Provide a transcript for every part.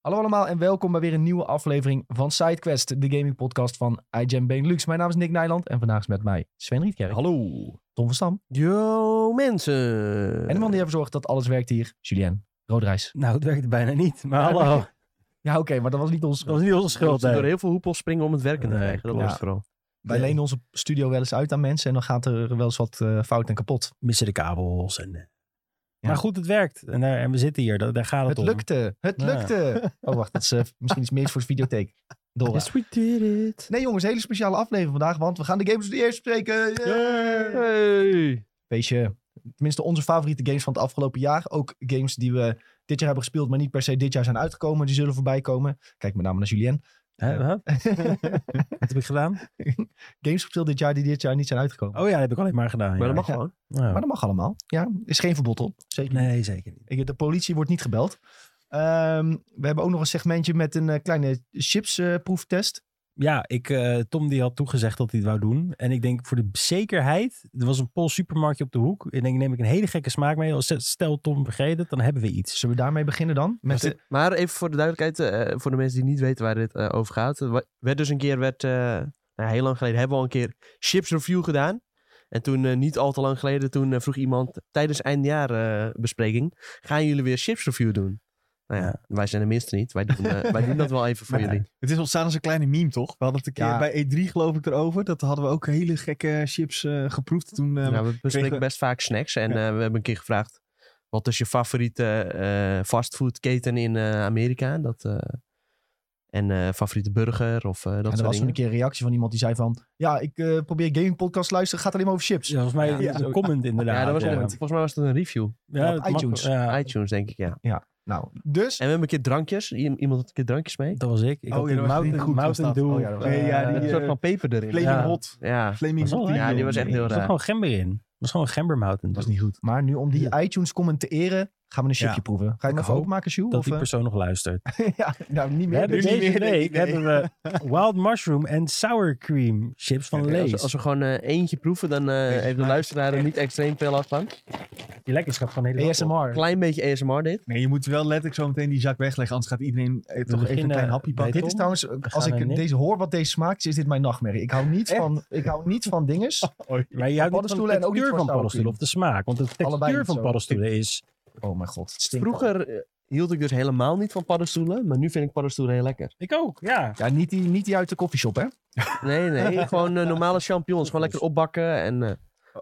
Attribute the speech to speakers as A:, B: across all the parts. A: Hallo allemaal en welkom bij weer een nieuwe aflevering van SideQuest, de gaming podcast van iGen Benelux. Mijn naam is Nick Nijland en vandaag is met mij Sven Rietkerk,
B: Hallo.
A: Tom van Stam
B: Yo, mensen.
A: en de man die ervoor zorgt dat alles werkt hier, Julien Roodrijs.
C: Nou, het werkte bijna niet. Maar
A: Ja,
C: hallo,
A: maar- Ja oké, maar dat was niet ons.
C: dat was niet onze
B: We
C: schuld.
B: moesten
C: hè.
B: door heel veel hoepels springen om het werken te
C: Nee,
B: krijgen. Dat
C: klopt.
B: was het vooral.
A: Wij
C: Nee.
A: lenen onze studio wel eens uit aan mensen en dan gaat er wel eens wat eh, fout en kapot.
C: Missen de kabels. En, eh,
A: Ja.
C: Maar goed, het werkt. En, daar- en we zitten hier. Daar, daar gaat het,
A: Het lukte, het
C: Ja.
A: lukte. Oh wacht, dat is eh, misschien iets meer voor de videotheek.
C: om.
A: Dora.
C: Yes, we did it.
A: Nee jongens, hele speciale aflevering vandaag, want we gaan de games die eerst spreken. Yeah.
B: Hey.
A: Weet je, tenminste onze favoriete games van het afgelopen jaar. Ook games die we dit jaar hebben gespeeld, maar niet per se dit jaar zijn uitgekomen. Die zullen voorbij komen. Kijk met name naar Julien.
C: Hè, hè? Wat heb ik gedaan?
A: games gespeeld dit jaar die dit jaar niet zijn uitgekomen.
C: Oh ja, dat heb ik alleen maar gedaan.
B: Maar dat
C: ja.
B: mag
A: Ja.
B: gewoon.
C: Ja.
A: Maar dat mag allemaal. Ja, is geen verbod op. Zeker niet.
C: Nee, zeker niet.
A: Ik- De politie wordt niet gebeld. Ehm, we hebben ook nog een segmentje met een eh, kleine chipsproeftest.
C: Ja, ik, eh, Tom die had toegezegd dat hij het wou doen. En ik denk voor de zekerheid, er was een Pools supermarktje op de hoek. Ik denk, neem ik een hele gekke smaak mee. Als- Stel Tom vergeet het, dan hebben we iets.
A: Zullen we daarmee beginnen dan? Met de-
B: Maar even voor de duidelijkheid, eh, voor de mensen die niet weten waar dit eh, over gaat. Er wa- werd dus een keer, werd, eh, nou, heel lang geleden, hebben we al een keer chips review gedaan. En toen, eh, niet al te lang geleden, toen eh, vroeg iemand tijdens eindjaarbespreking, gaan jullie weer chips review doen? Nou ja, wij zijn de minste niet. Wij doen, eh, wij doen dat wel even voor
C: Maar-
B: jullie.
D: Het is ontstaan als een kleine meme, toch? We hadden het een keer
A: Ja.
D: bij E3 geloof ik erover. Dat hadden we ook hele gekke chips eh, geproefd toen.
C: Ehm,
D: eh,
B: Nou, we bespreken
D: we-
B: best vaak snacks. En
D: Ja.
B: eh, we hebben een keer gevraagd... wat is je favoriete eh fastfoodketen in eh, Amerika? Dat, eh, en eh, favoriete burger of eh,
A: en er
B: dat soort
A: was een
B: dingen.
A: keer een reactie van iemand die zei van... Ja, ik eh, probeer gaming podcast te luisteren. Gaat alleen maar over chips.
C: Ja, volgens mij
B: Ja.
C: is het een comment inderdaad.
B: Ja, dat was
C: ja.
B: een- volgens mij was het een review.
C: Ja,
A: Op
C: dat mag-
A: iTunes.
C: ja.
B: iTunes, denk ik, ja. En
A: Nou, dus...
B: we hebben een keer drankjes. I- iemand had een keer drankjes mee.
C: Dat was ik. Ik
D: Oh,
C: had die
D: ja, dat was
C: Mountain,
D: niet goed, was
C: Mountain
D: dat.
C: Dew.
A: Oh, ja, dat was-
C: eh,
D: Nee, ja, die,
B: een
D: eh,
B: soort van peper erin.
D: Flaming
C: Ja.
D: Hot.
B: Ja.
D: Flaming
C: Was wel
D: Hot.
C: lekker.
B: Ja, die was echt heel
C: Er zat
B: raar.
C: gewoon gember in. Er was gewoon gember Mountain dus
D: Dat
C: Dew.
D: is niet goed.
A: Maar nu om die iTunes comment te eren, gaan we een chipje
C: Ja.
A: proeven. Ga je hem
C: Ik
A: even
C: hoop
A: openmaken, Sjoe?
C: Dat
A: Of,
C: die
A: eh,
C: persoon nog luistert.
A: ja, nou, niet
C: We
A: meer.
C: hebben
A: dus.
D: nu
C: deze
D: niet meer,
C: week
D: denk ik,
C: hebben we Wild Mushroom en Sour Cream chips van
B: Kijk,
C: Lees.
B: Als, als we gewoon eh, eentje proeven, dan eh, heeft de luisteraar er niet extreem veel last van.
C: Die lekkerschap van hele
A: ASMR.
B: Klein beetje ASMR dit.
D: Nee, je moet wel letterlijk zo meteen die zak wegleggen. Anders gaat iedereen eh, toch even
C: beginnen
D: een klein hapje
C: bij
D: pakken.
A: Dit is
C: Tom,
A: trouwens, als
C: gaan naar
A: ik
C: Nick.
A: deze hoor wat deze smaakt, is dit mijn nachtmerrie. Ik hou niet, van, ik hou niet van dinges.
C: Maar je houdt niet van
A: Paddenstoelen
C: de
A: en ook niet
C: textuur
A: van
C: van
A: sour
C: paddenstoelen of de smaak. Want de
A: Allebei
C: textuur
A: niet
C: van
A: zo.
C: paddenstoelen is...
A: Oh mijn god, het stinkt.
B: Vroeger eh, hield ik dus helemaal niet van paddenstoelen. Maar nu vind ik paddenstoelen heel lekker.
C: Ik ook, ja.
A: Ja, niet die, niet die uit de koffieshop, hè?
B: Nee, nee. gewoon eh, normale champignons. Gewoon lekker opbakken. En, eh,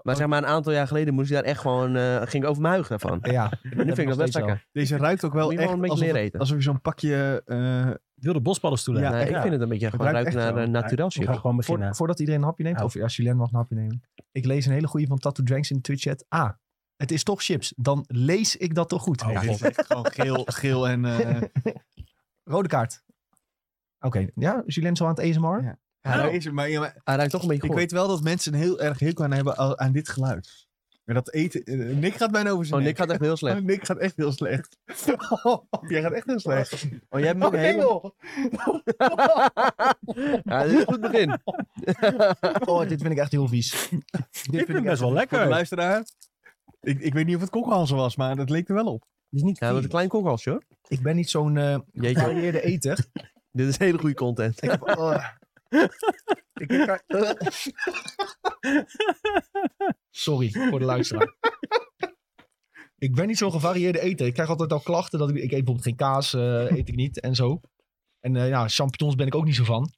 B: maar zeg maar, een aantal jaar geleden moest ik daar echt gewoon... eh, ging ik over mijn huig daarvan.
A: Ja,
B: nu vind ik dat best lekker.
D: Deze ruikt ook wel
B: Moet je
D: echt
B: gewoon een beetje
D: alsof,
B: leren
D: het-
B: eten.
D: alsof je zo'n pakje... eh,
C: Wilde bospaddenstoelen.
D: Ja,
B: Nee, Nou, ik vind het een beetje gewoon
D: ruikt
B: ruikt
D: echt
B: naar
D: zo.
B: uh, naturel
C: We
B: chips.
C: gaan gewoon beginnen.
A: Voor, voordat iedereen een hapje neemt,
C: Nou.
A: of als Julien mag een hapje nemen. Ik lees een hele goede van Tattoo Dranks in de Twitch chat. Ah, het is toch chips. Dan lees ik dat toch goed.
C: Oh,
A: Ja.
D: dit is echt gewoon geel, geel en... eh,
A: Rode kaart. Oké, ja, Julien is al aan het ASMR.
D: Ja.
B: Hij
A: Oh.
D: nou,
B: ruikt-
D: is het, maar, ja, maar
B: hij ruikt toch een beetje
D: ik
B: goed.
D: weet wel dat mensen een heel erg hekel aan hebben al- aan dit geluid. Maar dat eten... eh, Nick gaat bijna over zijn
B: Oh,
D: nek.
B: Nick gaat echt heel slecht.
D: Oh, Nick gaat echt heel slecht. jij gaat echt heel slecht.
B: Oh, jij hebt ook een hele... ja, dit is een goed begin.
A: Oh, dit vind ik echt heel vies. dit
C: Ik vind het best wel
D: Voor de
C: lekker. Het
D: luisteraar. Ik, ik weet niet of het kokhalzen was, maar dat leek er wel op.
C: is niet
B: Ja, dat was een
C: vies.
B: klein kokhalsje hoor.
A: Ik ben niet zo'n eh
B: Jeetje.
A: gevarieerde eter.
B: Dit is hele goede content.
A: Ik heb, oh. Ik heb daar- Sorry voor de luisteraar. Ik ben niet zo'n gevarieerde eter. Ik krijg altijd al klachten dat ik, ik eet bijvoorbeeld geen kaas, eh, eet ik niet en zo. En eh, ja, champignons ben ik ook niet zo van.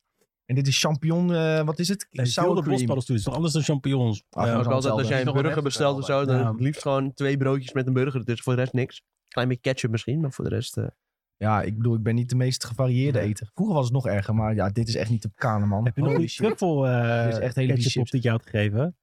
A: En dit is champignon, eh, wat is het?
C: Nee, Wilde bospaddenstoelen is toch anders dan champignons. Eh,
A: Ach,
C: Ja.
B: ook altijd als jij
D: Het
B: een
D: is nog
B: burger
D: wel
B: bestelt of
D: echt
B: zo, dan
C: Ja.
B: het liefst gewoon twee broodjes met een burger. Dus voor de rest niks. Klein beetje ketchup misschien, maar voor de rest... eh,
A: Ja, ik bedoel, ik ben niet de meest gevarieerde eter. Vroeger was het nog erger, maar ja, dit is echt niet de kane man.
C: Heb je nog
A: Holy
C: die
A: shit.
C: truffel eh,
A: Dit is echt hele vieze
C: ketchup
A: chips.
C: op die je had gegeven?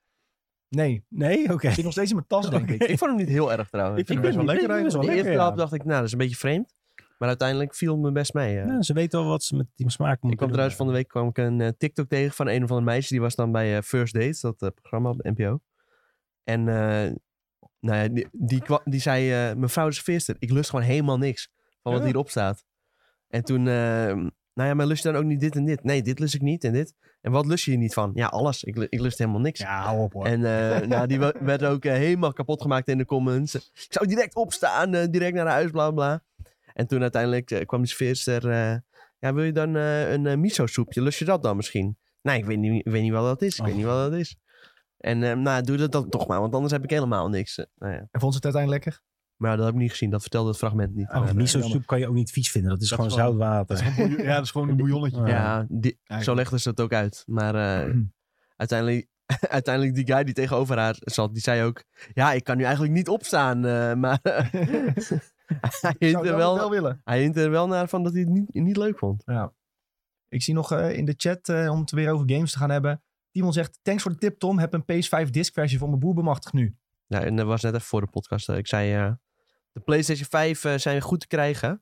A: Nee,
C: Nee? Oké.
A: zit nog steeds in mijn tas, denk ik.
B: Ik vond hem niet heel erg trouwens.
C: Ik vind het best wel lekker
B: De
C: eigenlijk.
B: eerste
C: Lekker, ja.
B: hap dacht ik, nou, dat is een beetje vreemd. Maar uiteindelijk viel me best mee. eh.
C: Nou, ze weten wel wat ze met die smaak
B: Ik
C: moeten
B: kwam trouwens van de week kwam ik een eh, TikTok tegen van een of andere meisje. Die was dan bij eh, First Dates, dat eh, programma op de NPO. En eh, nou ja, die, die, kwa- die zei, eh, mevrouw de serveerster, ik lust gewoon helemaal niks van wat
D: Ja.
B: hierop staat. En toen, eh, nou ja, maar lust je dan ook niet dit en dit? Nee, dit lust ik niet en dit. En wat lust je hier niet van? Ja, alles. Ik, lu- ik lust helemaal niks.
D: Ja, hou op hoor.
B: En eh, nou, die we- werd ook eh, helemaal kapot gemaakt in de comments. Ik zou direct opstaan, eh, direct naar huis, bla bla. En toen uiteindelijk eh, kwam die sfeerster... eh, ja, wil je dan eh, een eh, miso-soepje? Lust je dat dan misschien? Nee, ik weet niet, ik weet niet wat dat is. Ik weet
C: Oh.
B: niet wat dat is. En eh, nou, doe dat dan toch maar, want anders heb ik helemaal niks. Eh, nou ja.
A: En vond ze het uiteindelijk lekker?
B: Maar ja, dat heb ik niet gezien. Dat vertelde het fragment niet.
C: Oh,
B: Maar, eh,
C: miso soep kan je ook niet vies vinden. Dat is
D: Dat
C: gewoon
D: is wel-
C: zout water.
D: Ja, dat is gewoon een bouillonnetje.
C: Ja.
B: Ja, die,
D: Ja, ik-
B: zo legden ze het ook uit. Maar
A: Oh.
B: eh, uiteindelijk, uiteindelijk, die guy die tegenover haar zat, die zei ook... Ja, ik kan nu eigenlijk niet opstaan, eh, maar... hij, hint
A: Zou
B: er
A: ik
B: wel,
A: willen.
B: hij hint er wel naar van dat hij het niet, niet leuk vond.
A: Ik zie nog eh, in de chat, eh, om het weer over games te gaan hebben. Timon zegt, thanks voor de tip Tom. Heb een PS5 disc versie van mijn boer bemachtigd nu.
B: Ja, Nou, en dat was net even voor de podcast. eh, Ik zei, eh, de PlayStation 5 eh, zijn goed te krijgen.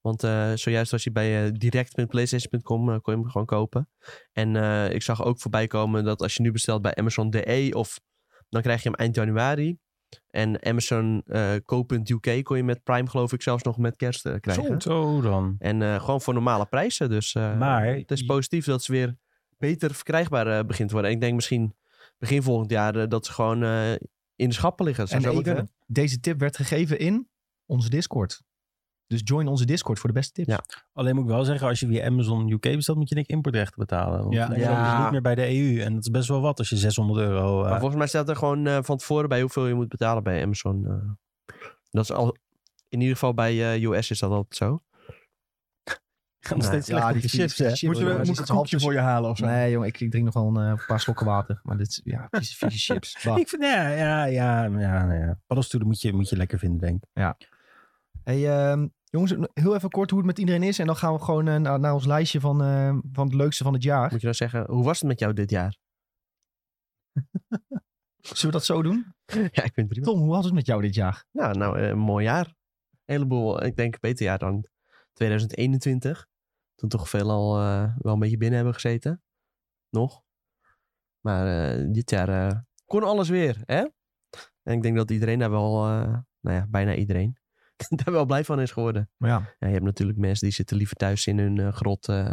B: Want eh, zojuist was hij bij eh, direct.playstation.com, eh, kon je hem gewoon kopen. En eh, ik zag ook voorbij komen dat als je nu bestelt bij Amazon DE, of, dan krijg je hem eind januari. En Amazon eh Co.UK kon je met Prime geloof ik zelfs nog met kerst eh, krijgen.
C: Zo dan.
B: En eh, gewoon voor normale prijzen. Dus eh,
C: Maar-
B: het is positief dat ze weer beter verkrijgbaar eh, begint te worden. En ik denk misschien begin volgend jaar eh, dat ze gewoon eh, in de schappen liggen. Dat zou
A: en
B: zo
A: even,
B: kunnen.
A: deze tip werd gegeven in onze Discord. Dus join onze Discord voor de beste tips.
B: Ja.
C: Alleen moet ik wel zeggen, als je via Amazon UK bestelt, moet je niks importrechten betalen. Want
D: Ja.
C: Amazon
B: Ja.
C: is niet meer bij de EU. En dat is best wel wat als je 600 euro... eh,
B: Maar volgens mij staat er gewoon eh, van tevoren bij hoeveel je moet betalen bij Amazon. eh. dat is al, in ieder geval bij eh, US is dat altijd zo. Nee.
C: gaat nog steeds slecht op je chips, hè?
D: Moeten we
A: jongens,
D: moet ik
A: het
D: een
A: is half
D: kopje voor je halen of zo?
A: Nee, jongen, ik, ik drink nog wel een eh, paar slokken water. Maar dit is, ja, vieze, vieze chips. Bah.
C: Ik vind, ja, ja, ja, ja, nou ja. Paddenstoelen moet je, moet je lekker vinden, denk ik.
A: Hey, ehm, jongens, heel even kort hoe het met iedereen is. En dan gaan we gewoon eh, naar, naar ons lijstje van, eh, van het leukste van het jaar.
B: Moet je dan zeggen, hoe was het met jou dit jaar?
A: Zullen we dat zo doen?
B: ja, ik vind het prima.
A: Tom, hoe was het met jou dit jaar?
B: Ja, nou, eh, een mooi jaar. Een heleboel, eh, ik denk, een beter jaar dan 2021. Toen toch veel al eh, wel een beetje binnen hebben gezeten. Nog. Maar eh, dit jaar eh, kon alles weer, hè? En ik denk dat iedereen daar wel, eh, nou ja, bijna iedereen, daar wel blij van is geworden.
A: Maar ja,
B: Ja, je hebt natuurlijk mensen die zitten liever thuis in hun eh, grot. eh.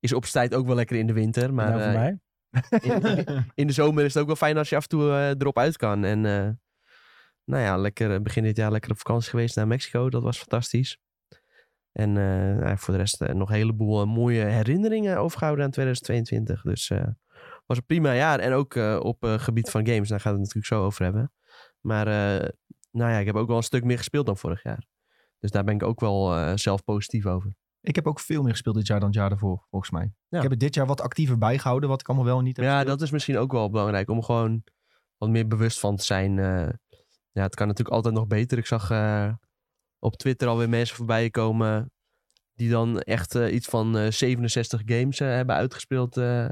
B: is op zijn tijd ook wel lekker in de winter, maar
C: nou, voor
B: eh,
C: mij?
B: in, in de zomer is het ook wel fijn als je af en toe eh, erop uit kan. En eh, nou ja, lekker, eh, begin dit jaar lekker op vakantie geweest naar Mexico. Dat was fantastisch. En eh, nou ja, voor de rest eh, nog een heleboel eh, mooie herinneringen overgehouden aan 2022. Dus eh was een prima jaar. En ook eh, op eh, gebied van games. Daar gaan we het natuurlijk zo over hebben. Maar eh, nou ja, ik heb ook wel een stuk meer gespeeld dan vorig jaar. Dus daar ben ik ook wel eh, zelf positief over.
A: ik heb ook veel meer gespeeld dit jaar dan het jaar daarvoor, volgens mij.
B: Ja.
A: Ik heb het dit jaar wat actiever bijgehouden, wat ik allemaal wel en niet heb.
B: Ja, dat is misschien ook wel belangrijk. Om gewoon wat meer bewust van te zijn. eh. ja, het kan natuurlijk altijd nog beter. Ik zag eh, op Twitter alweer mensen voorbij komen. Die dan echt eh, iets van eh, 67 games eh, hebben uitgespeeld eh,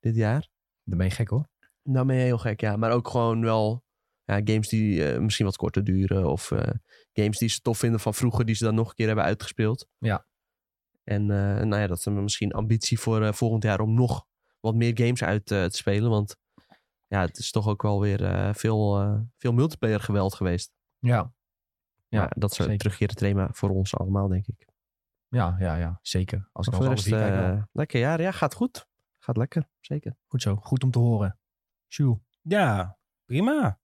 B: dit jaar.
A: Dan ben je gek hoor.
B: Nou ben je heel gek, ja. Maar ook gewoon wel ja, games die eh, misschien wat korter duren. Of eh, games die ze tof vinden van vroeger, die ze dan nog een keer hebben uitgespeeld.
A: Ja.
B: En eh, nou ja, dat is misschien ambitie voor eh, volgend jaar om nog wat meer games uit eh, te spelen. Want ja, het is toch ook wel weer eh, veel, eh, veel multiplayer geweld geweest.
A: Ja, Ja,
B: Ja, dat is een
A: zeker.
B: terugkerend thema voor ons allemaal, denk ik.
A: ja, ja, ja zeker. Als ik
B: Maar
A: dan
B: voor de
A: alles
B: rest,
A: weer kijk, wel.
B: eh, lekker jaar. Ja, gaat goed. Gaat lekker, zeker.
A: Goed zo, goed om te horen. Sjoe.
C: Ja, prima.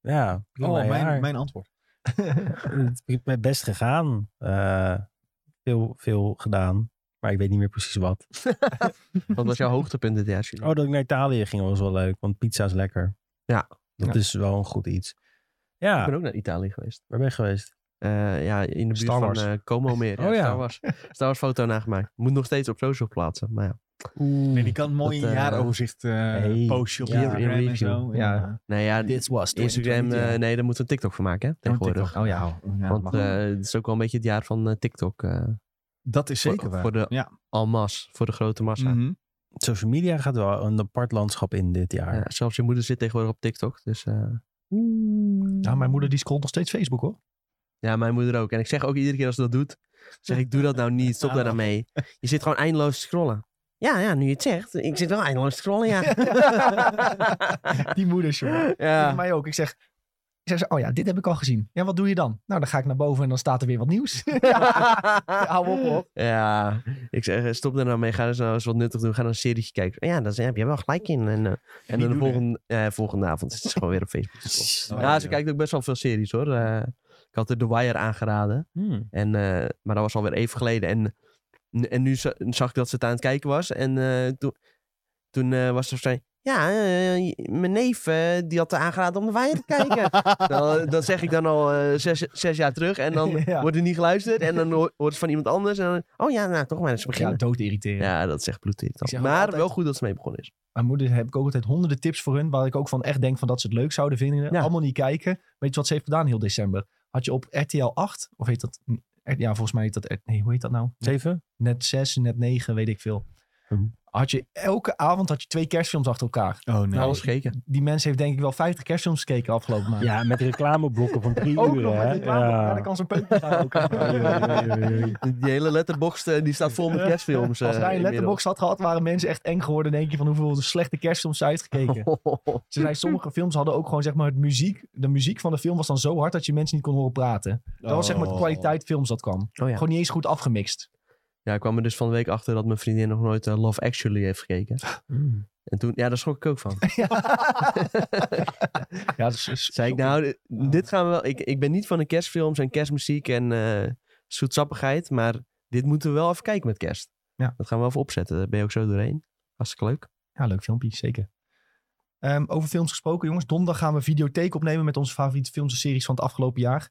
C: Ja, prima
D: Oh,
C: jaar.
D: mijn, mijn antwoord.
C: Het is mijn best gegaan. Eh, veel, veel gedaan. Maar ik weet niet meer precies wat.
B: Wat was jouw hoogtepunt dit jaar, Jullie?
C: Oh, dat ik naar Italië ging was wel leuk. Want pizza is lekker.
B: Ja.
C: Dat
A: Ja.
C: is wel een goed iets.
B: Ik
C: Ja,
B: ben ook naar Italië geweest.
C: waar ben je geweest?
B: Eh, ja, in de buurt
A: Star Wars.
B: van eh Como meer.
C: Oh
B: ja.
C: ja.
B: Star Wars. Star Wars foto nagemaakt. Moet nog steeds op social plaatsen. Maar ja.
D: Nee, die kan mooi
B: dat,
D: een
B: eh, oh.
D: jaaroverzicht eh
C: hey,
D: posten op
C: ja,
B: in
D: Instagram en
B: review.
D: zo. En,
A: Ja.
D: eh,
B: Nee, Nou ja,
A: was
B: Instagram, eh, nee, daar moeten we een TikTok van maken hè, tegenwoordig.
A: Oh ja.
D: ja,
B: Want
D: mag.
B: eh, het is ook wel een beetje het jaar van eh, TikTok. eh
D: dat is
B: voor-
D: zeker waar.
B: voor de-
D: ja.
B: en masse, voor de grote massa.
D: Mhm.
C: Social media gaat wel een apart landschap in dit jaar.
B: Ja, zelfs je moeder zit tegenwoordig op TikTok. Dus eh,
A: Nou, mijn moeder die scrolt nog steeds Facebook hoor.
B: ja, mijn moeder ook. En ik zeg ook iedere keer als ze dat doet, zeg ik doe dat nou niet, stop daar nou mee. Je zit gewoon eindeloos te scrollen. Ja, ja, nu je het zegt. Ik zit wel eindeloos te scrollen, ja.
A: Die moeders joh.
B: ja.
A: Voor mij ook. Ik zeg, ik zeg zo, oh ja, dit heb ik al gezien. Ja, wat doe je dan? Nou, dan ga ik naar boven en dan staat er weer wat nieuws. Hou op, hoor.
B: Ja, ik zeg, eh, stop daar nou mee. Ga eens nou eens wat nuttig doen. Ga naar een serietje kijken. Ja, daar zijn- heb je wel gelijk in. En, eh, en dan de
D: doen
B: volgende, eh, volgende avond is het gewoon weer op Facebook. te scrollen.
D: Oh,
B: ja, ze kijkt ook best wel veel series hoor. Eh, ik had er The Wire aangeraden.
C: Hmm.
B: En, eh, maar dat was alweer even geleden. En, en nu za- zag ik dat ze het aan het kijken was. En eh, toen, toen eh, was ze zei... Ja, eh, mijn neef eh, die had er aangeraden om The Wire te kijken. Nou, dat zeg ik dan al eh, zes, zes jaar terug. En dan
A: Ja.
B: wordt er niet geluisterd. En dan hoor- hoort het van iemand anders. En dan, oh ja, nou toch maar eens
A: Ja,
B: beginnen.
A: dood irriteren.
B: Ja, dat is echt bloedirritant.
A: Ik zeg ook
B: maar
A: altijd-
B: wel goed dat ze mee begonnen is.
A: Mijn moeder heb ik ook altijd honderden tips voor hun. Waar ik ook van echt denk van dat ze het leuk zouden vinden.
B: Ja.
A: Allemaal niet kijken. Weet je wat ze heeft gedaan heel december? Had je op RTL 8, of heet dat... Ja, volgens mij heet dat... R- Nee, hoe heet dat nou?
C: Zeven?
A: Net 6, net 9, weet ik veel.
C: Mhm.
A: Had je elke avond had je twee kerstfilms achter elkaar.
D: Oh nee.
B: Alles Nou, gekeken.
A: Die mensen heeft denk ik wel 50 kerstfilms gekeken afgelopen maand.
C: Ja, met reclameblokken van drie
A: Ook
C: uur.
A: nog
C: hè?
A: met reclame. Ja.
C: Ja.
A: dat kan zo'n peuter zijn ook.
B: Die hele letterbox eh, die staat vol met kerstfilms.
A: Als wij
B: eh,
A: een
B: inmiddels.
A: letterbox had gehad, waren mensen echt eng geworden. Denk je van hoeveel slechte kerstfilms ze uitgekeken. Ze zei, sommige films hadden ook gewoon zeg maar het muziek. De muziek van de film was dan zo hard dat je mensen niet kon horen praten. Dat was zeg maar de
D: Oh.
A: kwaliteit films dat kwam.
B: Oh ja.
A: Gewoon niet eens goed afgemixt.
B: ja, ik kwam er dus van de week achter dat mijn vriendin nog nooit eh, Love Actually heeft gekeken.
C: Hmm.
B: En toen, ja, daar schrok ik ook van.
A: Ja, dat is- is-
B: Zei ik, nou, dit- dit gaan we wel... Ik, ik ben niet van de kerstfilms en kerstmuziek en eh zoetsappigheid. Maar dit moeten we wel even kijken met kerst.
A: Ja.
B: Dat gaan we even opzetten. Daar ben je ook zo doorheen. Hartstikke leuk.
A: Ja, leuk filmpje, zeker. Ehm, over films gesproken, jongens. Donderdag gaan we videotheek opnemen met onze favoriete films en series van het afgelopen jaar.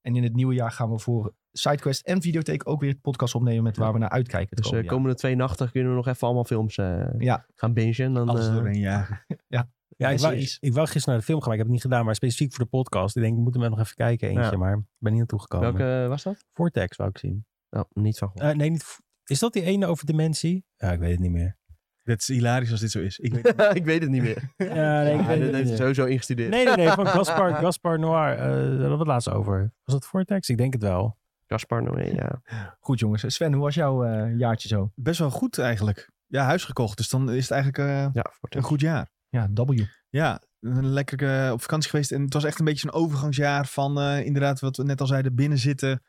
A: En in het nieuwe jaar gaan we voor SideQuest en videotheek ook weer een podcast opnemen met waar we naar uitkijken. het
B: Dus de
A: komende jaar.
B: komende twee nachten kunnen we nog even allemaal films eh,
A: Ja.
B: gaan bingen. En dan,
D: Alles
B: eh,
D: doorheen, ja.
C: Ja, ik
A: En
C: wou,
A: series.
C: ik wou gisteren naar de film gaan, maar ik heb het niet gedaan. Maar specifiek voor de podcast. Ik denk, ik moet hem nog even kijken eentje.
B: Ja.
C: Maar ik ben niet naartoe gekomen.
B: welke was dat?
C: Vortex wou ik zien.
B: Oh, niet van goed.
C: Eh, nee, niet... v- Is dat die ene over dementie? Ja, ik weet het niet meer.
D: Dat is hilarisch als dit zo is. Ik weet het niet.
B: ik weet het niet meer.
C: Ja, nee, ik
B: Ja, dit
C: weet het
B: heeft
C: niet
B: hij
C: meer.
B: sowieso ingestudeerd.
C: Nee, nee, nee. Van Gaspar, Gaspar Noir. eh, Daar hadden we het laatst over. Was dat Vortex? Ik denk het wel.
B: Gaspar Noé, ja.
A: Goed, jongens. Sven, hoe was jouw eh, jaartje zo?
D: Best wel goed eigenlijk. Ja, huis gekocht. Dus dan is het eigenlijk eh,
B: Ja, voor
D: een goed jaar.
A: Ja, W.
D: Ja, een lekker eh, op vakantie geweest. En het was echt een beetje zo'n overgangsjaar van eh, inderdaad wat we net al zeiden, binnen zitten.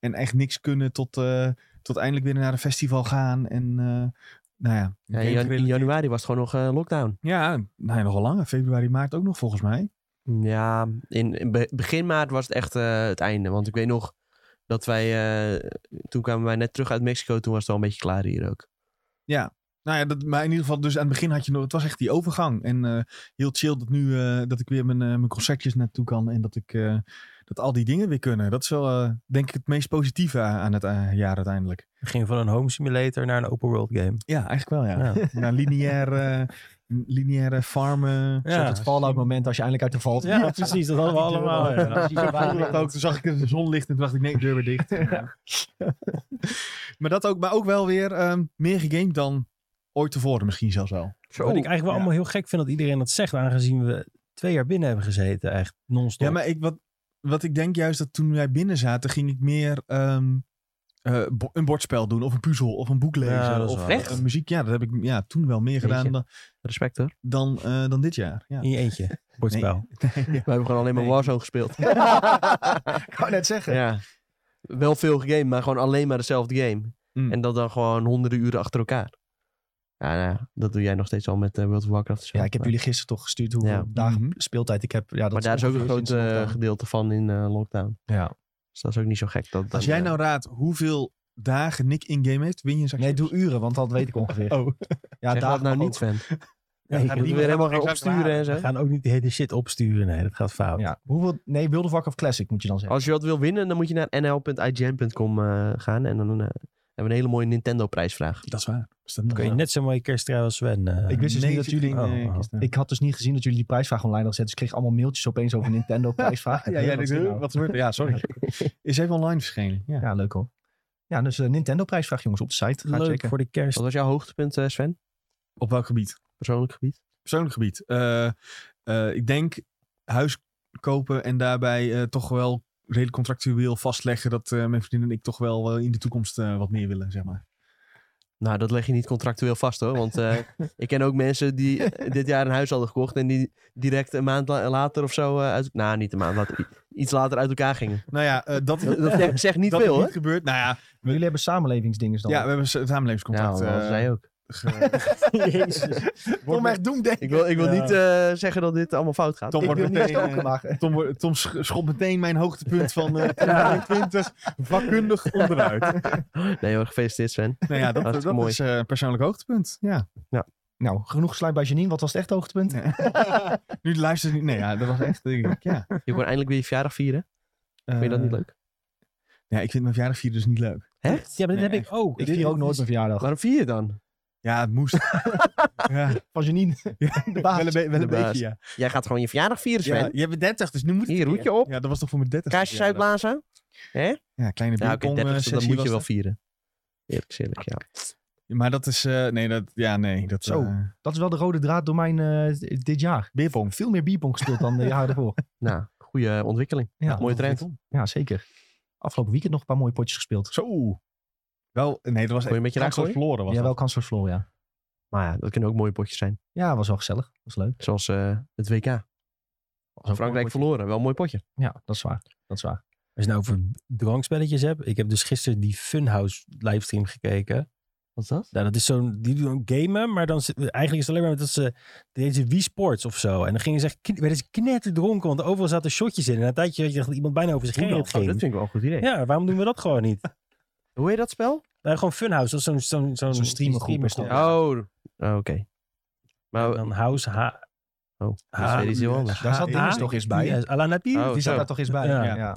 D: En echt niks kunnen tot, eh, tot eindelijk weer naar een festival gaan. En eh, nou ja.
B: Ja, in, jan- in januari was het gewoon nog eh, lockdown.
D: Ja, nou ja, nogal lang. Februari, maart ook nog volgens mij.
B: Ja, in, in be- begin maart was het echt eh, het einde. Want ik weet nog dat wij... eh, toen kwamen wij net terug uit Mexico. Toen was het al een beetje klaar hier ook.
D: Nou ja, dat, maar in ieder geval, dus aan het begin had je nog, het was echt die overgang. En eh, heel chill dat nu, eh, dat ik weer mijn, eh, mijn concertjes naartoe kan en dat ik, eh, dat al die dingen weer kunnen. Dat is wel, eh, denk ik, het meest positieve aan aan het eh, jaar uiteindelijk.
C: We gingen van een home simulator naar een open world game.
D: Ja, eigenlijk wel, ja.
C: Ja.
D: Naar lineaire, eh, lineaire farmen.
C: Ja.
A: Zoals het Fallout moment als je eindelijk uit de valt.
C: Ja, precies. Dat hadden we allemaal. ja.
D: Zo voelde dat ook. Toen zag ik de zon licht en toen dacht ik, nee, deur weer dicht. maar, dat ook, maar ook wel weer ehm, meer gegamed dan ooit tevoren misschien zelfs wel.
B: Zo.
C: Wat ik eigenlijk wel
D: ja.
C: allemaal heel gek vind dat iedereen dat zegt. Aangezien we twee jaar binnen hebben gezeten. Echt non-stop.
D: Ja, maar ik, wat, wat ik denk juist dat toen wij binnen zaten, ging ik meer ehm, eh, bo- een bordspel doen of een puzzel of een boek lezen.
C: Ja, dat is
D: of
C: waar.
B: Echt?
D: een muziek. Ja, dat heb ik ja, toen wel meer gedaan dan,
B: Respect hoor.
D: dan, eh, dan dit jaar. Ja.
C: In je eentje. Bordspel.
B: We hebben gewoon alleen maar
D: Nee.
B: Warzone gespeeld.
A: Ik wou net zeggen.
B: ja. Wel veel gegamed, maar gewoon alleen maar dezelfde game.
D: Mm.
B: En dat dan gewoon honderden uren achter elkaar. Ja, nou ja, dat doe jij nog steeds al met eh, World of Warcraft. en zo.
A: Ja, ik heb
B: Maar-
A: jullie gisteren toch gestuurd hoeveel
B: Ja.
A: dagen
D: Mhm.
A: speeltijd ik heb. Ja, dat
B: maar daar is ook een
A: ongeveer
B: groot
A: sinds
B: eh,
A: lockdown.
B: gedeelte van in eh, lockdown.
A: Ja.
B: Dus dat is ook niet zo gek. Dat, dan,
D: Als jij
B: eh,
D: nou raadt hoeveel dagen Nick in-game heeft, win je een zakje
A: Nee, doe uren, want dat weet ik ongeveer.
D: Oh.
A: Ja,
B: zeg dat
A: dagen
B: nou
A: mag
B: niet,
A: ook.
B: Sven.
C: Ja,
B: Je
C: je
B: moet
C: kunt-
B: weer helemaal gaan
D: exact
B: opsturen en zo.
C: we gaan ook niet die hele shit opsturen. Nee, dat gaat fout.
A: Ja. Hoeveel, nee, World of Warcraft Classic moet je dan zeggen.
B: Als je wat wil winnen, dan moet je naar nl.igm.com eh, gaan. En dan eh, hebben we een hele mooie Nintendo-prijsvraag.
D: Dat is waar. Dus dat
C: Dan kun je net zo'n mooie kersttrui als Sven. eh.
A: Ik wist dus niet dat
D: zit
A: jullie-
D: in, eh,
C: Oh, oh.
D: kisten.
A: Ik had dus niet gezien dat jullie die prijsvraag online hadden gezet. Dus ik kreeg allemaal mailtjes opeens over Nintendo prijsvraag.
D: Ja, ja,
A: Wat is dit nou?
D: wat wordt Ja, sorry. Is even online verschenen. Ja.
A: Ja, leuk hoor. Ja, dus eh, Nintendo prijsvraag jongens op de site. Ga
C: Leuk
A: checken.
C: voor de kerst.
B: Wat was jouw hoogtepunt, eh, Sven?
D: Op welk gebied?
B: Persoonlijk gebied?
D: Persoonlijk gebied. Eh, eh, ik denk huis kopen en daarbij eh, toch wel redelijk contractueel vastleggen dat eh, mijn vriendin en ik toch wel eh, in de toekomst eh, wat meer willen, zeg maar.
B: Nou, dat leg je niet contractueel vast hoor. Want eh, ik ken ook mensen die eh, dit jaar een huis hadden gekocht. en die direct een maand la- later of zo. eh, uit, nou, niet een maand later. i- Iets later uit elkaar gingen.
D: Nou ja, eh, dat,
B: Dat, dat zegt, zegt niet
D: dat
B: veel
D: het
B: hoor.
D: niet gebeurt. Nou ja,
A: Maar Jullie hebben samenlevingsdingen dan.
D: ja, we hebben een
B: Nou,
D: samenlevingscontract.
B: dat
D: eh,
B: zei ook.
D: ge-
C: Jezus.
A: Kom echt doen, denk ik.
B: Ik wil, ik wil
C: Ja.
B: niet eh, zeggen dat dit allemaal fout gaat.
D: Tom
A: Ik
D: wordt
A: wil niet
D: meteen... eh,
A: stoken maken.
D: Tom, wordt- Tom sch- schopt meteen mijn hoogtepunt van eh 2020 vakkundig onderuit.
B: Nee hoor, gefeliciteerd Sven.
D: Nou ja, dat,
B: Hartstikke
D: dat
B: mooi.
D: is eh, een persoonlijk hoogtepunt. Ja.
A: Nou, genoeg sluit bij Janine. Wat was het echt hoogtepunt?
D: Nu luistert niet. Nee, ja, dat was echt. denk ik, ja.
B: Je kon eindelijk weer je verjaardag vieren. Vind je
D: Eh,
B: dat niet leuk?
D: Ja, ik vind mijn verjaardag vieren dus niet leuk.
C: Ja, maar dit
D: Nee,
C: heb ik ook.
A: Ik
C: Dit-
A: vier ook nooit mijn verjaardag.
B: Waarom vier je dan?
D: Ja, het moest. ja,
A: Van Janine. De baas.
D: wel een, be- wel
B: De
D: een
B: baas.
D: beetje, ja.
B: Jij gaat gewoon je verjaardag vieren
D: ja.
B: Sven.
D: Je bent 30, dus nu moet het
B: Hier,
D: weer.
B: roetje op.
D: Ja, dat was toch voor mijn 30
B: Kaarsjes uitblazen.
D: Ja, kleine
B: Ja, oké,
D: bierpong, eh,
B: 30 dat
D: sessie
B: moet je
D: was
B: wel
D: dat.
B: vieren. Eerlijk is eerlijk, ja.
D: Maar dat is... eh, nee, dat... Ja, nee. Dat,
A: Zo.
D: eh,
A: Dat is wel de rode draad door mijn eh, dit jaar.
D: Beerpong.
A: Veel meer bierpong gespeeld dan de jaren ervoor.
B: Nou, goede ontwikkeling. Nou,
A: Ja,
B: Mooie trend.
A: Ja, zeker. Afgelopen weekend nog een paar mooie potjes gespeeld.
D: Zo. Wel... Nee, dat was...
B: Kon je een beetje raak
D: kansloos
B: gooien?
D: verloren was
A: Ja,
D: dat.
A: wel kans voor Floor, ja.
B: Maar ja, dat kunnen ook mooie potjes zijn.
A: Ja, was wel gezellig. Was leuk.
B: Zoals eh, het WK.
A: Was ook
B: Frankrijk
A: mooi potje.
B: verloren, wel een mooi potje.
A: Ja, dat is waar. Dat is waar.
C: Als je nou over drankspelletjes hebt. Ik heb dus gisteren die Funhouse livestream gekeken.
B: Wat is dat?
C: Nou, dat is zo'n, die doen gamen, maar dan zit- eigenlijk is het alleen maar dat ze deze Wii Sports of zo. En dan gingen ze echt, kn- werden ze knetterdronken, want overal zaten shotjes in. En na een tijdje had je dat iemand bijna over zijn
B: Oh,
C: heen
B: dat vind
C: ging.
B: ik wel een goed idee.
C: Ja, waarom doen we dat gewoon niet?
B: Hoe heet dat spel?
C: Nou, gewoon Funhouse, dat is zo'n zo'n zo'n
A: Zo'n streamergroep is dat.
C: Ja.
B: Oh, oké. Maar eh,
C: En dan House H.
B: Oh, dat is
C: Ah,
B: weer iets heel anders.
A: Daar zat
C: H-
A: Dennis
C: H-
A: toch eens bij.
C: Ja, Alana Pier.
B: Oh,
A: Die
B: zo.
A: zat daar toch eens bij.
C: Ja.
A: Ja. Ja.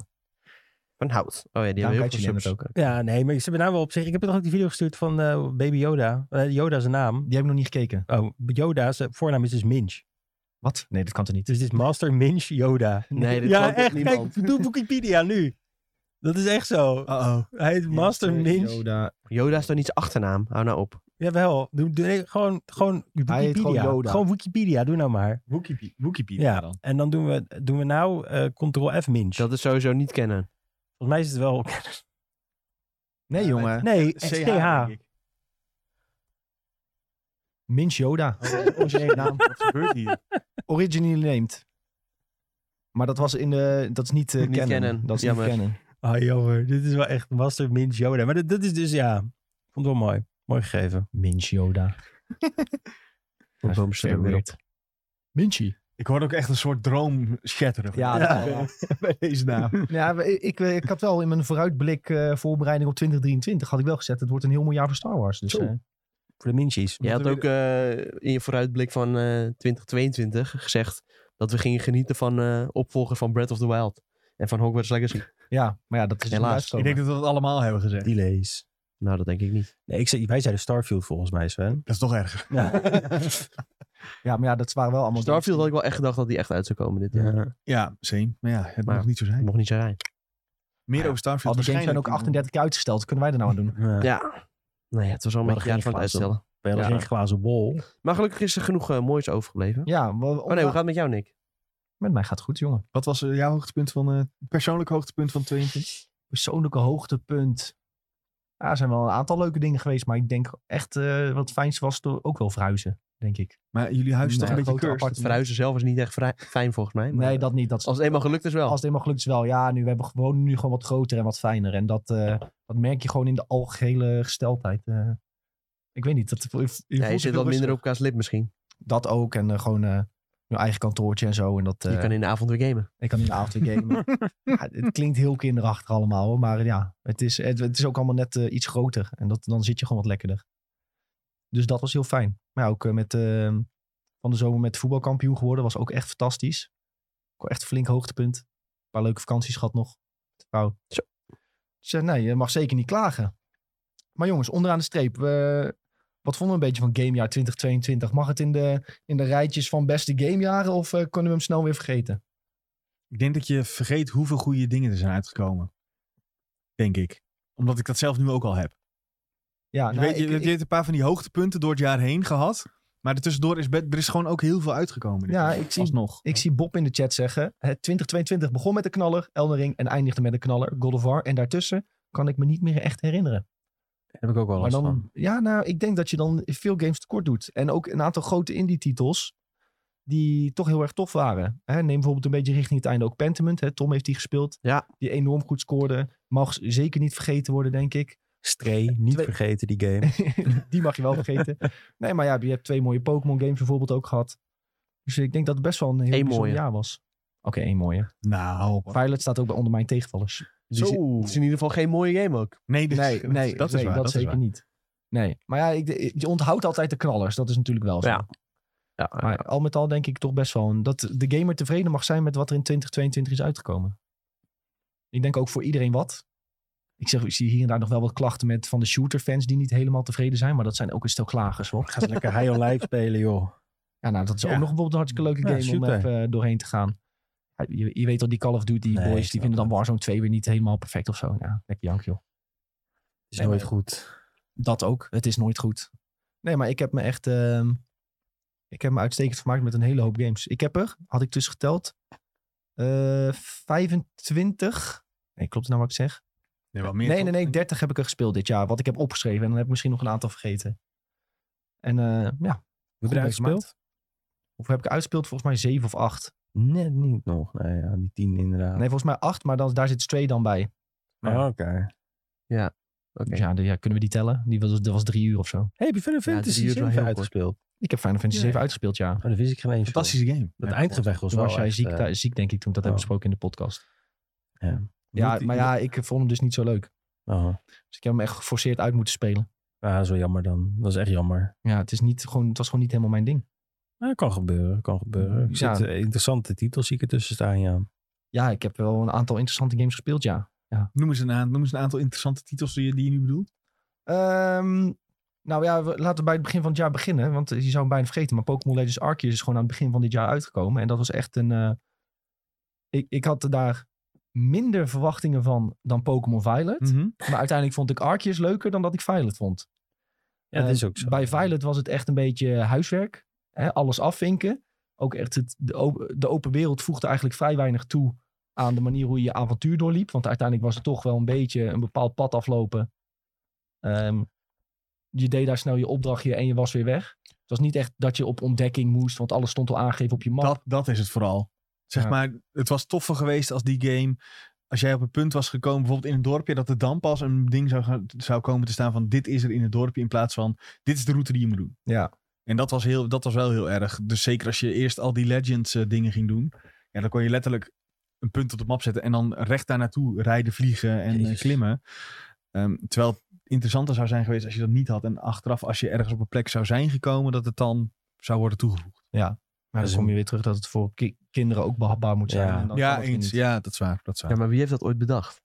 B: Van Hout. Oh ja,
A: Daarom
B: die hebben heel
A: kijk
B: veel
A: je die
B: subs.
A: net ook.
C: Ja, nee, maar ze hebben nou wel op zich. Ik heb toch ook die video gestuurd van eh, Baby Yoda. Eh, Yoda is een naam.
A: Die heb ik nog niet gekeken.
C: Oh, Yoda, zijn voornaam is dus Minch.
A: Wat? Nee, dat kan toch niet?
C: Dus dit is Master Minch Yoda.
B: Nee, dit
C: ja,
B: klopt
C: echt.
B: niemand.
C: Kijk, doe Wikipedia nu. Dat is echt zo.
D: Uh-oh.
C: Hij heet Master Minch.
A: Yoda.
B: Yoda is toch niet zijn achternaam? Hou nou op.
C: Jawel. Doe, doe, nee, gewoon, gewoon Wikipedia.
A: Hij heet gewoon Yoda.
C: Wikipedia, doe nou maar.
D: Wikipedia, Wikipedia
C: Ja,
D: dan.
C: en dan doen we, doen we nou eh, Ctrl-F Minch.
B: Dat is sowieso niet kennen.
C: Volgens mij is het wel...
A: Nee, jongen.
C: Nee,
D: CH,
C: STH.
D: denk ik.
A: Minch Yoda.
D: Originele naam. Wat gebeurt hier?
A: Originally named. Maar dat was in de... Dat is niet eh
B: Niet
A: kennen.
B: canon.
A: Dat is
B: Jammer.
A: niet kennen.
C: Ah, jammer. Dit is wel echt Master Minch Yoda. Maar dat, dat is dus, ja... Ik Vond het wel mooi. Mooi gegeven.
A: Minch Yoda.
B: Dan komen ze er weer op.
A: Minchie.
D: Ik hoorde ook echt een soort droom shatteren.
A: Ja,
D: Ja. bij deze naam.
A: Ja, maar ik, eh, ik, ik had wel in mijn vooruitblik eh, voorbereiding op 2023 had ik wel gezet. Het wordt een heel mooi jaar voor Star Wars. Dus,
D: Zo.
A: eh,
C: Voor de Minchies.
B: Je had
D: Moeten
B: ook eh, in je vooruitblik van eh, 2022 gezegd dat we gingen genieten van eh opvolger van Breath of the Wild. En van Hogwarts Legacy.
A: ja, maar ja, dat is
B: Helaas.
A: helaas.
D: Ik denk dat we dat allemaal hebben gezegd.
C: Delays.
B: Nou, dat denk ik niet.
C: Nee, ik zei, wij zeiden Starfield volgens mij, Sven.
D: Dat is toch erg.
C: Ja.
A: Ja, maar ja, dat waren wel allemaal.
B: Starfield had ik wel echt gedacht dat die echt uit zou komen dit jaar.
D: Ja, same. Maar ja, het
B: Maar-
D: mag niet zo zijn.
B: Mocht niet zo zijn.
D: Meer
A: ja,
D: over
A: Al
D: Starfield
A: die games zijn
D: waarschijnlijk.
A: ook 38 keer uitgesteld. Kunnen wij er nou aan doen?
C: Ja.
B: Ja. Nee, het was al een
C: Maar
B: beetje
C: geen
B: jaar van het
C: glazen.
B: uitstellen.
C: Bij alles
B: Ja.
C: geen glazen bol.
B: Maar gelukkig is er genoeg eh, moois overgebleven.
A: Ja, wel-
B: Oh nee, hoe gaat het met jou, Nick?
A: met mij gaat het goed, jongen.
D: Wat was eh, jouw hoogtepunt van, eh persoonlijk hoogtepunt van 22?
A: Persoonlijke hoogtepunt. Ja, er zijn wel een aantal leuke dingen geweest. Maar ik denk echt eh, wat het fijnste was door ook wel verhuizen, denk ik.
D: Maar jullie huis is toch
A: Nee,
D: een beetje
A: grote
D: cursed?
A: appartement.
B: Verhuizen zelf is niet echt vrij- fijn volgens mij. maar- eh,
A: Nee, dat niet. Dat is-
B: Als het eenmaal gelukt is wel.
A: als het eenmaal gelukt is wel. Ja, nu we hebben gewoon nu gewoon wat groter en wat fijner. En dat, eh, dat merk je gewoon in de algehele gesteldheid. eh. ik weet niet. Dat, je voelt
B: Ja, je
A: je
B: zit
A: veel
B: wat minder
A: rustiger.
B: op elkaars lip misschien.
A: Dat ook. En eh, gewoon eh mijn eigen kantoortje en zo. En dat,
B: Je
A: eh,
B: kan in de avond weer gamen.
A: Ik kan in de avond weer gamen. ja, het klinkt heel kinderachtig allemaal, hoor, maar ja, het is, het, het is ook allemaal net eh, iets groter. En dat, dan zit je gewoon wat lekkerder. Dus dat was heel fijn. Maar ja, ook eh, met, eh, van de zomer met voetbalkampioen geworden was ook echt fantastisch. Ook echt een flink hoogtepunt. Een paar leuke vakanties gehad nog. Met de vrouw.
B: Zo.
A: Dus eh, nee, je mag zeker niet klagen. Maar jongens, onderaan de streep. eh, wat vonden we een beetje van gamejaar 2022? Mag het in de, in de rijtjes van beste gamejaren of eh, kunnen we hem snel weer vergeten?
D: Ik denk dat je vergeet hoeveel goede dingen er zijn uitgekomen. Denk ik. Omdat ik dat zelf nu ook al heb.
A: Ja,
D: je,
A: nou,
D: weet, je,
A: ik-
D: je
A: ik-
D: hebt een paar van die hoogtepunten door het jaar heen gehad. Maar er tussendoor is, be- er is gewoon ook heel veel uitgekomen.
A: Ja, ik zie-
D: Alsnog.
A: Ik zie Bob in de chat zeggen: het 2022 begon met een knaller, Elden Ring, en eindigde met een knaller, God of War. En daartussen kan ik me niet meer echt herinneren.
C: Daar heb ik ook wel
A: Maar
C: last van.
A: dan, ja, nou, ik denk dat je dan veel games tekort doet. En ook een aantal grote indie-titels die toch heel erg tof waren. Hè, neem bijvoorbeeld een beetje richting het einde ook Pentiment. Hè, Tom heeft die gespeeld,
B: Ja.
A: die enorm goed scoorde. Mag zeker niet vergeten worden, denk ik.
C: Stray, niet
A: Twee-
C: vergeten die game.
A: die mag je wel vergeten. Nee, maar ja, je hebt twee mooie Pokémon games bijvoorbeeld ook gehad. Dus ik denk dat het best wel een heel
B: Eén
A: bijzonder
B: mooie.
A: jaar was. Oké, één mooie.
D: Nou,
A: Violet staat ook bij onder mijn tegenvallers.
B: Dus het is in ieder geval geen mooie game ook.
D: Nee, dit-
A: Nee, nee,
D: dat is waar.
A: dat,
D: dat is
A: zeker
D: waar.
A: niet. Nee, maar ja, ik, je onthoudt altijd de knallers. Dat is natuurlijk wel zo.
B: Ja. Ja,
A: Maar al met al denk ik toch best wel een- dat de gamer tevreden mag zijn met wat er in 2022 is uitgekomen. Ik denk ook voor iedereen wat. Ik, zeg, ik zie hier en daar nog wel wat klachten met van de shooterfans die niet helemaal tevreden zijn. Maar dat zijn ook een stel klagers hoor.
C: Ga ze lekker High on Life spelen, joh.
A: Ja, nou, dat is
D: Ja.
A: ook nog bijvoorbeeld een hartstikke
C: Ja,
A: leuke game om
C: shooter.
A: even eh, doorheen te gaan. Ja, Je, je weet al, die Call of Duty
C: Nee, ik
A: boys, die
C: snap
A: vinden dan
C: het.
A: Warzone 2 weer niet helemaal perfect of zo. Ja, lekker jank, joh.
C: Is
A: Nee,
C: nooit
A: maar-
C: goed.
A: Dat ook. Het is nooit goed. Nee, maar ik heb me echt... ehm, ik heb me uitstekend vermaakt met een hele hoop games. Ik heb er, had ik dus geteld, eh, 25... Nee, klopt het nou wat ik zeg?
D: Nee, wel meer
A: nee,
D: toch?
A: nee, nee, 30 heb ik er gespeeld dit jaar. Wat ik heb opgeschreven. En dan heb ik misschien nog een aantal vergeten. En eh, ja,
C: Hoe
A: Goed
C: eruit gespeeld?
A: hoeveel heb ik uitgespeeld? Volgens mij 7 of 8.
E: Net niet nog. Nou ja, die tien inderdaad.
A: Nee, volgens mij 8, maar dan, daar zit Stray dan bij.
C: Ja.
E: Ah, Oké.
B: Oké.
A: Dus ja, de- ja, kunnen we die tellen? Die was, dat was drie uur of zo.
C: Hey, heb je Final Fantasy
B: drie uur is wel
C: 7
B: heel kort.
C: uitgespeeld?
A: Ik heb Final Fantasy
D: Ja,
A: 7
D: ja.
A: uitgespeeld, ja.
C: Oh, dat wist ik geen eens. joh.
D: Fantastische game.
C: Dat
D: Ja,
C: eindgevecht was
A: Toen
C: wel
A: was jij
C: echt,
A: ziek,
C: eh,
A: daar- ziek, denk ik, toen. Dat
C: oh.
A: hebben we besproken in de podcast. Ja,
D: Moet die-
A: maar ja, ik vond hem dus niet zo leuk.
C: oh.
A: Dus ik heb hem echt geforceerd uit moeten spelen.
C: Ah, dat is wel jammer dan. Dat is echt jammer.
A: Ja, het, is niet, gewoon, het was gewoon niet helemaal mijn ding.
C: Maar dat kan gebeuren, kan gebeuren. Er
A: Ja.
C: zitten interessante titels zie ik ertussen staan, ja.
A: Ja, ik heb wel een aantal interessante games gespeeld, ja.
D: Noem eens, een aan- noem eens een aantal interessante titels die je, die je nu bedoelt.
A: Ehm, nou ja, we- laten we bij het begin van het jaar beginnen. Want eh, je zou hem bijna vergeten. Maar Pokémon Legends Arceus is gewoon aan het begin van dit jaar uitgekomen. En dat was echt een... eh, ik, ik had er daar minder verwachtingen van dan Pokémon Violet.
D: Mhm.
A: Maar uiteindelijk vond ik Arceus leuker dan dat ik Violet vond.
C: Ja, dat
A: Eh,
C: is ook zo.
A: Bij Violet was het echt een beetje eh, huiswerk. Hè? Alles afvinken. Ook echt het, de, op- de open wereld voegde eigenlijk vrij weinig toe aan de manier hoe je je avontuur doorliep. Want uiteindelijk was het toch wel een beetje een bepaald pad aflopen. Ehm, je deed daar snel je opdrachtje en je was weer weg. Het was niet echt dat je op ontdekking moest, want alles stond al aangegeven op je map.
D: Dat, dat is het vooral. Zeg
A: Ja.
D: maar, het was toffer geweest als die game. Als jij op een punt was gekomen, bijvoorbeeld in een dorpje, dat er dan pas een ding zou, gaan- zou komen te staan van dit is er in het dorpje, in plaats van dit is de route die je moet doen.
A: Ja.
D: En dat was, heel, dat was wel heel erg. Dus zeker als je eerst al die Legends eh, dingen ging doen, ja, dan kon je letterlijk een punt op de map zetten en dan recht daar naartoe rijden, vliegen en eh,
C: Jezus.
D: klimmen. Ehm, terwijl het interessanter zou zijn geweest als je dat niet had. En achteraf, als je ergens op een plek zou zijn gekomen, dat het dan zou worden toegevoegd.
A: Maar dan
C: is
A: kom
C: een-
A: je weer terug dat het voor ki- kinderen ook behapbaar moet zijn.
C: Ja.
A: en dan kan
D: ja,
A: dat weer
D: eens.
A: niet.
D: Ja, dat is waar. Dat is waar.
B: Ja, maar wie heeft dat ooit bedacht?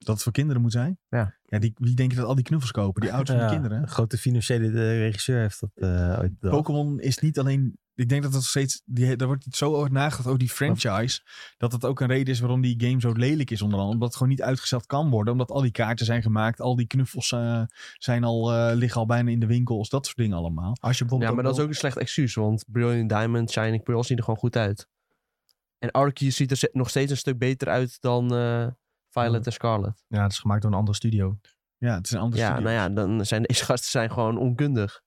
D: dat het voor kinderen moet zijn.
B: Ja.
D: die, wie denk je dat al die knuffels kopen? Die ouders van
C: Ja,
D: die kinderen?
C: Een grote financiële eh, regisseur heeft dat eh, ooit bedacht.
D: Pokémon is niet alleen... Ik denk dat dat steeds... Die, daar wordt zo over nagedacht, ook die franchise. Dat dat ook een reden is waarom die game zo lelijk is onder andere. Omdat het gewoon niet uitgesteld kan worden. Omdat al die kaarten zijn gemaakt. Al die knuffels eh, zijn al, eh, liggen al bijna in de winkels. Dat soort dingen allemaal.
A: Als je bijvoorbeeld
B: Ja,
A: ook
B: maar dat is ook een slecht excuus, want Brilliant Diamond, Shining Pearl zien er gewoon goed uit. En Arceus ziet er ze- nog steeds een stuk beter uit dan eh, Violet en Scarlet.
A: Ja, het is gemaakt door een andere studio.
D: Ja, het is een andere
B: Ja,
D: studio.
B: nou ja, dan zijn deze gasten zijn gewoon onkundig.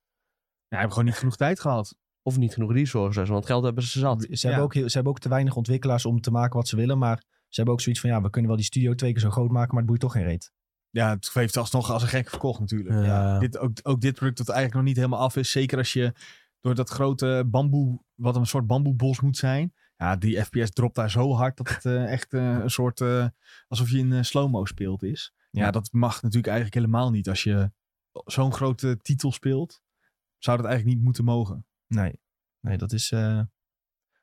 D: Ja, hebben gewoon niet genoeg tijd gehad.
B: Of niet genoeg resources, want geld hebben ze zat.
A: Ze, hebben ook heel- ze hebben ook te weinig ontwikkelaars om te maken wat ze willen. Maar ze hebben ook zoiets van, ja, we kunnen wel die studio twee keer zo groot maken, maar het boeit toch geen reet.
D: Ja, het heeft alsnog als een gek verkocht natuurlijk.
C: Ja.
D: Dit, ook, ook dit product dat eigenlijk nog niet helemaal af is. Zeker als je door dat grote bamboe, wat een soort bamboebos moet zijn. Ja, die FPS dropt daar zo hard dat het eh, echt eh, een soort, eh, alsof je in eh, slow-mo speelt is. Ja.
A: Ja.
D: dat mag natuurlijk eigenlijk helemaal niet. Als je zo'n grote titel speelt, zou dat eigenlijk niet moeten mogen.
A: Nee. Nee, dat is... eh,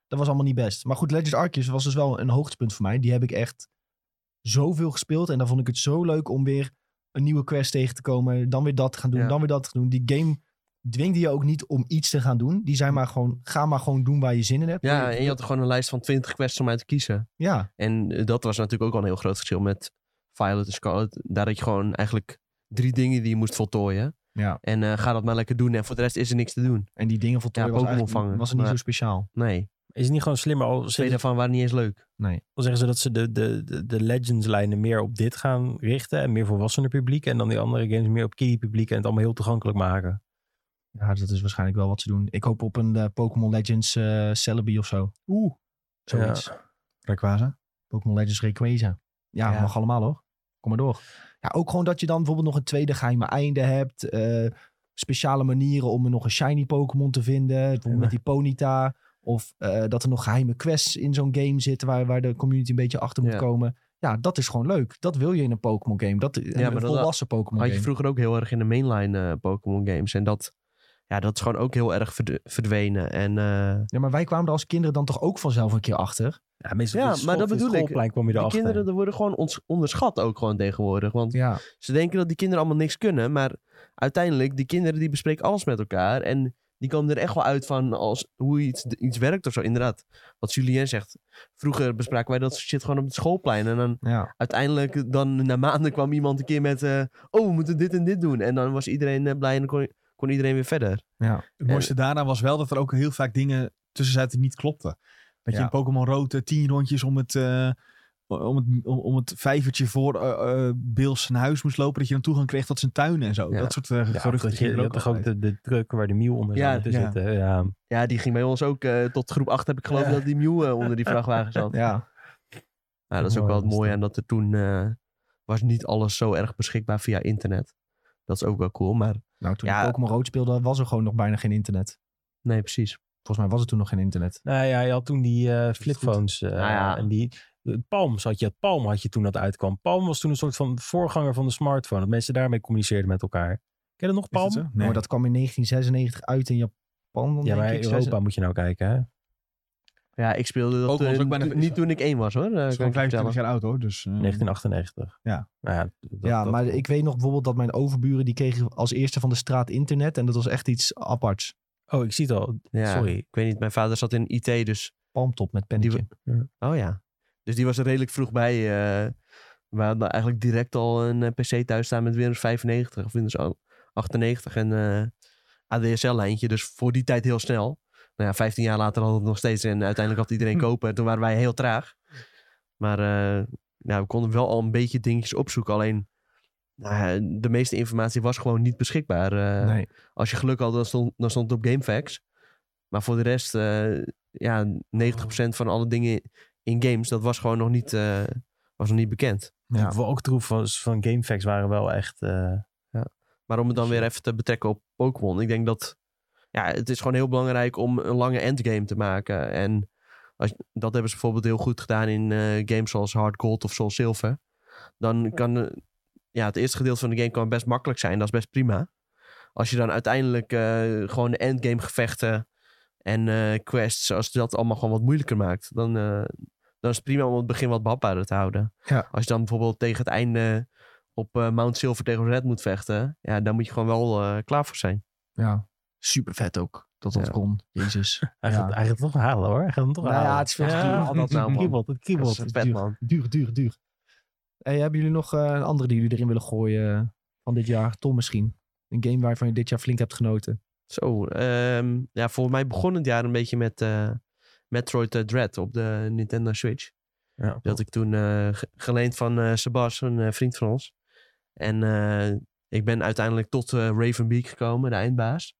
A: dat was allemaal niet best. Maar goed, Legend Arceus was dus wel een hoogtepunt voor mij. Die heb ik echt zoveel gespeeld. En dan vond ik het zo leuk om weer een nieuwe quest tegen te komen. Dan weer dat te gaan doen,
B: Ja.
A: dan weer dat te doen. Die game dwingde je ook niet om iets te gaan doen. Die zei maar gewoon, ga maar gewoon doen waar je zin in hebt.
B: Ja, en je had gewoon een lijst van 20 quests om uit te kiezen.
A: Ja,
B: En eh, dat was natuurlijk ook al een heel groot verschil met Violet en Scarlet. Daar had je gewoon eigenlijk drie dingen die je moest voltooien.
A: Ja.
B: En eh, ga dat maar lekker doen. En voor de rest is er niks te doen.
A: en die dingen voltooien
B: Ja,
A: was,
B: Pokémon
A: eigenlijk-
B: vangen,
A: was het niet
B: maar-
A: zo speciaal.
B: Nee,
C: Is het niet gewoon slimmer al
B: twee
C: zeggen,
B: daarvan waren niet eens leuk.
C: al zeggen ze dat ze de, de, de, de Legends-lijnen meer op dit gaan richten en meer volwassener publiek en dan die andere games meer op kiddie publiek en het allemaal heel toegankelijk maken?
A: Ja, dus dat is waarschijnlijk wel wat ze doen. Ik hoop op een eh, Pokémon Legends eh Celebi of zo.
D: Oeh.
A: Zoiets.
D: Rayquaza?
A: Pokémon Legends Rayquaza. Ja,
C: Ja.
A: mag allemaal hoor. Kom maar door. Ja, ook gewoon dat je dan bijvoorbeeld nog een tweede geheime einde hebt. eh, speciale manieren om er nog een shiny Pokémon te vinden. Bijvoorbeeld met die Ponyta. Of eh, dat er nog geheime quests in zo'n game zitten waar, waar de community een beetje achter moet
B: Ja.
A: komen. Ja, dat is gewoon leuk. Dat wil je in een Pokémon game. Dat, ja,
B: maar
A: een
B: dat-
A: volwassen Pokémon
B: Had
A: game.
B: je vroeger ook heel erg in de mainline eh, Pokémon games. En dat, ja, dat is gewoon ook heel erg verd- verdwenen. En eh,
A: Ja, maar wij kwamen er als kinderen dan toch ook vanzelf een keer achter.
C: Ja, meestal
B: Ja,
C: op het
B: maar dat
C: school-
B: bedoel ik.
C: schoolplein kwam je
B: die
C: erachter.
B: kinderen die worden gewoon ons- onderschat ook gewoon tegenwoordig. Want
A: Ja.
B: ze denken dat die kinderen allemaal niks kunnen. Maar uiteindelijk, die kinderen die bespreken alles met elkaar. En die komen er echt wel uit van als, hoe iets, iets werkt of zo. Inderdaad, wat Julien zegt. Vroeger bespraken wij dat soort shit gewoon op het schoolplein. En dan
A: ja.
B: uiteindelijk, dan na maanden kwam iemand een keer met... eh, oh, we moeten dit en dit doen. En dan was iedereen eh, blij en dan kon, kon iedereen weer verder.
D: Het mooiste daarna was wel dat er ook heel vaak dingen tussen zaten die niet klopten. Dat
A: Ja.
D: je in Pokémon Rood eh, tien rondjes om het, eh, om het, om, om het vijvertje voor eh eh, Bils zijn huis moest lopen. Dat je dan toegang kreeg tot zijn tuin en zo.
B: Ja.
D: Dat soort eh,
C: Ja,
D: geruchten.
C: dat je,
D: gingen
C: je
D: er
C: had toch ook
D: altijd.
C: de, de truck waar de Miel onder
B: Ja,
C: zou moeten
D: ja.
C: zitten. Ja.
B: Ja, die ging bij ons ook eh, tot groep 8 heb ik geloof
C: Ja.
B: dat die Mew eh, onder die vrachtwagen zat.
A: ja.
B: Nou, dat is ook
C: Mooi
B: wel het
C: was
B: mooie
C: dat.
B: aan dat er toen eh, was niet alles zo erg beschikbaar via internet. Dat is ook wel cool, maar
A: Nou, toen
B: Ja.
A: ik Pokémon Rood speelde, was er gewoon nog bijna geen internet.
B: nee, precies.
A: Volgens mij was er toen nog geen internet.
C: Nou ja, je had toen die eh flipphones. eh,
B: Nou ja.
C: En die de Palms had je. Palm had je toen dat uitkwam. Palm was toen een soort van voorganger van de smartphone. Dat mensen daarmee communiceerden met elkaar. Ken je dat nog,
D: Is dat
C: Palm?
D: zo?
A: Nee. Maar dat kwam in 1996 uit in Japan. Dan
C: Ja, maar
A: denk ik.
C: Europa moet je nou kijken, hè?
B: Mm. Ja, ik speelde dat
D: Pokémon is
B: toen-
D: ook bijna-
B: toen- niet toen ik één was hoor. eh,
D: Dat
B: kan
D: is gewoon
B: ik je vertellen.
D: 25 jaar oud hoor. Dus, eh,
C: 1998.
D: Ja.
C: Nou ja, dat-
A: ja,
C: dat-
A: maar ik weet nog bijvoorbeeld dat mijn overburen... die kregen als eerste van de straat internet. En dat was echt iets aparts.
C: Oh, ik zie het al.
B: Ja,
C: Sorry.
B: Ik weet niet, mijn vader zat in IT, dus.
A: Palmtop met
B: Die,
A: pennetje.
B: we- oh ja. Dus die was er redelijk vroeg bij. eh. we hadden eigenlijk direct al een eh, PC thuis staan met Windows 95 of Windows 98 en eh, ADSL-lijntje. Dus voor die tijd heel snel. Nou ja, 15 jaar later had het nog steeds en uiteindelijk had iedereen kopen. En toen waren wij heel traag. Maar eh, nou, we konden wel al een beetje dingetjes opzoeken. Alleen nou ja, de meeste informatie was gewoon niet beschikbaar. eh.
A: nee.
B: Als je geluk had, dan stond, dan stond het op GameFAQs. Maar voor de rest, eh, ja, 90% van alle dingen in games, dat was gewoon nog niet, eh, was nog niet bekend.
C: De walkthroughs van GameFAQs waren wel echt... eh, dus,
B: Maar om het dan weer even te betrekken op Pokémon. Ik denk dat ja, het is gewoon heel belangrijk om een lange endgame te maken. En als, dat hebben ze bijvoorbeeld heel goed gedaan in eh, games zoals Hard Gold of Soul Silver. Dan kan eh, ja, het eerste gedeelte van de game kan best makkelijk zijn. Dat is best prima. Als je dan uiteindelijk eh, gewoon de endgame gevechten en eh, quests, als je dat allemaal gewoon wat moeilijker maakt, dan, eh, dan is het prima om het begin wat behapbaarder te houden.
A: Ja.
B: Als je dan bijvoorbeeld tegen het einde op eh, Mount Silver tegen Red moet vechten, ja, daar moet je gewoon wel eh, klaar voor zijn.
A: Ja. Super vet ook. Dat dat
B: Ja.
A: kon. Jezus.
C: Hij, gaat,
A: Ja.
C: hij gaat het toch halen, hoor. Hij gaat hem toch
A: Nou ja,
C: halen.
A: het is veel te duur.
B: Al dat nou,
C: het
B: man.
C: kriebelt, het
B: Dat
C: kriebelt.
B: is vet, man.
A: Duur, duur, duur. Hey, hebben jullie nog eh, een andere die jullie erin willen gooien eh, van dit jaar? Tom misschien. Een game waarvan je dit jaar flink hebt genoten.
B: Zo, ehm, ja, volgens mij begon het jaar een beetje met eh, Metroid eh, Dread op de Nintendo Switch.
C: Ja.
B: Dat ik toen eh, ge- geleend van eh Sebas, een eh, vriend van ons. En eh, ik ben uiteindelijk tot eh, Ravenbeak gekomen, de eindbaas.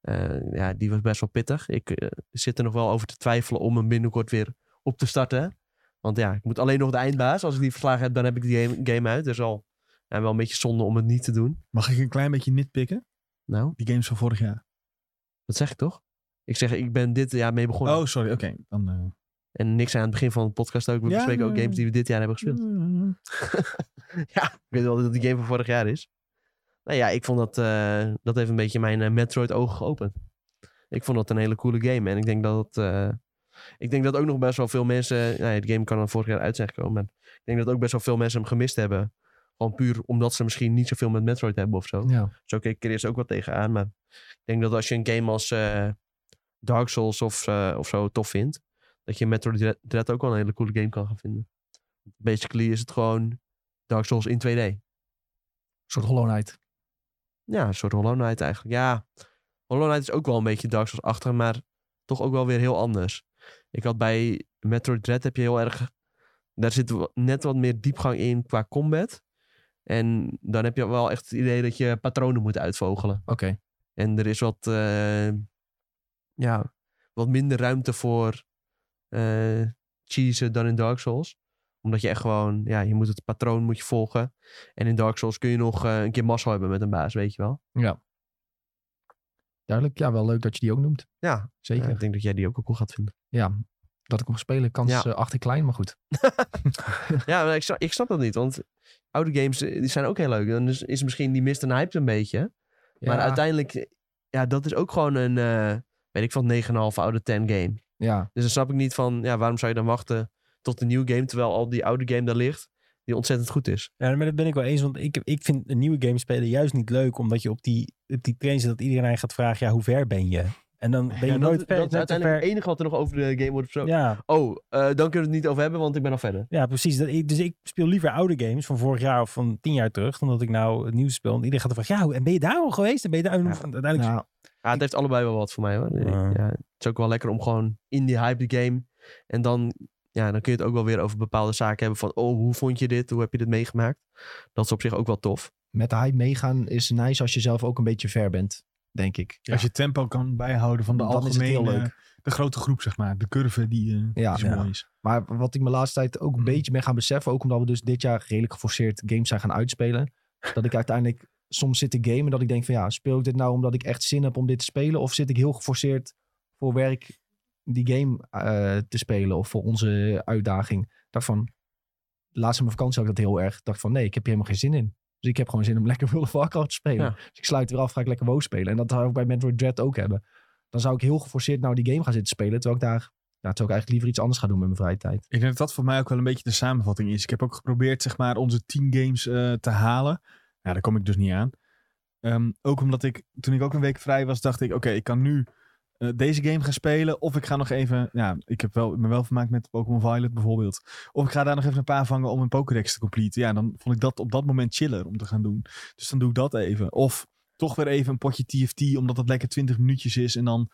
B: Eh, ja, die was best wel pittig. Ik eh, zit er nog wel over te twijfelen om hem binnenkort weer op te starten. Want ja, ik moet alleen nog de eindbaas. Als ik die verslagen heb, dan heb ik die game, game uit. Dus al en wel een beetje zonde om het niet te doen.
D: Mag ik een klein beetje nitpikken?
B: Nou,
D: Die games van vorig jaar.
B: dat zeg ik toch? Ik zeg, ik ben dit jaar mee begonnen.
D: Oh, sorry. Oké. Dan, eh,
B: En niks aan het begin van de podcast ook. We
D: Ja,
B: bespreken ook
D: nee.
B: games die we dit jaar hebben gespeeld. Ja, ik weet wel dat het die game van vorig jaar is. Nou ja, ik vond dat... eh, dat heeft een beetje mijn eh, Metroid-ogen geopend. Ik vond dat een hele coole game. En ik denk dat... het, eh, ik denk dat ook nog best wel veel mensen... Nou ja, de game kan dan vorig jaar uit zijn gekomen. Maar ik denk dat ook best wel veel mensen hem gemist hebben. Gewoon puur omdat ze misschien niet zoveel met Metroid hebben of zo.
A: Ja.
B: Zo keek ik er eerst ook wel tegenaan. Maar ik denk dat als je een game als eh, Dark Souls of, eh, of zo tof vindt, dat je Metroid Dread- Dread ook wel een hele coole game kan gaan vinden. Basically is het gewoon Dark Souls in 2D.
A: soort Hollow Knight.
B: Ja, een soort Hollow Knight eigenlijk. Ja, Hollow Knight is ook wel een beetje Dark Souls achter, maar toch ook wel weer heel anders. Ik had bij Metroid Dread heb je heel erg... Daar zit wa- net wat meer diepgang in qua combat. En dan heb je wel echt het idee dat je patronen moet uitvogelen.
A: Oké.
B: En er is wat, eh, ja, wat minder ruimte voor eh cheesen dan in Dark Souls. Omdat je echt gewoon, ja, je moet het patroon moet je volgen. En in Dark Souls kun je nog eh, een keer mazzel hebben met een baas, weet je wel.
A: Duidelijk, ja, wel leuk dat je die ook noemt.
B: Ja,
A: Zeker.
B: eh, ik denk dat jij die ook wel cool gaat vinden.
A: ja, dat ik hem spelen, kans
B: Ja.
A: eh, achter klein, maar goed.
B: ja, maar ik, snap, ik snap dat niet, want oude games eh, die zijn ook heel leuk. Dan is, is misschien die mist en hype een beetje. Maar
A: Ja,
B: uiteindelijk, eh, ja, dat is ook gewoon een, eh, weet ik van 9,5 oude 10 game.
A: Ja,
B: Dus dan snap ik niet van, ja, waarom zou je dan wachten tot een nieuw game, terwijl al die oude game daar ligt, die ontzettend goed is.
C: Ja, maar dat ben ik wel eens, want ik, ik vind een nieuwe game spelen juist niet leuk, omdat je op die, op die train zit dat iedereen aan je gaat vragen, ja, hoe ver ben je? En dan ben je
B: Ja, dat-
C: nooit
B: dat
C: ver.
B: is
C: net te
B: uiteindelijk
C: ver.
B: het enige wat er nog over de game wordt besproken.
C: Ja,
B: Oh, eh, dan kunnen we het niet over hebben, want ik ben al verder.
C: ja, precies. Dat, ik- dus ik speel liever oude games van vorig jaar of van tien jaar terug, dan dat ik nou het nieuw speel. En iedereen gaat er vragen, ja, en ben je daar al geweest? En ben je daar? En
B: Ja.
C: uiteindelijk
A: nou,
B: Ja, het heeft allebei wel wat voor mij hoor.
C: Ja.
B: Ja, het is ook wel lekker om gewoon in die hype de game. En dan, ja, dan kun je het ook wel weer over bepaalde zaken hebben. Van, oh, hoe vond je dit? Hoe heb je dit meegemaakt? Dat is op zich ook wel tof.
A: met de hype meegaan is nice als je zelf ook een beetje ver bent, denk ik. Ja,
D: Als je tempo kan bijhouden van de
A: Dan is het heel
D: algemene,
A: leuk.
D: de grote groep zeg maar. De curve die, eh,
A: Ja.
D: die zo
C: Ja.
D: mooi is.
A: Maar wat ik me laatste tijd ook een beetje ben gaan beseffen, ook omdat we dus dit jaar redelijk geforceerd games zijn gaan uitspelen, dat ik uiteindelijk soms zit te gamen dat ik denk van ja, speel ik dit nou omdat ik echt zin heb om dit te spelen of zit ik heel geforceerd voor werk die game eh, te spelen of voor onze uitdaging. Ik dacht van, laatst in mijn vakantie had ik dat heel erg. Ik dacht van nee, ik heb hier helemaal geen zin in. Dus ik heb gewoon zin om lekker World of Warcraft te spelen.
B: Ja.
A: Dus ik sluit weer af, ga ik lekker WoW spelen. En dat zou ik bij Metroid Dread ook hebben. Dan zou ik heel geforceerd nou die game gaan zitten spelen, terwijl ik daar... Ja, Nou, terwijl ik eigenlijk liever iets anders ga doen met mijn vrije tijd.
D: Ik denk dat dat voor mij ook wel een beetje de samenvatting is. Ik heb ook geprobeerd zeg maar onze 10 games eh, te halen. Ja, daar kom ik dus niet aan. Ehm, ook omdat ik, toen ik ook een week vrij was, dacht ik... Oké, ik kan nu eh, deze game gaan spelen. Of ik ga nog even... Ja, ik heb wel, me wel vermaakt met Pokémon Violet bijvoorbeeld. Of ik ga daar nog even een paar vangen om een Pokédex te completen. Ja, dan vond ik dat op dat moment chiller om te gaan doen. Dus dan doe ik dat even. Of toch weer even een potje TFT, omdat dat lekker 20 minuutjes is. En dan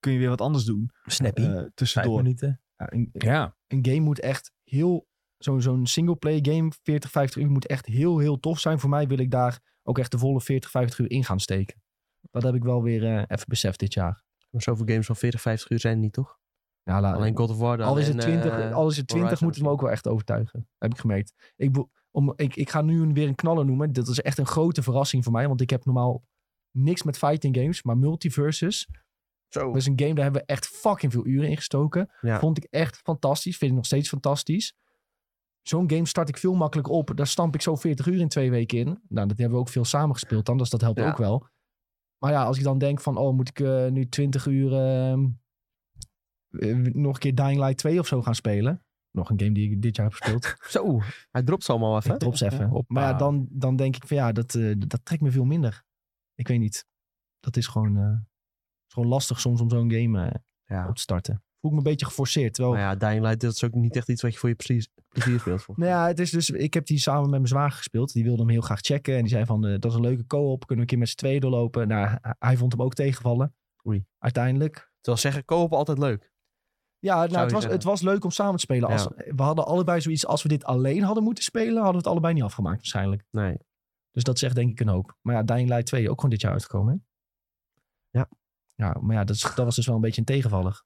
D: kun je weer wat anders doen
C: snappy.
D: eh,
C: Vijf
D: tussendoor.
C: minuten.
A: Ja, een,
D: Ja.
A: een game moet echt heel... Zo'n zo'n single-play game, 40, 50 uur, moet echt heel, heel tof zijn. Voor mij wil ik daar ook echt de volle 40, 50 uur in gaan steken. Dat heb ik wel weer eh, even beseft dit jaar.
B: Maar zoveel games van 40, 50 uur zijn er niet, toch?
A: Ja, la-
B: Alleen God of War dan.
A: al is het
B: en,
A: 20,
B: eh,
A: al is het 20
B: Horizon
A: moet het me ook wel echt overtuigen. Heb ik gemerkt. Ik, be- om, ik, ik ga nu een- weer een knaller noemen. Dit is echt een grote verrassing voor mij. Want ik heb normaal niks met fighting games. Maar Multiversus
B: Zo.
A: was een game, daar hebben we echt fucking veel uren in gestoken.
B: Ja.
A: Vond ik echt fantastisch. Vind ik nog steeds fantastisch. Zo'n game start ik veel makkelijker op. Daar stamp ik zo 40 uur in twee weken in. Nou, dat hebben we ook veel samengespeeld dan. Dus dat helpt
B: Ja.
A: ook wel. Maar ja, als ik dan denk van... Oh, moet ik eh, nu 20 uur... ehm, eh, nog een keer Dying Light 2 of zo gaan spelen. Nog een game die ik dit jaar heb gespeeld.
B: Zo, hij dropt ze allemaal even.
A: Drops even. maar ja, dan, dan denk ik van ja, dat, eh, dat trekt me veel minder. Ik weet niet. Dat is gewoon, eh, is gewoon lastig soms om zo'n game eh,
B: Ja.
A: op te starten. Voel ik me een beetje geforceerd. Terwijl,
B: Maar ja, Dying Light, dat is ook niet echt iets wat je voor je plezier, plezier speelt. volgens
A: Nou ja, het is dus, ik heb die samen met mijn zwager gespeeld. Die wilde hem heel graag checken. En die zei van, eh, dat is een leuke co-op. Kunnen we een keer met z'n tweeën doorlopen? Nou, hij- hij vond hem ook tegenvallen.
B: Oei.
A: Uiteindelijk.
B: Terwijl zeggen, koop altijd leuk.
A: Ja, nou,
B: je
A: het, was,
B: zeggen.
A: het was leuk om samen te spelen. Als, We hadden allebei zoiets, als we dit alleen hadden moeten spelen, hadden we het allebei niet afgemaakt waarschijnlijk.
B: Nee.
A: Dus dat zegt denk ik een hoop. Maar ja, Dying Light 2 ook gewoon dit jaar uitgekomen, hè?
B: Ja.
A: Ja, maar ja, dat, is- dat was dus wel een beetje een tegenvaller.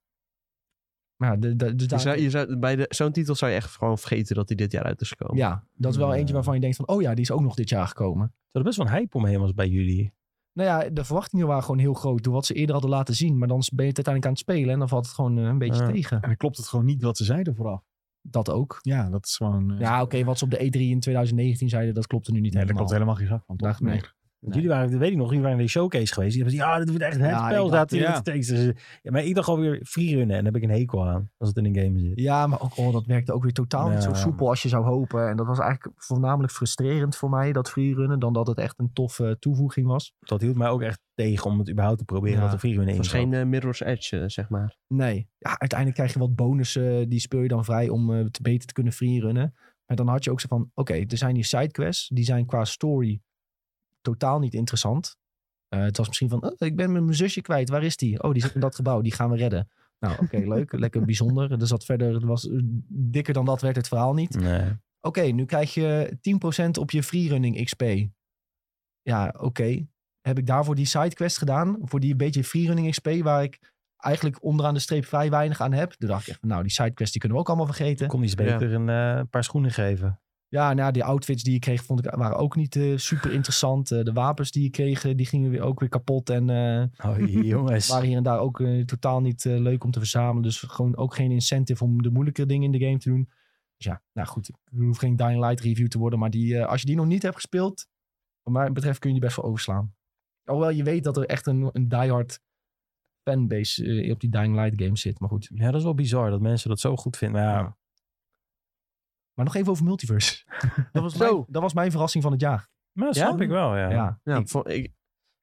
A: Maar ja, de, de, de,
B: Je zou, je zou, bij de- zo'n titel zou je echt gewoon vergeten dat hij dit jaar uit is gekomen.
A: ja, dat is wel
C: Ja.
A: eentje waarvan je denkt van, oh ja, die is ook nog dit jaar gekomen.
C: Er best wel een hype omheen was bij jullie.
A: Nou ja, de verwachtingen waren gewoon heel groot door wat ze eerder hadden laten zien. Maar dan ben je het uiteindelijk aan het spelen en dan valt het gewoon eh, een beetje
C: Ja.
A: tegen.
D: En dan klopt het gewoon niet wat ze zeiden vooraf.
A: Dat ook.
D: Ja, dat is gewoon... eh,
A: Ja, oké, wat ze op de E3 in 2019 zeiden, dat klopte nu niet
D: Nee, daar
A: helemaal.
D: klopt helemaal geen zak van, toch?
A: Dacht- nee.
C: Want Jullie waren, dat weet ik nog, jullie waren in de showcase geweest. Die hebben gezegd, ja, dit wordt echt het
A: Ja,
C: spel.
A: ik
C: Zaten
D: dacht-
C: jullie te tekenen. Dus, ja, maar ik dacht alweer freerunnen en daar heb ik een hekel aan. Als het in een game zit.
A: Ja, maar ook, oh, dat werkte ook weer totaal niet zo
C: Ja.
A: soepel als je zou hopen. En dat was eigenlijk voornamelijk frustrerend voor mij, dat freerunnen, dan dat het echt een toffe toevoeging was.
C: Dat hield mij ook echt tegen om het überhaupt te proberen.
A: Ja.
C: Dat er freerunnen
B: Het
C: in
B: was
C: zat.
B: geen eh, Mirror's Edge, eh, zeg maar.
A: Nee. Ja, uiteindelijk krijg je wat bonussen, eh, die speel je dan vrij om eh, te beter te kunnen freerunnen. Maar dan had je ook zo van, oké, er zijn hier sidequests, die zijn qua story totaal niet interessant. Eh, het was misschien van, oh, ik ben met mijn zusje kwijt, waar is die? Oh, die zit in dat gebouw, die gaan we redden. Nou, oké, leuk, lekker bijzonder. Er zat verder, er was, eh, dikker dan dat werd het verhaal niet.
C: Nee.
A: Oké, nu krijg je 10% op je freerunning XP. Ja, oké. Heb ik daarvoor die sidequest gedaan? Voor die beetje freerunning XP waar ik eigenlijk onderaan de streep vrij weinig aan heb. Toen dacht ik echt, van, nou, die sidequest die kunnen we ook allemaal vergeten.
C: Kon iets beter een eh, paar schoenen geven.
A: Ja, nou, die outfits die ik kreeg vond ik, waren ook niet eh, super interessant. Eh, de wapens die ik kreeg, eh, die gingen weer, ook weer kapot. En eh,
C: Oh, jongens.
A: waren hier en daar ook eh, totaal niet eh, leuk om te verzamelen. Dus gewoon ook geen incentive om de moeilijke dingen in de game te doen. Dus ja, nou goed, ik hoef geen Dying Light review te worden. Maar die, eh, als je die nog niet hebt gespeeld, wat mij betreft kun je die best wel overslaan. Alhoewel je weet dat er echt een, een diehard fanbase eh, op die Dying Light game zit. Maar goed.
C: Ja, dat is wel bizar dat mensen dat zo goed vinden. Maar ja,
A: Maar nog even over Multiverse. dat, was
B: Zo.
A: mijn, dat was mijn verrassing van het jaar.
C: maar dat
B: Ja?
C: snap ik wel, ja.
A: ja.
B: Ja, voor- ik-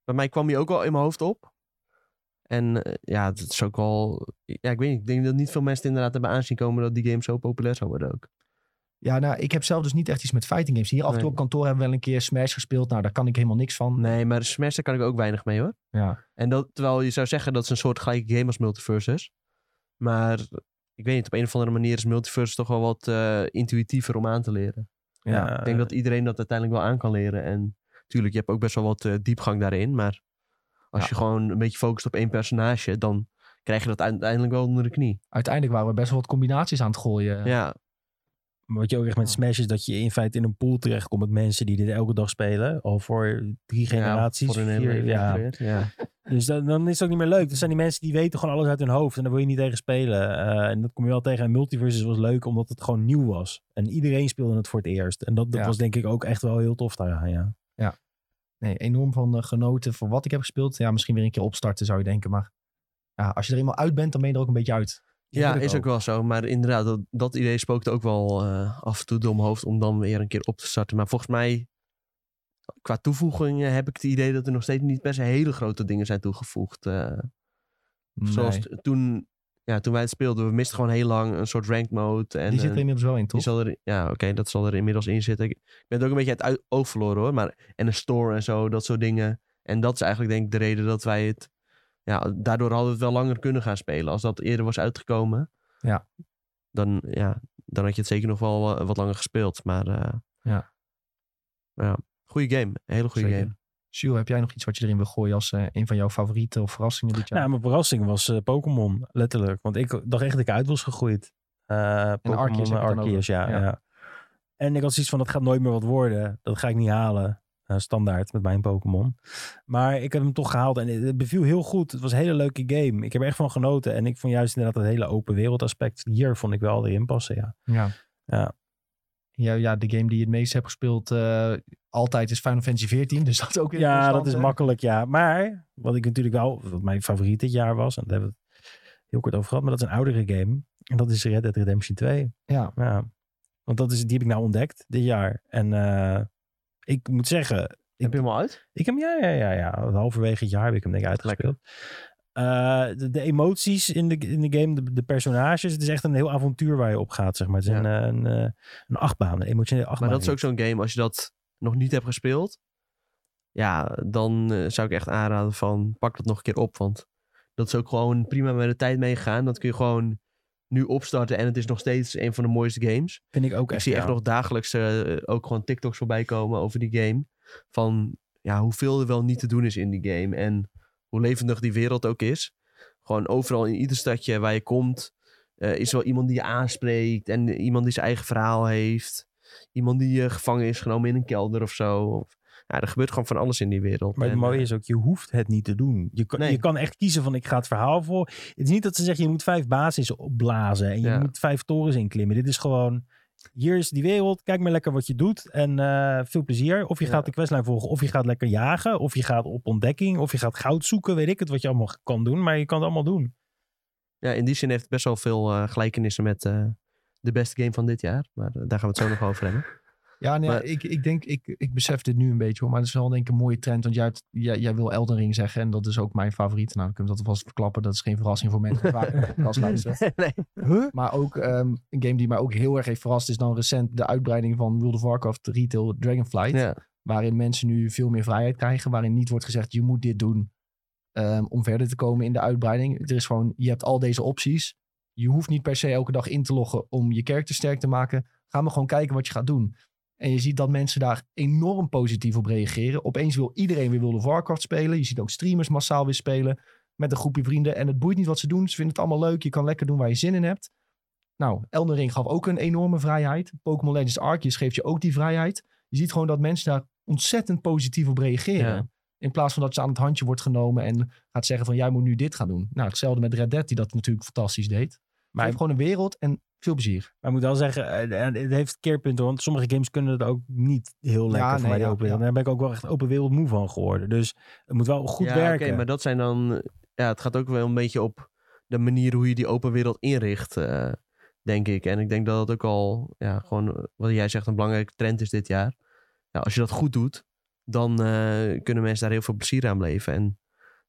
B: bij mij kwam die ook wel in mijn hoofd op. En eh, ja, dat is ook wel... Ja, ik weet niet. Ik denk dat niet veel mensen het inderdaad hebben aanzien komen dat die game zo populair zou worden ook.
A: Ja, nou, ik heb zelf dus niet echt iets met fighting games. Hier af en toe
B: Nee.
A: op kantoor hebben we wel een keer Smash gespeeld. Nou, daar kan ik helemaal niks van.
B: Nee, maar Smash, daar kan ik ook weinig mee hoor.
A: Ja.
B: En dat, terwijl je zou zeggen dat het een soort gelijke game als Multiverse is. Maar ik weet niet, op een of andere manier is Multiverse toch wel wat eh, intuïtiever om aan te leren.
C: Ja,
B: ik denk dat iedereen dat uiteindelijk wel aan kan leren. En natuurlijk, je hebt ook best wel wat eh, diepgang daarin. Maar als je gewoon een beetje focust op één personage, dan krijg je dat uiteindelijk wel onder de knie.
A: Uiteindelijk waren we best wel wat combinaties aan het gooien. eh,
B: Ja,
C: Maar wat je ook echt met Smash is dat je in feite in een pool terechtkomt met mensen die dit elke dag spelen. Al voor drie generaties.
B: voor hun hele
C: vier-
B: leven
C: ja.
B: geprobeerd. ja.
C: Dus dan, dan is het ook niet meer leuk. Dat zijn die mensen die weten gewoon alles uit hun hoofd. En daar wil je niet tegen spelen. Eh, en dat kom je wel tegen. En Multiverses was leuk omdat het gewoon nieuw was. En iedereen speelde het voor het eerst. En dat, dat
A: Ja.
C: was denk ik ook echt wel heel tof daaraan, ja.
A: Nee, enorm van eh, genoten voor wat ik heb gespeeld. Ja, misschien weer een keer opstarten zou je denken. Maar ja, als je er eenmaal uit bent, dan ben je er ook een beetje uit.
B: Ja, is ook wel zo. Maar inderdaad, dat, dat idee spookte ook wel eh, af en toe door mijn hoofd om dan weer een keer op te starten. Maar volgens mij, qua toevoegingen heb ik het idee dat er nog steeds niet per se hele grote dingen zijn toegevoegd. eh. Zoals
A: Nee.
B: t- toen, ja, toen wij het speelden, we misten gewoon heel lang een soort ranked mode. En,
A: Die zit er
B: een-
A: inmiddels wel in,
B: die
A: toch?
B: zal er, ja, oké, dat zal er inmiddels in zitten. Ik ik ben het ook een beetje uit uit oog verloren hoor. Maar, en een store en zo, dat soort dingen. En dat is eigenlijk denk ik de reden dat wij het... Ja, daardoor hadden we het wel langer kunnen gaan spelen. Als dat eerder was uitgekomen,
A: Ja.
B: dan, ja, dan had je het zeker nog wel eh, wat langer gespeeld. Maar eh,
A: Ja.
B: ja, goede game. Een hele goede
A: Zeker.
B: game.
A: Sjoel, heb jij nog iets wat je erin wil gooien als eh, een van jouw favorieten of verrassingen dit jaar?
C: Nou, mijn verrassing was eh, Pokémon, letterlijk. Want ik dacht echt dat ik uit was gegroeid. Eh Pokémon
A: Arceus heb je het dan
C: Arceus, ja,
A: Ja.
C: ja. En ik had zoiets van, dat gaat nooit meer wat worden. Dat ga ik niet halen. Eh, standaard met mijn Pokémon. Maar ik heb hem toch gehaald en het beviel heel goed. Het was een hele leuke game. Ik heb er echt van genoten. En ik vond juist inderdaad dat hele open wereld aspect hier vond ik wel erin passen, ja.
A: ja.
C: Ja.
A: Ja, ja, de game die je het meest hebt gespeeld eh, altijd is Final Fantasy XIV. Dus dat is ook weer
C: Ja,
A: interessant,
C: dat is
A: hè?
C: makkelijk, ja. Maar wat ik natuurlijk wel, wat mijn favoriet dit jaar was, en daar hebben we het heel kort over gehad, maar dat is een oudere game. En dat is Red Dead Redemption 2.
A: Ja.
C: ja. Want dat is, die heb ik nou ontdekt dit jaar. En eh, ik moet zeggen,
B: Heb je hem al uit?
C: ik heb hem, ja, ja, ja, ja. Halverwege het jaar heb ik hem denk ik uitgespeeld. Eh, de, de emoties in de, in de game, de, de personages. Het is echt een heel avontuur waar je op gaat, zeg maar. Het is
B: Ja.
C: een, eh, een, eh, een achtbaan, een emotionele achtbaan.
B: Maar dat is ook zo'n game, als je dat nog niet hebt gespeeld, ja, dan eh, zou ik echt aanraden van pak dat nog een keer op, want dat is ook gewoon prima met de tijd meegegaan. Dat kun je gewoon nu opstarten en het is nog steeds een van de mooiste games.
C: Vind ik ook
B: Ik
C: echt,
B: zie
C: ja.
B: echt nog dagelijks eh, ook gewoon TikToks voorbij komen over die game. Van ja, hoeveel er wel niet te doen is in die game en hoe levendig die wereld ook is. Gewoon overal in ieder stadje waar je komt, eh, is wel iemand die je aanspreekt en iemand die zijn eigen verhaal heeft iemand die eh, gevangen is genomen in een kelder of zo. Of, ja, er gebeurt gewoon van alles in die wereld.
C: Maar het
B: En,
C: mooie
B: eh,
C: is ook, je hoeft het niet te doen. Je kan,
B: Nee.
C: je kan echt kiezen van, ik ga het verhaal voor. Het is niet dat ze zeggen, je moet vijf basis opblazen en je
B: Ja.
C: moet vijf torens inklimmen. Dit is gewoon, hier is die wereld, kijk maar lekker wat je doet en eh, veel plezier. Of je
B: Ja.
C: gaat de questlijn volgen, of je gaat lekker jagen, of je gaat op ontdekking, of je gaat goud zoeken, weet ik het, wat je allemaal kan doen. Maar je kan het allemaal doen.
B: ja, in die zin heeft het best wel veel eh, gelijkenissen met eh, de beste game van dit jaar. Maar eh, daar gaan we het zo nog over hebben.
A: Ja, nee,
B: Maar-
A: ik, ik denk, ik, ik besef dit nu een beetje hoor. Maar het is wel denk ik een mooie trend. Want jij, hebt- jij, jij wil Elden Ring zeggen. En dat is ook mijn favoriet. Nou, dan kunnen we dat vast verklappen. Dat is geen verrassing voor mensen die vaak naar de podcast luisteren.
B: nee.
A: Maar ook ehm, een game die mij ook heel erg heeft verrast. Is dan recent de uitbreiding van World of Warcraft Retail Dragonflight.
B: Ja,
A: Waarin mensen nu veel meer vrijheid krijgen. Waarin niet wordt gezegd, je moet dit doen ehm, om verder te komen in de uitbreiding. Er is gewoon, je hebt al deze opties. Je hoeft niet per se elke dag in te loggen om je karakter sterk te maken. Ga maar gewoon kijken wat je gaat doen. En je ziet dat mensen daar enorm positief op reageren. Opeens wil iedereen weer World of Warcraft spelen. Je ziet ook streamers massaal weer spelen. met een groepje vrienden. En het boeit niet wat ze doen. Ze vinden het allemaal leuk. Je kan lekker doen waar je zin in hebt. Nou, Elden Ring gaf ook een enorme vrijheid. Pokémon Legends Arceus geeft je ook die vrijheid. Je ziet gewoon dat mensen daar ontzettend positief op reageren.
B: Ja.
A: In plaats van dat ze aan het handje wordt genomen en gaat zeggen van jij moet nu dit gaan doen. Nou, hetzelfde met Red Dead die dat natuurlijk fantastisch deed. Maar
C: Maar-
A: heeft gewoon een wereld en veel plezier.
C: Maar ik moet wel zeggen, eh, eh, het heeft keerpunten. Want sommige games kunnen het ook niet heel lekker voor
A: nee,
C: mij, die
A: ja,
C: open wereld.
A: ja.
C: Daar ben ik ook wel echt open wereld moe van geworden. Dus het moet wel goed
B: ja, oké,
C: werken.
B: maar dat zijn dan... eh, Ja, het gaat ook wel een beetje op de manier hoe je die open wereld inricht, eh, denk ik. En ik denk dat dat ook al, ja, gewoon eh, wat jij zegt, een belangrijke trend is dit jaar. Ja, als je dat goed doet, dan eh, kunnen mensen daar heel veel plezier aan beleven. En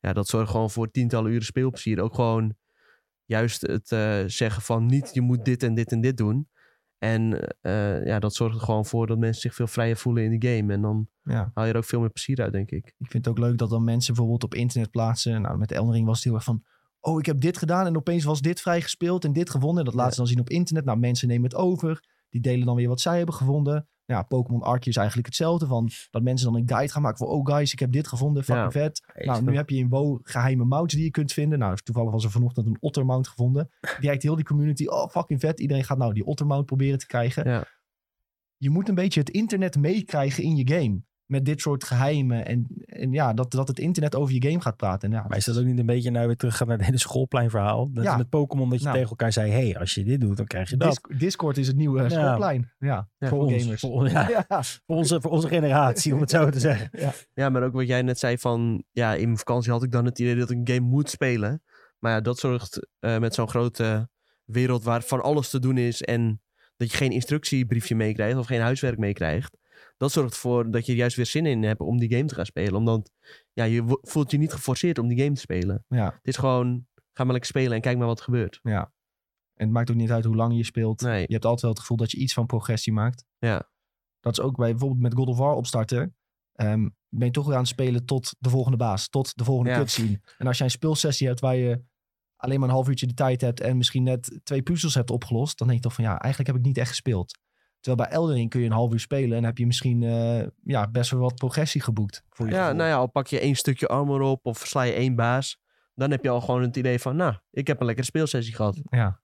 B: ja, dat zorgt gewoon voor tientallen uren speelplezier. Ook gewoon juist het eh, zeggen van niet, je moet dit en dit en dit doen. En eh, ja, dat zorgt er gewoon voor dat mensen zich veel vrijer voelen in de game. En dan
A: Ja.
B: haal je er ook veel meer plezier uit, denk ik.
A: Ik vind het ook leuk dat dan mensen bijvoorbeeld op internet plaatsen. Nou, met Elden Ring was het heel erg van... Oh, ik heb dit gedaan en opeens was dit vrijgespeeld en dit gewonnen. Dat laten ze dan zien op internet. Nou, mensen nemen het over. Die delen dan weer wat zij hebben gevonden. Ja, Pokémon Arceus is eigenlijk hetzelfde. Van dat mensen dan een guide gaan maken voor... Oh guys, ik heb dit gevonden. Fucking vet. Nou, nu heb je in WoW geheime mounts die je kunt vinden. Nou, toevallig was er vanochtend een ottermount gevonden. Direct heel die community, oh fucking vet. Iedereen gaat nou die ottermount proberen te krijgen.
B: Ja.
A: Je moet een beetje het internet meekrijgen in je game. Met dit soort geheimen. En, en ja, dat, dat het internet over je game gaat praten. En ja,
C: Maar is dat ook niet een beetje nou weer teruggaan naar het hele schoolpleinverhaal? Dat
A: Ja.
C: is met Pokémon dat je
A: Nou.
C: tegen elkaar zei, hey, als je dit doet, dan krijg je dat.
A: Dis- Discord is het nieuwe eh,
C: Ja.
A: schoolplein. Ja, voor
B: Ja,
C: voor ons.
A: gamers.
C: Voor, ja,
A: Ja.
C: voor onze, voor onze generatie, om het zo te zeggen.
B: Ja, maar ook wat jij net zei van... Ja, in mijn vakantie had ik dan het idee dat ik een game moet spelen. Maar ja, dat zorgt eh, met zo'n grote wereld waar van alles te doen is... en dat je geen instructiebriefje meekrijgt of geen huiswerk meekrijgt. Dat zorgt ervoor dat je er juist weer zin in hebt om die game te gaan spelen. Omdat ja, je wo- voelt je niet geforceerd om die game te spelen.
A: ja,
B: Het is gewoon, ga maar lekker spelen en kijk maar wat er gebeurt.
A: ja. En het maakt ook niet uit hoe lang je speelt.
B: Nee,
A: Je hebt altijd wel het gevoel dat je iets van progressie maakt.
B: Ja.
A: Dat is ook bij bijvoorbeeld met God of War opstarten. ehm, ben je toch weer aan het spelen tot de volgende baas, tot de volgende
B: Ja.
A: cutscene. En als jij een speelsessie hebt waar je alleen maar een half uurtje de tijd hebt en misschien net twee puzzels hebt opgelost, dan denk je toch van ja, eigenlijk heb ik niet echt gespeeld. Terwijl bij Eldering kun je een half uur spelen en heb je misschien eh, ja, best wel wat progressie geboekt. Voor je
B: ja,
A: gevoel.
B: nou ja, al pak je één stukje armor op of sla je één baas... dan heb je al gewoon het idee van, nou, ik heb een lekkere speelsessie gehad.
A: ja.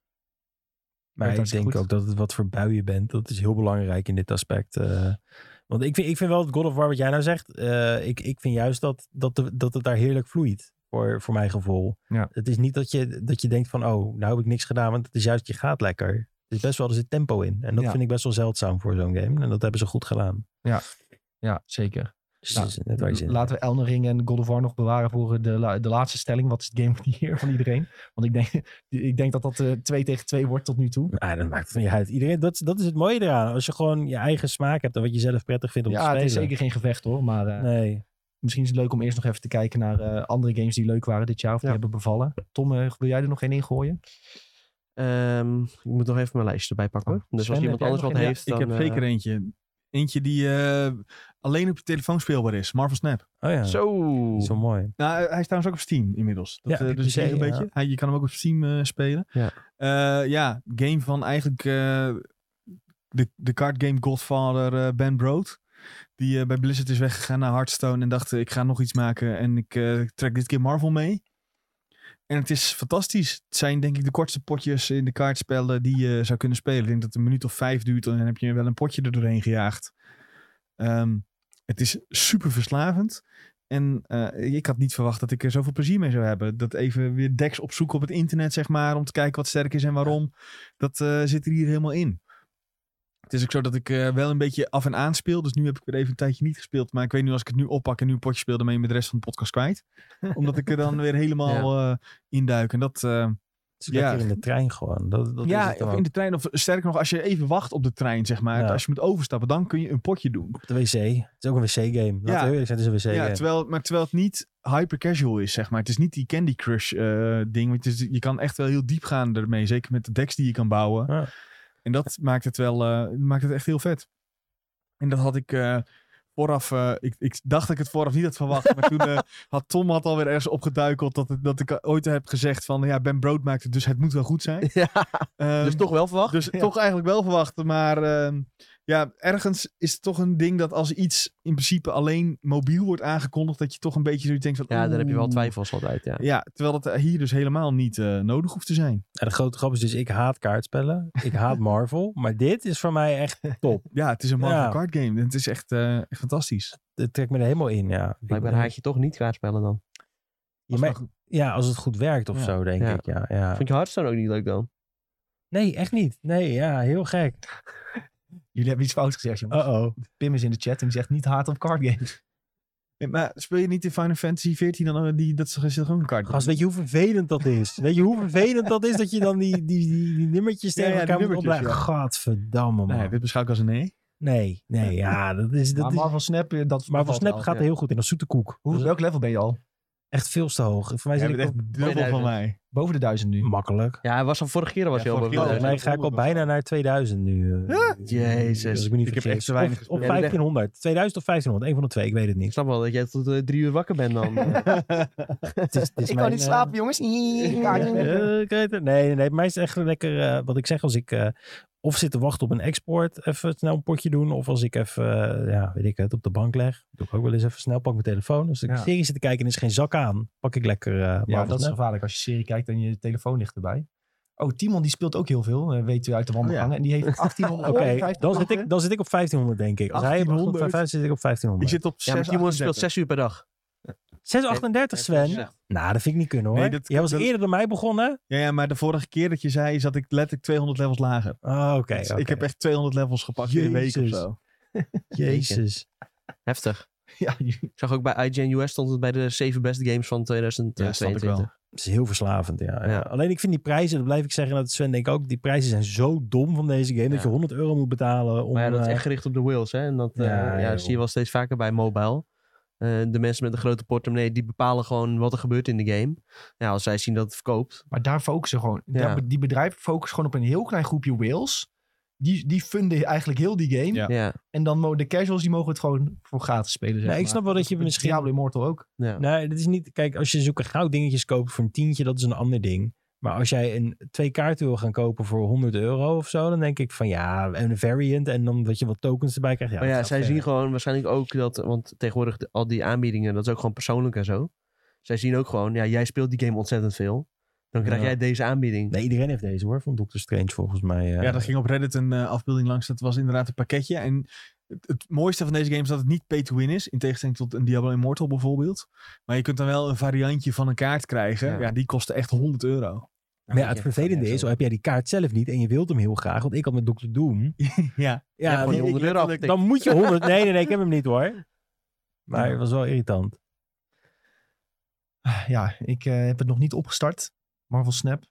C: Maar
A: Werkt
C: ik denk
A: hartstikke goed.
C: ook dat het wat voor bui je bent. Dat is heel belangrijk in dit aspect. eh. want ik vind, ik vind wel dat God of War, wat jij nou zegt. eh, ik, ik vind juist dat, dat, de- dat het daar heerlijk vloeit. Voor, voor mijn gevoel.
A: Ja.
C: Het is niet dat je, dat je denkt van, oh, nou heb ik niks gedaan. Want het is juist, je gaat lekker. Het is best wel, er zit tempo in. En dat
A: Ja.
C: vind ik best wel zeldzaam voor zo'n game. En dat hebben ze goed gedaan.
A: ja, zeker.
C: Dus
A: Nou,
C: het is net waar je zin in
A: Laten we Elden Ring en God of War nog bewaren voor eh, de, la- de laatste stelling. Wat is het game van the year van iedereen? Want ik denk, ik denk dat dat eh, twee tegen twee wordt tot nu toe.
C: Ja, Ah, dat maakt het niet uit. Iedereen, dat, dat is het mooie eraan. Als je gewoon je eigen smaak hebt en wat je zelf prettig vindt om te
A: Ja,
C: spelen.
A: het is zeker geen gevecht hoor. Maar eh,
C: Nee.
A: misschien is het leuk om eerst nog even te kijken naar eh, andere games die leuk waren dit jaar. Of die
B: Ja.
A: hebben bevallen. Tom, eh, wil jij er nog één in gooien?
B: Ehm, ik moet nog even mijn lijstje erbij pakken.
A: Oh,
B: hoor. dus
A: Sven,
B: als
A: heb
B: iemand
A: jij
B: anders
A: nog
B: wat
A: een- ja,
B: heeft,
D: ik
B: dan...
D: heb
B: eh,
D: zeker eentje. Eentje die eh, alleen op je telefoon speelbaar is. Marvel Snap.
C: Oh ja, zo,
B: Zo!
C: zo mooi.
D: Nou, eh, hij is trouwens ook op Steam inmiddels. Dat,
C: Ja,
D: eh,
C: op
D: dus
C: PC,
D: een
C: ja.
D: beetje. Hij, je kan hem ook op Steam eh, spelen.
B: Ja.
D: Eh, ja, game van eigenlijk eh, de, de card game godfather eh, Ben Brood. Die eh, bij Blizzard is weggegaan naar Hearthstone en dacht eh, ik ga nog iets maken en ik eh, trek dit keer Marvel mee. En het is fantastisch. Het zijn denk ik de kortste potjes in de kaartspellen die je zou kunnen spelen. Ik denk dat het een minuut of vijf duurt en dan heb je wel een potje er doorheen gejaagd. Ehm, het is super verslavend. En eh, ik had niet verwacht dat ik er zoveel plezier mee zou hebben. Dat even weer decks opzoeken op het internet, zeg maar, om te kijken wat sterk is en waarom. Dat eh, zit er hier helemaal in. Het is ook zo dat ik eh, wel een beetje af en aan speel. Dus nu heb ik weer even een tijdje niet gespeeld. Maar ik weet nu als ik het nu oppak en nu een potje speel, dan ben je me de rest van de podcast kwijt. Omdat ik er dan weer helemaal eh induik. En dat, eh,
C: Het is
D: Ja.
C: lekker in de trein gewoon. Dat, dat is
D: ja,
C: het dan
D: of
C: ook.
D: in de trein, of sterker nog, als je even wacht op de trein, zeg maar.
C: Ja.
D: Als je moet overstappen, dan kun je een potje doen.
C: Op de wc. Het is ook een wc-game. Laten
D: Ja.
C: we eerlijk zijn, het is een
D: Ja,
C: wc-game.
D: terwijl, maar terwijl het niet hyper casual is, zeg maar. Het is niet die Candy Crush eh, ding. Want het is- je kan echt wel heel diep gaan ermee. Zeker met de decks die je kan bouwen.
C: Ja.
D: En dat maakt het wel eh, maakt het echt heel vet. En dat had ik eh, vooraf. eh, ik, ik dacht dat ik het vooraf niet had verwacht. maar toen eh, had Tom had alweer ergens opgeduikeld dat, het- dat ik ooit heb gezegd van ja, Ben Brood maakt het, dus het moet wel goed zijn.
B: Ja,
D: Ehm,
B: dus toch wel verwacht.
D: dus toch eigenlijk wel verwacht. Maar ehm, ja, ergens is het toch een ding dat als iets in principe alleen mobiel wordt aangekondigd, dat je toch een beetje zoiets denkt van...
B: Ja, daar heb je wel
D: oeh.
B: twijfels altijd, ja.
D: Ja, terwijl dat hier dus helemaal niet eh, nodig hoeft te zijn.
C: En de grote grap is dus, ik haat kaartspellen. Ik haat Marvel. Maar dit is voor mij echt top.
D: Ja, het is een Marvel
C: Ja.
D: Kart game. en Het is echt, eh, echt fantastisch.
C: Het trekt me er helemaal in, ja.
B: Blijkbaar haat je toch niet kaartspellen dan.
C: Ja, maar- ja, als het goed werkt of
D: Ja.
C: zo, denk
B: Ja.
C: ik. Ja, ja.
B: Vond je Hearthstone ook niet leuk dan?
C: Nee, echt niet. Nee, ja, heel gek.
A: Jullie hebben iets fout gezegd, jongens.
C: Uh-oh.
A: Pim is in de chat en die zegt niet haat op card games.
D: Nee, Maar speel je niet in Final Fantasy 14 dan eh, die, dat is is gewoon een kaart
C: Gast, weet je hoe vervelend dat is? weet je hoe vervelend dat is dat je dan die, die, die, die nummertjes
D: Ja,
C: tegen
D: ja, die
C: elkaar moet
D: nummertjes,
C: opleggen? Gadverdamme, man.
D: Nee, dit beschouw ik als een nee.
C: Nee, nee, ja, dat is... Dat
A: maar
C: is...
A: Marvel Snap, eh, dat
C: Maar voor
A: valt
C: Snap
A: wel.
C: Dus- gaat er
B: ja.
C: heel goed in. Als zoete koek.
A: Hoe, welk level ben je al?
C: Echt veel te hoog. Voor mij
D: Jij
C: zit ik
D: bent
C: op-
D: echt dubbel
B: 2000.
D: van mij.
A: Boven de duizend nu.
C: makkelijk.
B: Ja, hij was al vorige keer was
D: Ja,
B: hij al
D: vorige
B: boven
D: keer
C: Volgens
B: de
C: mij ga ik al bijna naar 2000 nu. eh,
D: Ja?
B: Jezus.
C: Als ik me niet
D: Ik heb
C: vergis.
D: echt zo weinig
C: Of, of
D: gespeeld.
C: 1500. 2000 of 1500. Een van de twee, ik weet het
B: Ik
C: niet.
B: snap wel dat jij tot eh, drie uur wakker bent dan. eh.
C: Het is, het is
A: Ik
C: mijn,
A: kan niet
C: eh,
A: slapen, jongens. Nee,
C: eh, ik weet het. Nee, nee, nee. Bij mij is het echt lekker eh, wat ik zeg als ik eh, of zit te wachten op een export, even snel een potje doen. Of als ik even, eh, ja, weet ik het, op de bank leg. Doe ik ook wel eens even snel, pak mijn telefoon. Als ik
A: Ja.
C: een serie zit te kijken en er is geen zak aan, pak ik lekker. eh
A: Ja, dat is
C: snel.
A: gevaarlijk als je serie kijkt en je telefoon ligt erbij. Oh, Timon die speelt ook heel veel, eh, weet u
B: Oh,
A: uit de wandelgangen. En die heeft 1800
C: Oké, dan, zit ik, dan zit ik op 1500 denk ik. Als hij op
D: 1800.
C: 1500 zit ik op
D: Ik
C: 1500.
D: zit op
B: ja, maar
D: 6,
B: Timon speelt
D: 38.
B: zes uur per dag.
C: 638 Sven. Nou, dat vind ik niet kunnen hoor.
D: Nee, dat-
C: Jij was
D: dat-
C: eerder dan mij begonnen.
D: Ja, ja, maar de vorige keer dat je zei, zat ik letterlijk 200 levels lager.
C: Ah, oké.
D: Dus
C: oké.
D: Ik heb echt 200 levels gepakt in een week of
C: Jezus.
D: zo.
C: Jezus.
B: Heftig.
A: Ja, je-
B: Ik zag ook bij IGN US stond het bij de zeven beste games van
D: Ja, snap ik
B: 2022.
D: wel.
C: Het is heel verslavend, ja.
B: Ja.
C: Alleen ik vind die prijzen, dat blijf ik zeggen, dat Sven denk ik ook, die prijzen zijn zo dom van deze game, dat
B: Ja.
C: je 100 euro moet betalen om...
B: Maar ja, dat is
C: eh,
B: echt gericht op de wheels. Hè? En dat eh,
C: Ja,
B: ja,
C: joh.
B: zie je wel steeds vaker bij mobile. Eh, de mensen met een grote portemonnee, die bepalen gewoon wat er gebeurt in de game. Ja, als zij zien dat het verkoopt.
A: maar daar focussen gewoon.
B: Ja.
A: daar be- die bedrijven focussen gewoon op een heel klein groepje whales. Die, die funden eigenlijk heel die game.
D: Ja.
B: Ja, ja.
A: En dan mo- de casuals die mogen het gewoon voor gratis spelen. Zeg
C: Nee, ik
A: maar.
C: snap wel dat je
A: Met
C: misschien-
A: Diablo Immortal ook.
C: Nee, dat is niet... Kijk, als je zulke goud dingetjes koopt voor een tientje, dat is een ander ding. Maar als jij een, twee kaarten wil gaan kopen voor 100 euro of zo, dan denk ik van ja, en een variant en dan dat je wat tokens erbij krijgt. Ja,
B: maar
C: dat
B: Oh
C: eh,
B: ja,
C: gaat
B: zij
C: ver.
B: zien gewoon waarschijnlijk ook dat... Want tegenwoordig de- al die aanbiedingen, dat is ook gewoon persoonlijk en zo. Zij zien ook gewoon, ja, jij speelt die game ontzettend veel. Dan krijg
C: Ja.
B: jij deze aanbieding.
C: Nee, iedereen heeft deze hoor, van Doctor Strange volgens mij. eh.
D: Ja, daar ging op Reddit een eh, afbeelding langs. Dat was inderdaad een pakketje. En het, het mooiste van deze game is dat het niet pay-to-win is. In tegenstelling tot een Diablo Immortal bijvoorbeeld. Maar je kunt dan wel een variantje van een kaart krijgen. Ja,
B: Ja.
D: die kostte echt 100 euro.
C: Maar ja, het vervelende is, al heb jij die kaart zelf niet en je wilt hem heel graag, want ik had met Dr. Doom.
D: ja.
C: Ja,
B: Ja, gewoon die 100
C: die-
B: euro
D: letterlijk-
B: afgetikt.
C: Dan moet je 100. Nee, nee, nee, ik heb hem niet hoor. Maar het was wel irritant.
A: Ah, Ja, ik eh, heb het nog niet opgestart. Marvel Snap.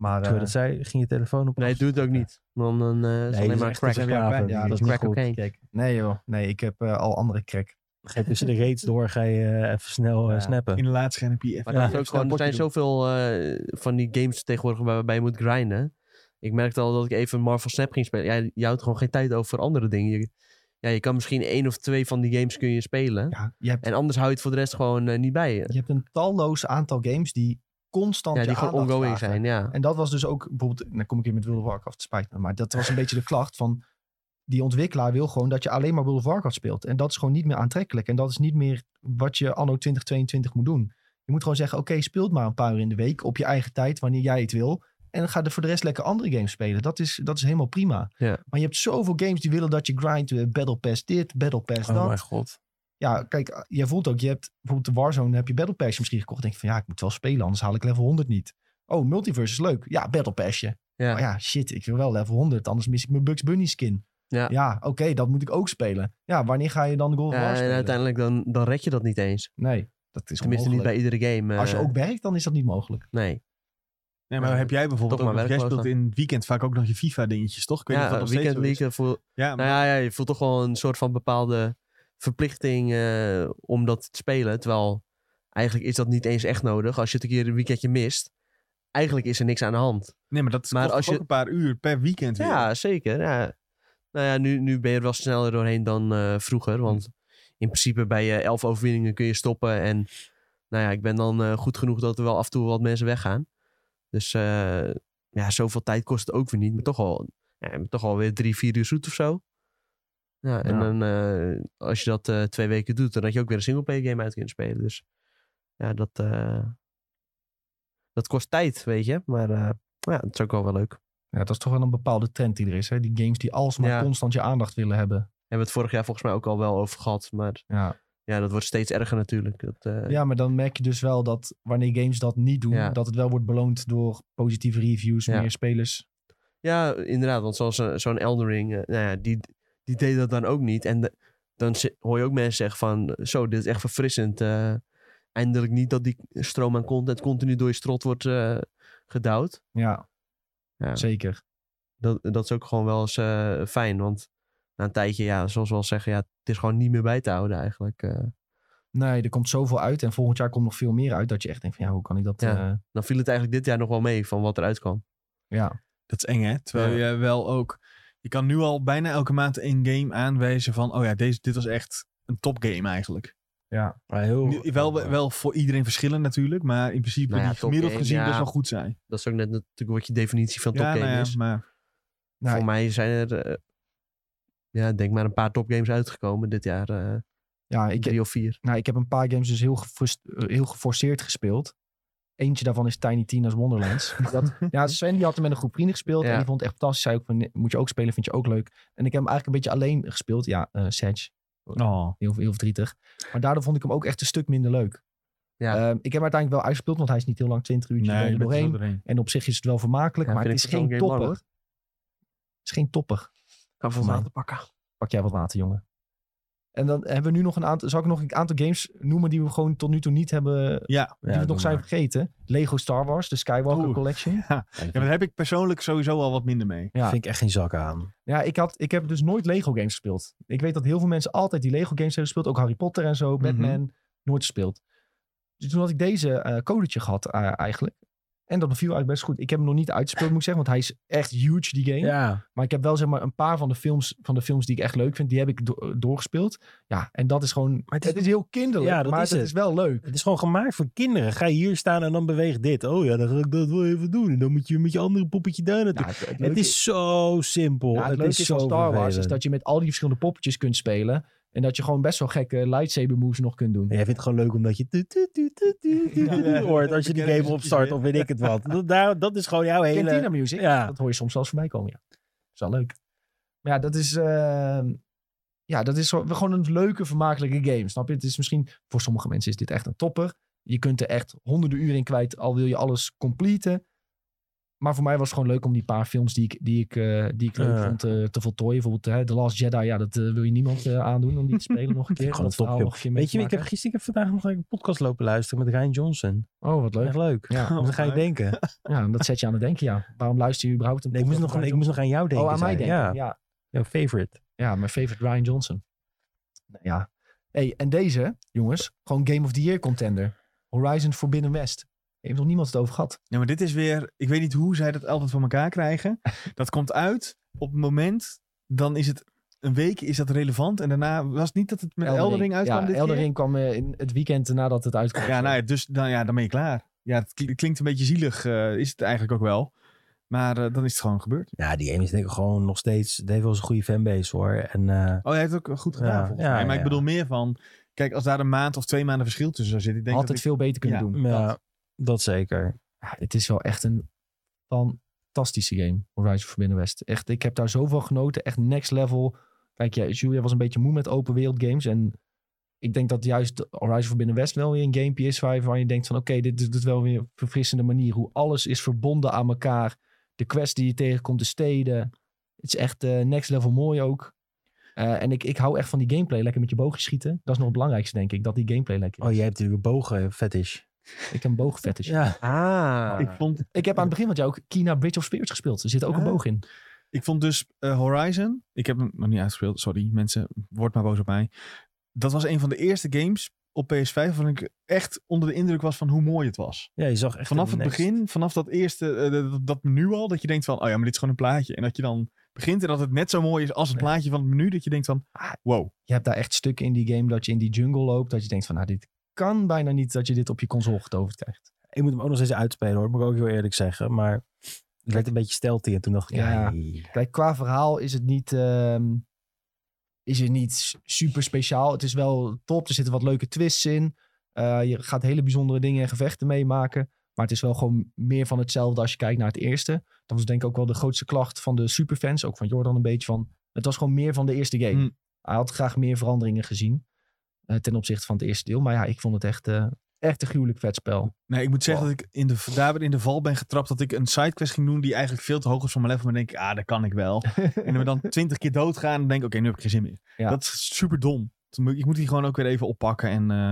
A: Maar
C: Terwijl
A: eh,
C: dat zei, ging je telefoon op.
B: Nee, doe het ook niet. Want dan eh, is het alleen
C: is
B: maar
C: dus echt
B: crack.
C: een verslaving.
A: Ja,
C: Dat is
B: crack
C: niet goed.
B: cocaine.
A: kijk, nee joh. Nee, ik heb eh, al andere crack.
C: Ga je tussen de raids door, ga je eh, even snel eh,
A: Ja.
C: snappen.
D: In de laatste scherm heb je even...
B: Maar
C: Ja.
B: dat is ook
D: Snel
B: gewoon, er
D: potje
B: zijn
D: doen.
B: zoveel eh, van die games tegenwoordig waar- waarbij je moet grinden. Ik merkte al dat ik even Marvel Snap ging spelen. Ja, je houdt gewoon geen tijd over voor andere dingen. Je, ja, je kan misschien één of twee van die games kun je spelen.
A: Ja, je hebt,
B: En anders hou je het voor de rest gewoon eh, niet bij je.
A: je hebt een talloos aantal games die constant
B: Ja, die
A: je
B: gewoon
A: aandacht
B: ongoing
A: vragen.
B: zijn, ja.
A: En dat was dus ook bijvoorbeeld, dan kom ik hier met World of Warcraft, het spijt me, maar dat was een beetje de klacht van die ontwikkelaar wil gewoon dat je alleen maar World of Warcraft speelt. En dat is gewoon niet meer aantrekkelijk. En dat is niet meer wat je anno 2022 moet doen. Je moet gewoon zeggen, oké, speel het maar een paar uur in de week op je eigen tijd, wanneer jij het wil. En dan ga er voor de rest lekker andere games spelen. Dat is, dat is helemaal prima.
B: Ja.
A: Maar je hebt zoveel games die willen dat je grind, eh, battle pass dit, battle pass dat.
C: Oh mijn god.
A: Ja, kijk, eh, jij voelt ook, je hebt bijvoorbeeld de Warzone, heb je Battle Pass misschien gekocht. Denk je van ja, ik moet wel spelen, anders haal ik level 100 niet. Oh, multiverse is leuk. Ja, Battle Passje.
B: Ja.
A: Maar ja, shit, ik wil wel level 100, anders mis ik mijn Bugs Bunny skin.
B: Ja.
A: oké, dat moet ik ook spelen. Ja, wanneer ga je dan de Golf
B: Ja,
A: War
B: en
A: spelen?
B: uiteindelijk dan, dan red je dat niet eens.
A: Nee, dat is
B: Tenminste niet bij
A: onmogelijk.
B: iedere game. eh,
A: Als je ook werkt, dan is dat niet mogelijk.
B: Nee.
D: Nee, maar
B: Ja,
D: heb jij bijvoorbeeld
B: toch
D: ook
B: maar
D: nog- Jij
B: werkloos
D: speelt in het weekend vaak ook nog je FIFA-dingetjes, toch? Ik weet niet of
B: Ja,
D: dat nog steeds
B: Weekend
D: zo is.
B: League, eh, voel-
D: Ja, maar
B: Nou ja, ja, je voelt toch wel een soort van bepaalde verplichting eh, om dat te spelen. Terwijl eigenlijk is dat niet eens echt nodig. Als je het een keer een weekendje mist, eigenlijk is er niks aan de hand.
D: Nee, maar dat
B: Maar
D: kost
B: als
D: toch
B: je-
D: ook een paar uur per weekend weer.
B: Ja, zeker. Ja. Nou ja, nu, nu ben je er wel sneller doorheen dan eh, vroeger. Want in principe bij je elf overwinningen kun je stoppen. En nou ja, ik ben dan eh, goed genoeg dat er wel af en toe wat mensen weggaan. Dus eh, ja, zoveel tijd kost het ook weer niet. Maar toch al, ja, maar toch al weer drie, vier uur zoet of zo. Ja, en
C: Ja.
B: dan eh, als je dat eh, twee weken doet, dan had je ook weer een singleplayer game uit kunnen spelen. Dus ja, dat, eh, dat kost tijd, weet je. Maar eh, ja, dat is ook wel wel leuk.
A: Ja, dat is toch wel een bepaalde trend die er is. Hè? Die games die alsmaar
B: Ja.
A: constant je aandacht willen hebben.
B: Hebben we het vorig jaar volgens mij ook al wel over gehad. Maar
A: Ja.
B: ja, dat wordt steeds erger natuurlijk. Dat, eh,
A: ja, maar dan merk je dus wel dat wanneer games dat niet doen,
B: Ja.
A: dat het wel wordt beloond door positieve reviews,
B: Ja.
A: meer spelers.
B: Ja, inderdaad. Want zoals eh, zo'n Elden Ring, eh, nou ja, die, die deed dat dan ook niet. En de- dan zi- hoor je ook mensen zeggen van... Zo, dit is echt verfrissend. eh, eindelijk niet dat die stroom aan content continu door je strot wordt eh, gedouwd.
A: Ja,
B: Ja.
A: zeker.
B: Dat, dat is ook gewoon wel eens eh, fijn. Want na een tijdje, ja, zoals we al zeggen... Ja, het is gewoon niet meer bij te houden eigenlijk. eh.
A: Nee, er komt zoveel uit en volgend jaar komt nog veel meer uit dat je echt denkt van ja, hoe kan ik dat...
B: Ja.
A: eh,
B: dan viel het eigenlijk dit jaar nog wel mee van wat eruit kwam.
A: ja.
D: Dat is eng, hè? Terwijl je wel ook... Je kan nu al bijna elke maand een game aanwijzen van... Oh ja, deze, dit was echt een topgame eigenlijk.
C: Maar heel,
D: Nu- wel, wel voor iedereen verschillend natuurlijk. Maar in principe
B: Nou ja,
D: die gemiddeld
B: topgame,
D: gezien
B: ja.
D: best wel goed zijn.
B: Dat is ook net natuurlijk wat je definitie van topgame
D: nou ja,
B: is.
D: maar...
A: Nou,
B: Voor mij zijn er... eh, ja, denk maar een paar topgames uitgekomen dit jaar. eh.
A: ja, ik,
B: drie of vier.
A: Nou, ik heb een paar games dus heel, gefrust- eh, heel geforceerd gespeeld. Eentje daarvan is Tiny Tina's Wonderlands. Dat, ja, Sven die had hem met een groep vrienden gespeeld.
B: Ja.
A: En die vond het echt fantastisch. Zei ook van, "Nee, moet je ook spelen, vind je ook leuk. En ik heb hem eigenlijk een beetje alleen gespeeld. Ja, eh Sedge,
D: Oh.
A: heel, heel verdrietig. Maar daardoor vond ik hem ook echt een stuk minder leuk.
B: Ja.
A: Ehm, ik heb hem uiteindelijk wel uitgespeeld, want hij is niet heel lang, 20 uurtjes ben je er
D: je bent er
A: doorheen.
D: zo doorheen.
A: En op zich is het wel vermakelijk,
B: Ja,
A: maar het is
B: vind ik voor zo'n
A: geen
B: game lang,
A: topper.
B: hoor.
A: Het is geen topper.
B: Kan
A: voor mij.
B: pakken.
A: Pak jij wat water, jongen. En dan hebben we nu nog een aantal... Zal ik nog een aantal games noemen die we gewoon tot nu toe niet hebben
D: Ja.
A: die we nog zijn vergeten. Lego Star Wars, de Skywalker
D: Oeh.
A: Collection.
D: ja, maar daar heb ik persoonlijk sowieso al wat minder mee.
A: Ja.
C: vind ik echt geen zak aan.
A: Ja, ik, had, ik heb dus nooit Lego games gespeeld. Ik weet dat heel veel mensen altijd die Lego games hebben gespeeld. Ook Harry Potter en
B: Mhm.
A: zo, Batman. Nooit gespeeld. Dus toen had ik deze eh codetje gehad eh, eigenlijk. En dat beviel eigenlijk best goed. Ik heb hem nog niet uitgespeeld, moet ik zeggen. Want hij is echt huge, die game.
C: Ja,
A: Maar ik heb wel zeg maar een paar van de films, van de films die ik echt leuk vind, die heb ik do- doorgespeeld. Ja, en dat is gewoon... het,
C: het
A: is,
C: is-
A: heel kinderlijk,
C: Ja, dat
A: maar
C: is
A: het
C: het.
A: is wel leuk.
C: het is gewoon gemaakt voor kinderen. Ga je hier staan en dan beweeg dit. Oh ja, dan ga ik dat wel even doen. En dan moet je met je andere poppetje daar naartoe.
A: Nou, het,
C: het
A: leuke-
C: is zo simpel.
A: Ja, het,
C: het
A: leuke
C: is
A: is
C: zo
A: van Star Wars is
C: vervelend.
A: dat je met al die verschillende poppetjes kunt spelen. En dat je gewoon best wel gekke lightsaber moves nog kunt doen.
C: Jij vindt het gewoon leuk omdat je tu- tu- tu- tu- tu- tu- tu-
D: Ja.
C: hoort als je die
D: Bekende
C: game opstart
D: muziekjes
C: of weet ik het wat. Dat, daar, dat is gewoon jouw hele...
A: Cantina music,
C: Ja.
A: dat hoor je soms zelfs voorbij komen. Ja. Is wel leuk. Maar ja, dat is, eh, ja, dat is zo- gewoon een leuke, vermakelijke game. Snap je? Het is misschien, voor sommige mensen is dit echt een topper. Je kunt er echt honderden uren in kwijt, al wil je alles completen. Maar voor mij was het gewoon leuk om die paar films die ik, die ik, eh, die ik leuk
C: Ja.
A: vond eh, te voltooien. Bijvoorbeeld hè, The Last Jedi, ja, dat eh, wil je niemand eh, aandoen om die te spelen nog een keer.
C: Gewoon
A: Dat
C: een
A: verhaal
C: topfilm.
A: nog een keer mee
C: Weet
A: te
C: je, ik heb
A: maken.
C: gisteren, ik heb vandaag nog een podcast lopen luisteren met Ryan Johnson.
A: Oh, wat leuk.
C: Echt leuk.
A: Ja.
C: Dan ga je
D: Leuk.
C: denken.
A: Ja, en dat zet je aan het denken, ja. Waarom luister je überhaupt een
C: Nee, ik, moest nog, ik moest nog aan jou denken.
A: Oh, aan mij
C: zei hij.
A: denken, ja.
C: Ja,
A: ja.
C: jouw favorite.
A: mijn favorite Ryan Johnson. Nou Ja. Hey, en deze, jongens, gewoon Game of the Year contender. Horizon Forbidden West. Heeft nog niemand het over gehad.
D: Ja, maar dit is weer... Ik weet niet hoe zij dat altijd voor elkaar krijgen. dat komt uit op het moment... Dan is het... Een week is dat relevant. En daarna was het niet dat het met
A: Elden
D: Eldering uitkwam
A: ja,
D: dit
A: Elden
D: keer?
A: Ring kwam eh, in het weekend nadat het uitkwam.
D: Ja, nou ja, dus dan, ja, dan ben je klaar. Ja, het kli- klinkt een beetje zielig, eh, is het eigenlijk ook wel. Maar eh, dan is het gewoon gebeurd.
C: Ja, die game is denk ik gewoon nog steeds... Die heeft wel eens een goede fanbase hoor. En eh,
D: Oh, hij heeft het ook goed gedaan
C: Ja,
D: volgens
C: ja,
D: mij. Maar ik
C: ja.
D: bedoel meer van... Kijk, als daar een maand of twee maanden verschil tussen zou zitten... Ik denk
A: Had het
D: dat ik-
A: veel beter kunnen
D: ja.
A: doen.
C: ja,
A: Dat.
C: dat. zeker.
A: Ja, het is wel echt een fantastische game, Horizon Forbidden West. Echt, ik heb daar zoveel genoten. Echt next level. Kijk, ja, Julia was een beetje moe met open wereld games. En ik denk dat juist Horizon Forbidden West wel weer een gamepje is waar, waar je denkt van... Oké, dit doet het wel weer een verfrissende manier. Hoe alles is verbonden aan elkaar. De quests die je tegenkomt, de steden. Het is echt eh, next level mooi ook. Eh, en ik, ik hou echt van die gameplay. Lekker met je boogjes schieten. Dat is nog het belangrijkste, denk ik. Dat die gameplay lekker is.
C: Oh, jij hebt natuurlijk een bogen fetish.
A: Ik heb een boogfetish.
C: Ja.
B: Ah.
D: Ik vond,
A: Ik heb aan het begin van jou ook Kina Bridge of Spirits gespeeld. Er zit ook een
D: Ja.
A: boog in.
D: ik vond dus eh, Horizon... Ik heb hem nog niet uitgespeeld, sorry mensen. Word maar boos op mij. Dat was een van de eerste games op PS5... waarvan ik echt onder de indruk was van hoe mooi het was.
C: ja, je zag echt...
D: Vanaf
C: een
D: het
C: next-
D: begin, vanaf dat eerste, eh, dat, dat menu al, dat je denkt van, oh ja, maar dit is gewoon een plaatje. En dat je dan begint en dat het net zo mooi is als het plaatje van het menu, dat je denkt van, ah, wow.
A: Je hebt daar echt stukken in die game dat je in die jungle loopt. Dat je denkt van, nou, dit kan bijna niet dat je dit op je console getoverd krijgt.
C: Ik moet hem ook nog steeds uitspelen hoor, moet ik ook heel eerlijk zeggen. Maar het werd een beetje stealthy en toen dacht ik,
A: Ja.
C: ja,
A: Kijk, qua verhaal is het niet... ehm, is er niet s- super speciaal. Het is wel top. Er zitten wat leuke twists in. Eh, je gaat hele bijzondere dingen en gevechten meemaken. Maar het is wel gewoon meer van hetzelfde als je kijkt naar het eerste. Dat was denk ik ook wel de grootste klacht van de superfans. Ook van Jordan een beetje van... Het was gewoon meer van de eerste game.
D: Mm.
A: Hij had graag meer veranderingen gezien. eh, ten opzichte van het eerste deel. Maar ja, ik vond het echt, eh, echt een gruwelijk vet spel.
D: Nee, ik moet zeggen
A: Wow.
D: dat ik in de, daar weer in de val ben getrapt dat ik een sidequest ging doen die eigenlijk veel te hoog is voor mijn level. Maar dan denk ik, ah, dat kan ik wel. en dan we dan twintig keer doodgaan, dan denk ik, oké, nu heb ik geen zin meer.
A: Ja.
D: Dat is super dom. Dus moet- Ik moet die gewoon ook weer even oppakken en, eh,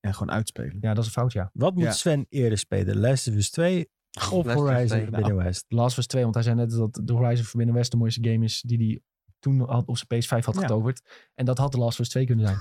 D: en gewoon uitspelen.
A: Ja, dat is een fout, ja.
C: Wat moet
D: Ja.
C: Sven eerder spelen? Last of Us 2
B: Last
C: of
B: of Us
C: Horizon
B: 2,
C: Forbidden West?
A: The Last was 2, want hij zei net dat de Horizon Forbidden West de mooiste game is die hij toen had op zijn PS5 had
D: Ja.
A: getoverd. En dat had de Last was 2 kunnen zijn.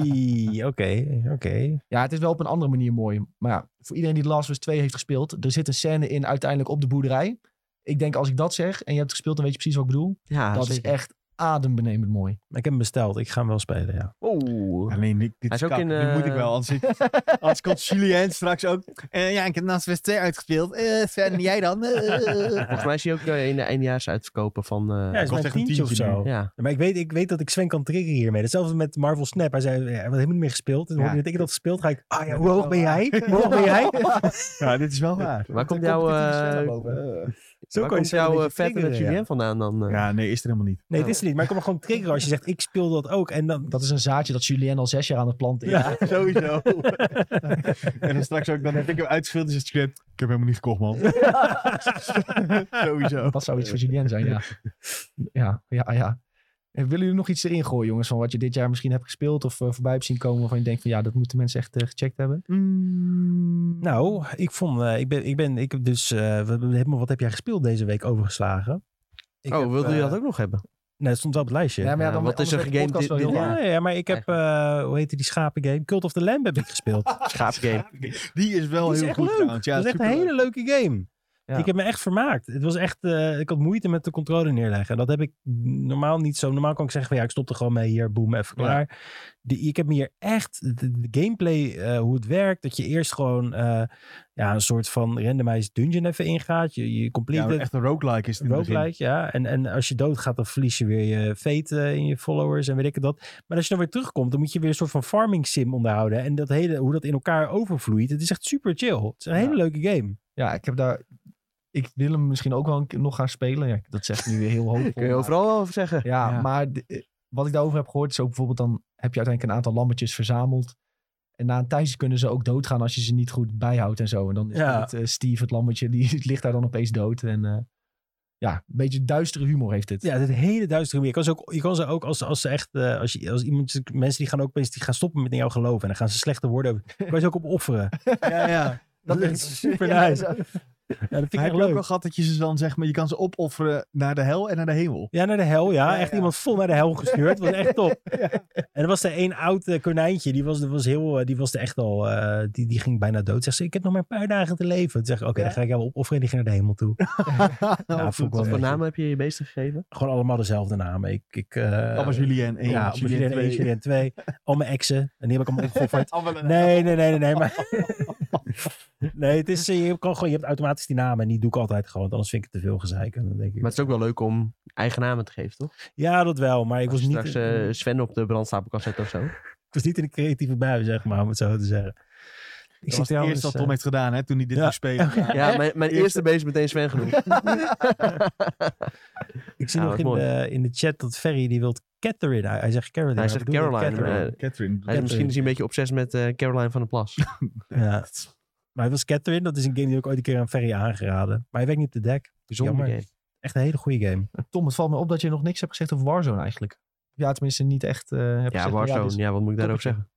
C: Oei, oké, oké.
A: Ja, het is wel op een andere manier mooi. Maar ja, voor iedereen die The Last was 2 heeft gespeeld, er zit een scène in uiteindelijk op de boerderij. Ik denk als ik dat zeg en je hebt gespeeld, dan weet je precies wat ik bedoel.
B: Ja,
A: dat is
B: zeker.
A: echt adembenemend mooi.
C: Ik heb hem besteld. Ik ga hem wel spelen, ja.
B: Oeh.
D: Ja, nee, Nick, dit
B: Hij is
D: is
B: ook
D: kak.
B: in,
D: Dit moet ik
B: eh,
D: wel, anders, ik- anders komt Julien straks ook. eh, ja, ik heb naast West 2 uitgespeeld. Eh, Sven, jij dan? Eh.
B: Volgens mij is hij ook eh, in de eindjaars uitverkopen van... eh,
C: Ja, hij is
D: kost
C: maar een
D: echt een
C: tientje of
D: tientje
C: zo.
B: ja.
C: Maar ik weet, ik weet dat ik Sven kan triggeren hiermee. Hetzelfde met Marvel Snap. Hij zei, ja, hij had helemaal niet meer gespeeld. En
D: Ja.
C: hoorde dat ik dat gespeeld, ga ik, ah ja, hoe hoog ben jij? Hoe hoog ben jij?
D: ja, dit is wel waar.
B: Waar komt jouw, eh,
C: Zo
B: waar
C: kan je
B: komt
C: Sven een
B: jouw
C: beetje
B: eh, vette
C: triggeren,
B: met
C: ja.
B: Julien vandaan dan? eh?
D: Ja, nee, is er helemaal niet.
C: Nee, het is er niet. Maar ik kan me gewoon triggeren als je zegt, ik speel dat ook. En dan,
A: Dat is een zaadje dat Julien al zes jaar aan het planten is.
D: Ja, sowieso. en dan straks ook, dan heb ik hem uitgespeeld, dus het script. Ik heb helemaal niet gekocht, man. sowieso.
A: Dat zou iets voor Julien zijn, ja. Ja, ja, ja. En willen jullie nog iets erin gooien, jongens? Van wat je dit jaar misschien hebt gespeeld of eh, voorbij hebt zien komen... waarvan je denkt van ja, dat moeten mensen echt eh, gecheckt hebben?
D: Mm.
C: nou, ik vond, eh, ik ben, ik ben, ik heb dus, eh, we hebben helemaal wat heb jij gespeeld deze week overgeslagen? Ik
B: oh,
C: heb,
B: wilde je
C: eh,
B: dat ook nog hebben?
C: Nee, het stond wel op het lijstje.
A: Ja, maar ja,
B: Ja,
A: dan,
B: wat
A: anders
B: is er
A: werd de
B: gegamed
A: podcast wel
B: dit-
A: heel
B: dit
A: lang.
C: Ja, ja, maar ik heb, eh, hoe heet die schapengame? Cult of the Lamb heb ik gespeeld.
B: Schaapgame.
D: Die is wel
C: Die is
D: heel
C: echt
D: goed
C: leuk.
D: trouwens. Ja,
C: dat is echt een
D: superleuk.
C: hele leuke game.
A: Ja.
C: Ik heb me echt vermaakt. Het was echt, eh, ik had moeite met de controle neerleggen. Dat heb ik normaal niet zo. Normaal kan ik zeggen van ja, ik stop er gewoon mee hier, boem, even klaar. De, ik heb me hier echt, de, de gameplay, eh, hoe het werkt, dat je eerst gewoon eh, ja, een soort van randomized dungeon even ingaat. Je, je complete
D: Ja,
C: het.
D: echt een roguelike is het in het begin.
C: Roguelike, ja. En, en als je doodgaat, dan verlies je weer je fate eh, in je followers en weet ik het dat. Maar als je dan weer terugkomt, dan moet je weer een soort van farming sim onderhouden. En dat hele, hoe dat in elkaar overvloeit, het is echt super chill. Het is een
A: Ja.
C: hele leuke game.
A: Ja, ik heb daar... Ik wil hem misschien ook wel een keer nog gaan spelen. Ja, dat zegt nu weer heel hoog.
B: Kun je overal wel over zeggen.
A: Ja,
D: Ja.
A: maar d- eh, wat ik daarover heb gehoord is ook bijvoorbeeld... dan heb je uiteindelijk een aantal lammetjes verzameld. En na een tijdje kunnen ze ook doodgaan als je ze niet goed bijhoudt en zo. En dan is
C: Ja.
A: het, eh, Steve, het lammetje, die ligt daar dan opeens dood. En eh, ja, een beetje duistere humor heeft het.
C: Ja, het hele duistere meer. Je kan ze ook, je kan ze ook als, als ze echt, eh, als, je, als iemand, mensen die gaan ook opeens, die gaan stoppen met in jou geloven. En dan gaan ze slechte woorden over. je kan je ze ook op offeren.
D: Ja, ja.
C: Dat is super nice. Ja, dat vind ik
D: Maar heb
C: echt
D: je ook
C: leuk.
D: wel gehad dat je ze dan zeg maar, je kan ze opofferen naar de hel en naar de hemel.
C: Ja, naar de hel, ja.
D: Ja,
C: echt
D: ja.
C: iemand vol naar de hel gestuurd. was echt top. En er was er één oud eh, konijntje, die was, die was, heel, eh, die was er echt al, eh, die, die ging bijna dood. Zegt ze, ik heb nog maar een paar dagen te leven. Toen zeg ik, oké, dan ga ik jou opofferen en die ging naar de hemel toe.
D: Of
C: vond ik
D: dat-
C: wel-
B: Wat voor naam heb je je beesten gegeven?
C: Gewoon allemaal dezelfde namen. Ik, ik, eh,
D: Allemaal Julien 1,
C: ja, Julien
D: Julien
C: 1,
D: 2.
C: Julien 2. Al mijn exen. En die heb ik allemaal opgeofferd.
D: Allemaal een-
C: Nee, nee, nee, nee, nee. Maar... nee, het is, eh, je, kan gewoon, je hebt automatisch die namen en die doe ik altijd gewoon. want Anders vind ik het te veel gezeik. En dan denk ik,
B: Maar het is ook wel leuk om eigen namen te geven, toch?
C: Ja, dat wel. Maar ik
B: Als
C: was,
B: je
C: niet,
B: straks eh, Sven op de brandstapel kan zetten of zo.
C: ik was niet in de creatieve bui, zeg maar, om het zo te zeggen. Ik
D: Dat was het eerste wat
C: eh,
D: Tom heeft gedaan, hè, toen hij dit
C: Ja.
D: moest spelen.
B: Ja, mijn, mijn
D: Eerste-
B: eerste beest meteen Sven genoemd.
C: eh, Ik zie
B: Ja,
C: nog
B: dat
C: in
B: is
C: de, in de chat dat Ferry die wilt Catherine. Hij, hij zegt Caroline.
B: Hij
C: maar
B: zegt
C: ik bedoel
B: Caroline,
C: Catherine.
D: Catherine.
B: Hij is misschien is hij een beetje obsessief met eh, Caroline van der Plas.
C: Ja. Maar hij was Catherine. Dat is een game die ik ooit een keer aan Ferry aangeraden. Maar hij werkt niet op de deck.
B: Bijzonder
C: Jammer.
B: game.
C: Echt een hele goede game.
A: Tom, het valt me op dat je nog niks hebt gezegd over Warzone eigenlijk. Ja, tenminste niet echt eh hebt gezegd
B: Ja,
A: van, dit
B: Warzone.
A: is-
B: Ja, wat moet ik daarover
A: toppertje.
B: zeggen?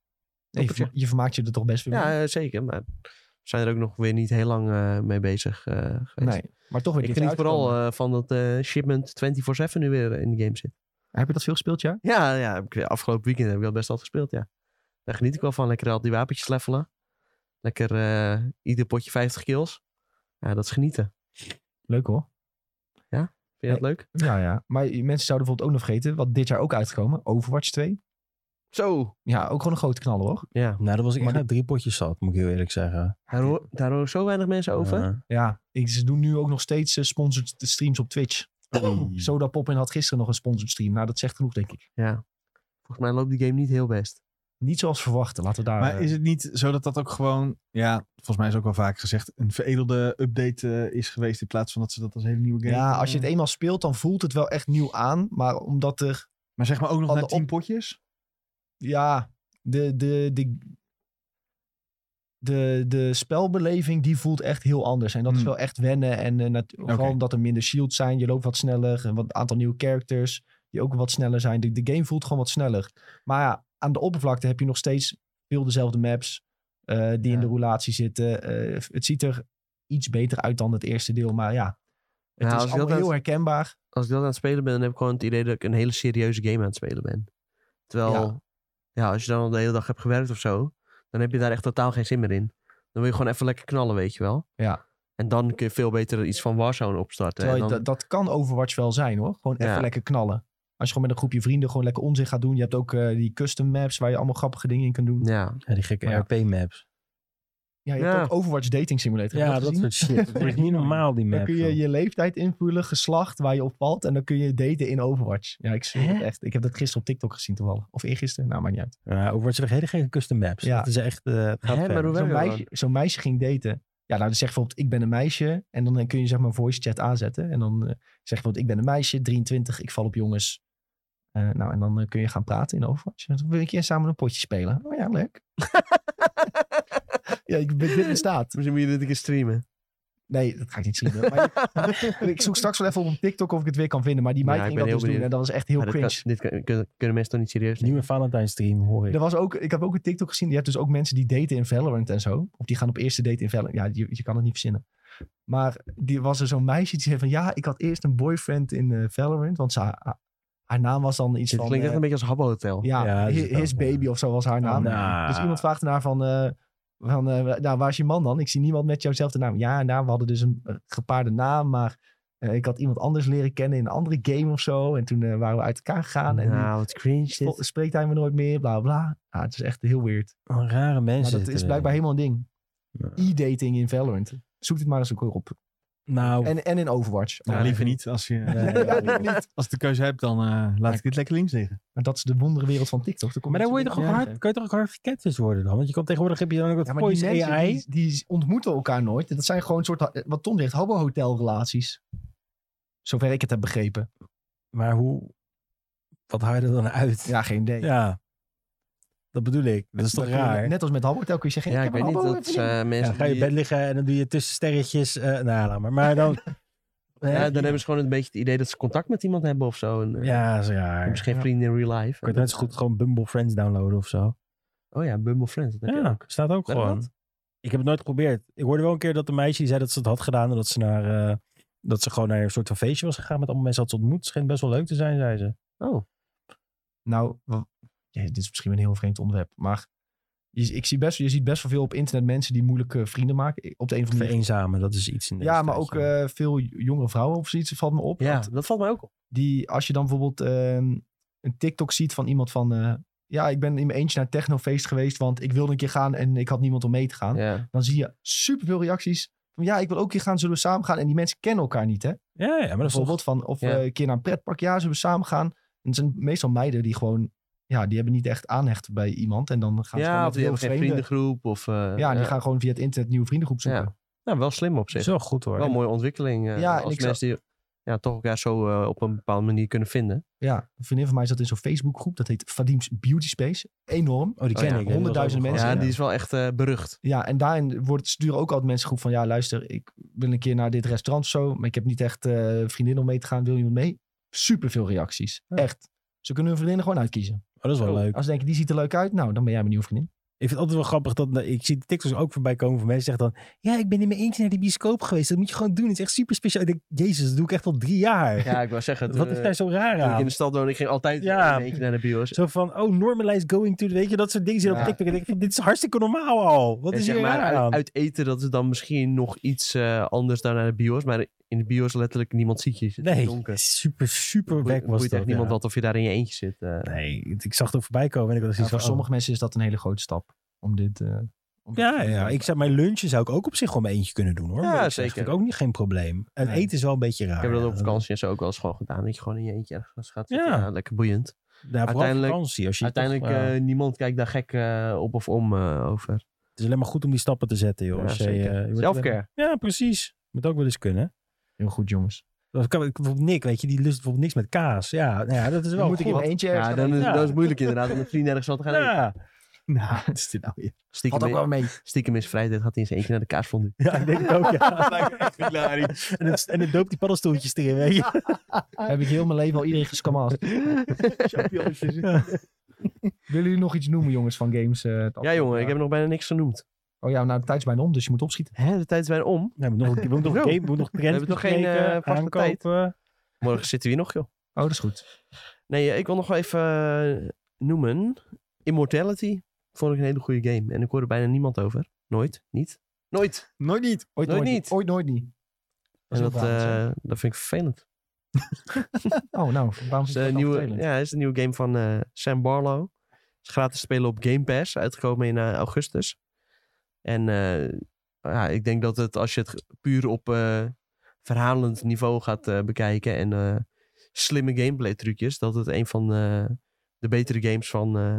A: Nee, je, verma- je vermaakt je er toch best veel mee.
B: Ja, eh, zeker. Maar we zijn er ook nog weer niet heel lang eh, mee bezig eh, geweest.
A: nee, maar toch weer
B: Ik
A: dit
B: geniet
A: uitgekomen.
B: vooral eh, van dat eh, shipment 24-7 nu weer in de game zit.
A: Heb je dat veel gespeeld, ja?
B: Ja, ja heb ik- afgelopen weekend heb ik dat best al gespeeld, ja. Daar geniet ik wel van. Lekker al die wapentjes levelen. Lekker eh, ieder potje 50 kills. Ja, dat is genieten.
A: Leuk hoor.
B: Vind je dat leuk?
A: Ja, ja. Maar mensen zouden bijvoorbeeld ook nog vergeten, wat dit jaar ook uitgekomen, Overwatch 2.
B: Zo!
A: Ja, ook gewoon een grote knaller hoor.
B: Ja,
C: Nou, dat was ik
A: Maar
C: echt na drie potjes zat, moet ik heel eerlijk zeggen.
B: daar, hoor, daar horen zo weinig mensen over.
C: Ja.
A: Ja, ik- ze doen nu ook nog steeds eh, Oh. sponsored streams op Twitch. Soda Poppin had gisteren nog een sponsored stream. Nou, dat zegt genoeg, denk ik.
B: Ja. Volgens mij loopt die game niet heel best.
A: Niet zoals verwachten. Laten we daar...
D: Maar
A: eh,
D: is het niet zo dat dat ook gewoon, ja, volgens mij is ook wel vaak gezegd, een veredelde update eh, is geweest in plaats van dat ze dat als hele nieuwe game...
A: ja, als je het
D: eh,
A: eenmaal speelt, dan voelt het wel echt nieuw aan. Maar omdat er
D: Maar zeg maar ook nog
A: Alle
D: naar tien
A: op-
D: potjes?
A: ja, de, de, de, de, de spelbeleving die voelt echt heel anders. En dat is
D: Hmm.
A: wel echt wennen. En eh, nat-
D: Oké.
A: vooral omdat er minder shields zijn. Je loopt wat sneller. Een wat, aantal nieuwe characters die ook wat sneller zijn. De, de game voelt gewoon wat sneller. Maar ja, aan de oppervlakte heb je nog steeds veel dezelfde maps eh, die in
D: Ja.
A: de roulatie zitten. Eh, het ziet er iets beter uit dan het eerste deel. Maar ja, het
B: Nou, als ik
A: is
B: dat
A: allemaal
B: uit-
A: heel herkenbaar.
B: Als ik dat aan het spelen ben, dan heb ik gewoon het idee dat ik een hele serieuze game aan het spelen ben. Terwijl, ja,
A: Ja.
B: als je dan al de hele dag hebt gewerkt of zo, dan heb je daar echt totaal geen zin meer in. Dan wil je gewoon even lekker knallen, weet je wel.
A: Ja.
B: En dan kun je veel beter iets van Warzone opstarten.
A: Terwijl
B: en
A: je-
B: dan-
A: dat, dat kan Overwatch wel zijn hoor. Gewoon even
B: Ja.
A: lekker knallen. Als je gewoon met een groepje vrienden gewoon lekker onzin gaat doen. Je hebt ook eh, die custom maps waar je allemaal grappige dingen in kunt doen.
B: Ja,
C: Ja, die gekke
A: Maar ja.
C: RP-maps.
A: Ja, je hebt
B: Ja.
A: ook Overwatch Dating Simulator. Heb je
C: Ja, dat
A: gezien?
C: soort shit. Dat is niet normaal, die
A: Dan
C: maps.
A: kun je
C: joh.
A: je leeftijd invullen, geslacht, waar je op valt. En dan kun je daten in Overwatch. Ja, ik zie het echt. Ik heb dat gisteren op TikTok gezien toevallig. Of eergisteren, nou maakt niet uit.
C: Ja, Overwatch heeft hele gekke custom maps.
A: Ja.
C: Dat is echt... eh, het gaat
B: Hè, maar
C: ver.
B: hoe-
A: Zo'n
B: werkt dat
A: meisje, zo'n meisje ging daten. Ja, nou, dan zegt bijvoorbeeld, ik ben een meisje. En dan eh, kun je zeg maar voice chat aanzetten. En dan eh, zeg je bijvoorbeeld, ik ben een meisje, 23, ik val op jongens. Eh, nou, en dan eh, kun je gaan praten in Overwatch. En Dan wil ik je samen een potje spelen. Oh ja, leuk. ja, ik ben dit bestaat.
B: misschien moet je dit een keer streamen.
A: Nee, dat ga ik niet zien. Maar ik, ik zoek straks wel even op TikTok of ik het weer kan vinden. Maar die
B: Ja,
A: meid
B: ik
A: ging
B: ben
A: dat dus
B: heel
A: doen.
B: benieuwd.
A: En dat was echt heel
B: Maar dit kan-
A: cringe.
B: dit kan- kunnen, kunnen mensen toch niet serieus nemen?
C: Nieuwe Valentine stream, hoor ik.
A: Er was ook, ik heb ook een TikTok gezien. Je hebt dus ook mensen die daten in Valorant en zo. Of die gaan op eerste date in Valorant. Ja, je, je kan het niet verzinnen. Maar die was er zo'n meisje die zei van... Ja, ik had eerst een boyfriend in eh, Valorant. Want ze, haar, haar naam was dan iets
B: Dit
A: van...
B: klinkt echt
A: eh,
B: een beetje als Habbo Hotel.
A: ja,
C: Ja, dat is
A: hi-
C: het ook,
A: his
C: ja.
A: baby of zo was haar naam.
C: nou.
A: Dus iemand vraagt naar van... eh, van eh, nou, waar is je man dan? Ik zie niemand met jouwzelfde naam. Ja, nou, we hadden dus een eh, gepaarde naam, maar... eh, ik had iemand anders leren kennen in een andere game of zo. En toen eh, waren we uit elkaar gegaan. En nu
B: nou, wat cringe
A: vol-
B: dit.
A: spreekt hij me nooit meer, bla bla. Ja, het is echt heel weird.
C: Een rare mensen.
A: Maar dat
C: zitten
A: is
B: eh,
C: er.
A: blijkbaar helemaal een ding.
C: Ja.
A: E-dating in Valorant. Zoek dit maar eens ook op.
C: Nou,
A: En, en in Overwatch.
D: Nou,
A: Ja.
D: liever niet. Als je,
C: Nee,
A: Ja, liever niet.
D: als ik de keuze heb, dan eh, laat ik dit lekker links liggen.
A: Maar dat is de wonderenwereld van TikTok. Daar kom
C: maar dan word je
A: zo
C: toch ook
A: meteen
C: hard,
A: op.
C: kan je toch ook hard gecatfished worden dan? Want je kan tegenwoordig heb je dan ook dat
A: Ja, maar die
C: voice
A: mensen
C: AI.
A: Die, die ontmoeten elkaar nooit. Dat zijn gewoon soort, ha- wat Tom zegt, hobo-hotelrelaties. Zover ik het heb begrepen.
C: Maar hoe, wat haal je er dan uit?
A: Ja, geen idee.
C: Ja. Dat bedoel ik. Dat is
A: Dan
C: toch
A: kun je-
C: raar?
A: Net als met hobo-hotel kun je zeggen,
B: Ja, ik
A: ik,
B: weet
A: heb
B: niet.
A: een
B: Dat
A: hobo-vriendin.
B: eh,
C: Ja,
B: mensen
C: dan ga je in
B: die-
C: bed liggen en dan doe je tussen sterretjes. eh nou, laat maar. Maar dan...
B: Ja,
C: Eh,
B: dan hebben ze gewoon een beetje het idee dat ze contact met iemand hebben of zo. En, eh,
C: ja, dat is raar.
B: hebben ze geen
A: ja.
B: vrienden in real life.
C: Kun je
B: En
C: net zo
B: dan-
C: goed gewoon Bumble Friends downloaden of zo.
B: Oh ja, Bumble Friends. Dat heb je
C: Ja,
B: ook.
C: staat ook
B: Werkt
C: gewoon.
B: dat?
C: Ik heb het nooit geprobeerd. Ik hoorde wel een keer dat een meisje die zei dat ze het had gedaan. En dat ze, naar, eh, dat ze gewoon naar een soort van feestje was gegaan met allemaal mensen had ze ontmoet. Schijnt best wel leuk te zijn, zei ze.
B: Oh,
A: Nou, wa- ja, dit is misschien een heel vreemd onderwerp. Maar je, ik zie best, je ziet best wel veel op internet mensen die moeilijk eh, vrienden maken. Op de een of
B: Hmm.
A: andere manier.
C: Vereenzamen, dat is iets in deze
A: Ja, maar
C: tijd,
A: ook eh, veel jongere vrouwen of zoiets valt me op.
B: ja,
A: Want
B: dat valt mij ook op.
A: Die, als je dan bijvoorbeeld ehm, een TikTok ziet van iemand van... eh, ja, ik ben in mijn eentje naar een technofeest geweest, want ik wilde een keer gaan en ik had niemand om mee te gaan.
B: Ja.
A: Dan zie je superveel reacties van ja, ik wil ook een keer gaan, zullen we samen gaan? En die mensen kennen elkaar niet, hè?
C: Ja, ja, maar dat is toch-
A: Bijvoorbeeld van, of
B: Ja.
A: eh, een keer naar een pretpark, ja, zullen we samen gaan? En het zijn meestal meiden die gewoon, ja, die hebben niet echt aanhecht bij iemand. En dan gaan ze gewoon
B: Ja,
A: met
B: of die
A: heel
B: hebben geen
A: vreemde-
B: vriendengroep. Of, eh,
A: Ja, die gaan gewoon via het internet nieuwe vriendengroep zoeken.
B: Ja. Nou, wel slim op
C: dat
B: zich.
C: is wel goed hoor. Oh,
B: Wel een mooie ontwikkeling. eh,
A: Ja, en
B: als
A: ik zou-
B: mensen die ja, toch elkaar zo eh, op een bepaalde manier kunnen vinden.
A: Ja, een vriendin van mij zat in zo'n Facebookgroep. Dat heet Fadims Beauty Space. Enorm.
C: Oh, die
B: Oh,
C: ken
B: ja,
C: ik. hè.
A: honderdduizenden
C: Dat was
A: mensen,
B: Ja,
C: wel
B: die
C: gewoon-
B: is wel echt eh, berucht.
A: Ja, en daarin wordt, sturen ook altijd mensen groep van... Ja, luister, ik wil een keer naar dit restaurant of zo. Maar ik heb niet echt eh vriendin om mee te gaan. Wil je mee? Superveel reacties. Echt. Ze kunnen hun vriendinnen gewoon uitkiezen.
C: Oh, dat is wel
B: Oh.
C: leuk.
A: Als ze denken, die ziet er leuk uit. Nou, dan ben jij mijn nieuwe vriendin.
C: Ik vind het altijd wel grappig dat nou, ik zie de TikToks ook voorbij komen van mensen die zeggen dan: Ja, ik ben in mijn eentje naar de bioscoop geweest. Dat moet je gewoon doen. Het is echt super speciaal. Ik denk: Jezus, dat doe ik echt al drie jaar.
B: Ja, ik wil zeggen. eh,
C: Wat is daar zo raar
B: ik in
C: aan?
B: de stad woonde, ik ging altijd
C: Ja.
B: in eentje naar de bios.
C: Zo van, oh, normalized going to, weet je, dat soort dingen zien
A: Ja.
C: op TikTok. En ik denk, dit is hartstikke normaal al. Wat
B: En
C: is
B: zeg
C: hier
B: maar,
C: raar
B: uit,
C: aan?
B: uit eten, dat is dan misschien nog iets eh, anders dan naar de bios. Maar in de bios letterlijk niemand ziet je. Het is
C: Nee,
B: donker.
C: super, super
B: Boeit-
C: weg was
B: boeit
C: dat.
B: echt niemand
C: ja.
B: wat of je daar in je eentje zit. eh.
C: Nee, het- ik zag het ook voorbij komen en ik had
A: Ja,
C: zoiets
A: voor
C: van,
A: sommige mensen is dat een hele grote stap. Om dit... eh, om
C: oh.
A: dit
C: Ja,
A: te doen.
C: ja, ik zei, mijn lunchen zou ik ook op zich gewoon mijn eentje kunnen doen hoor.
B: Ja,
C: Maar ik zeg,
B: zeker.
C: Vind ik ook niet geen probleem. En
A: Nee.
C: eten is wel een beetje raar.
B: Ik heb dat
C: ja.
B: op vakantie en zo ook wel eens gewoon gedaan. Dat je gewoon in je eentje ergens gaat
C: Ja.
B: zitten. Ja, lekker boeiend.
C: Ja, uiteindelijk,
B: Uiteindelijk-
C: vakantie. Als je toch,
B: Uiteindelijk,
C: ja.
B: eh, niemand kijkt daar gek eh, op of om eh, over.
C: het is alleen maar goed om die stappen te zetten, joh.
B: Ja,
C: als je,
B: zeker.
C: eh, je wordt-
B: Selfcare.
C: Ja, precies. Moet ook wel eens kunnen.
E: Heel goed, jongens.
C: Dat kan- Bijvoorbeeld Nick, weet je, die lust bijvoorbeeld niks met kaas. Ja, nou ja dat is wel
A: Dan moet ik in
C: goed.
A: mijn eentje ergens
B: Ja,
A: gaan
B: dan is,
C: Ja.
B: dan is het moeilijk inderdaad om met vrienden ergens wel te gaan eten.
C: Ja.
D: Nou, wat is dit nou weer?
A: Had
B: Stiekem,
A: ook wel mee.
B: stiekem is vrijdag gaat hij in zijn eentje naar de kaasfondue.
C: ja, ik denk het ook, ja.
D: hilarisch.
C: En het, en het doopt die paddenstoeltjes erin, weet je.
A: Heb ik heel mijn leven al iedereen gescamast. Willen jullie nog iets noemen, jongens, van games? eh, het
B: Ja
A: afgelopen
B: jongen, ik
A: jaar?
B: heb nog bijna niks genoemd.
A: Oh ja, nou, de tijd is bijna om, dus je moet opschieten.
B: Hè, de tijd is bijna om.
C: Nee, we moeten nog, we moeten nog,
B: Zo.
C: game, we moeten nog trends
B: hebben toch geen,
C: bespreken,
B: eh, vaste
C: aankopen.
B: Morgen zitten we hier nog joh.
A: Oh, dat is goed.
B: Nee, eh, ik wil nog wel even eh, noemen. Immortality vond ik een hele goede game. En ik hoorde bijna niemand over. Nooit, niet. Nooit.
D: Nooit niet.
A: Ooit
B: Nooit niet.
A: Ooit nooit niet.
B: En dat,
A: ook waar,
B: eh, dat vind ik vervelend.
A: Oh, nou, waarom is
B: Het is,
A: het
B: een
A: nieuwe,
B: nieuwe, ja, het is een nieuwe game van eh, Sam Barlow. Het is gratis te spelen op Game Pass, uitgekomen in eh, augustus. En eh, ja, ik denk dat het, als je het puur op eh, verhalend niveau gaat eh, bekijken en eh, slimme gameplay trucjes, dat het een van eh, de betere games van, eh,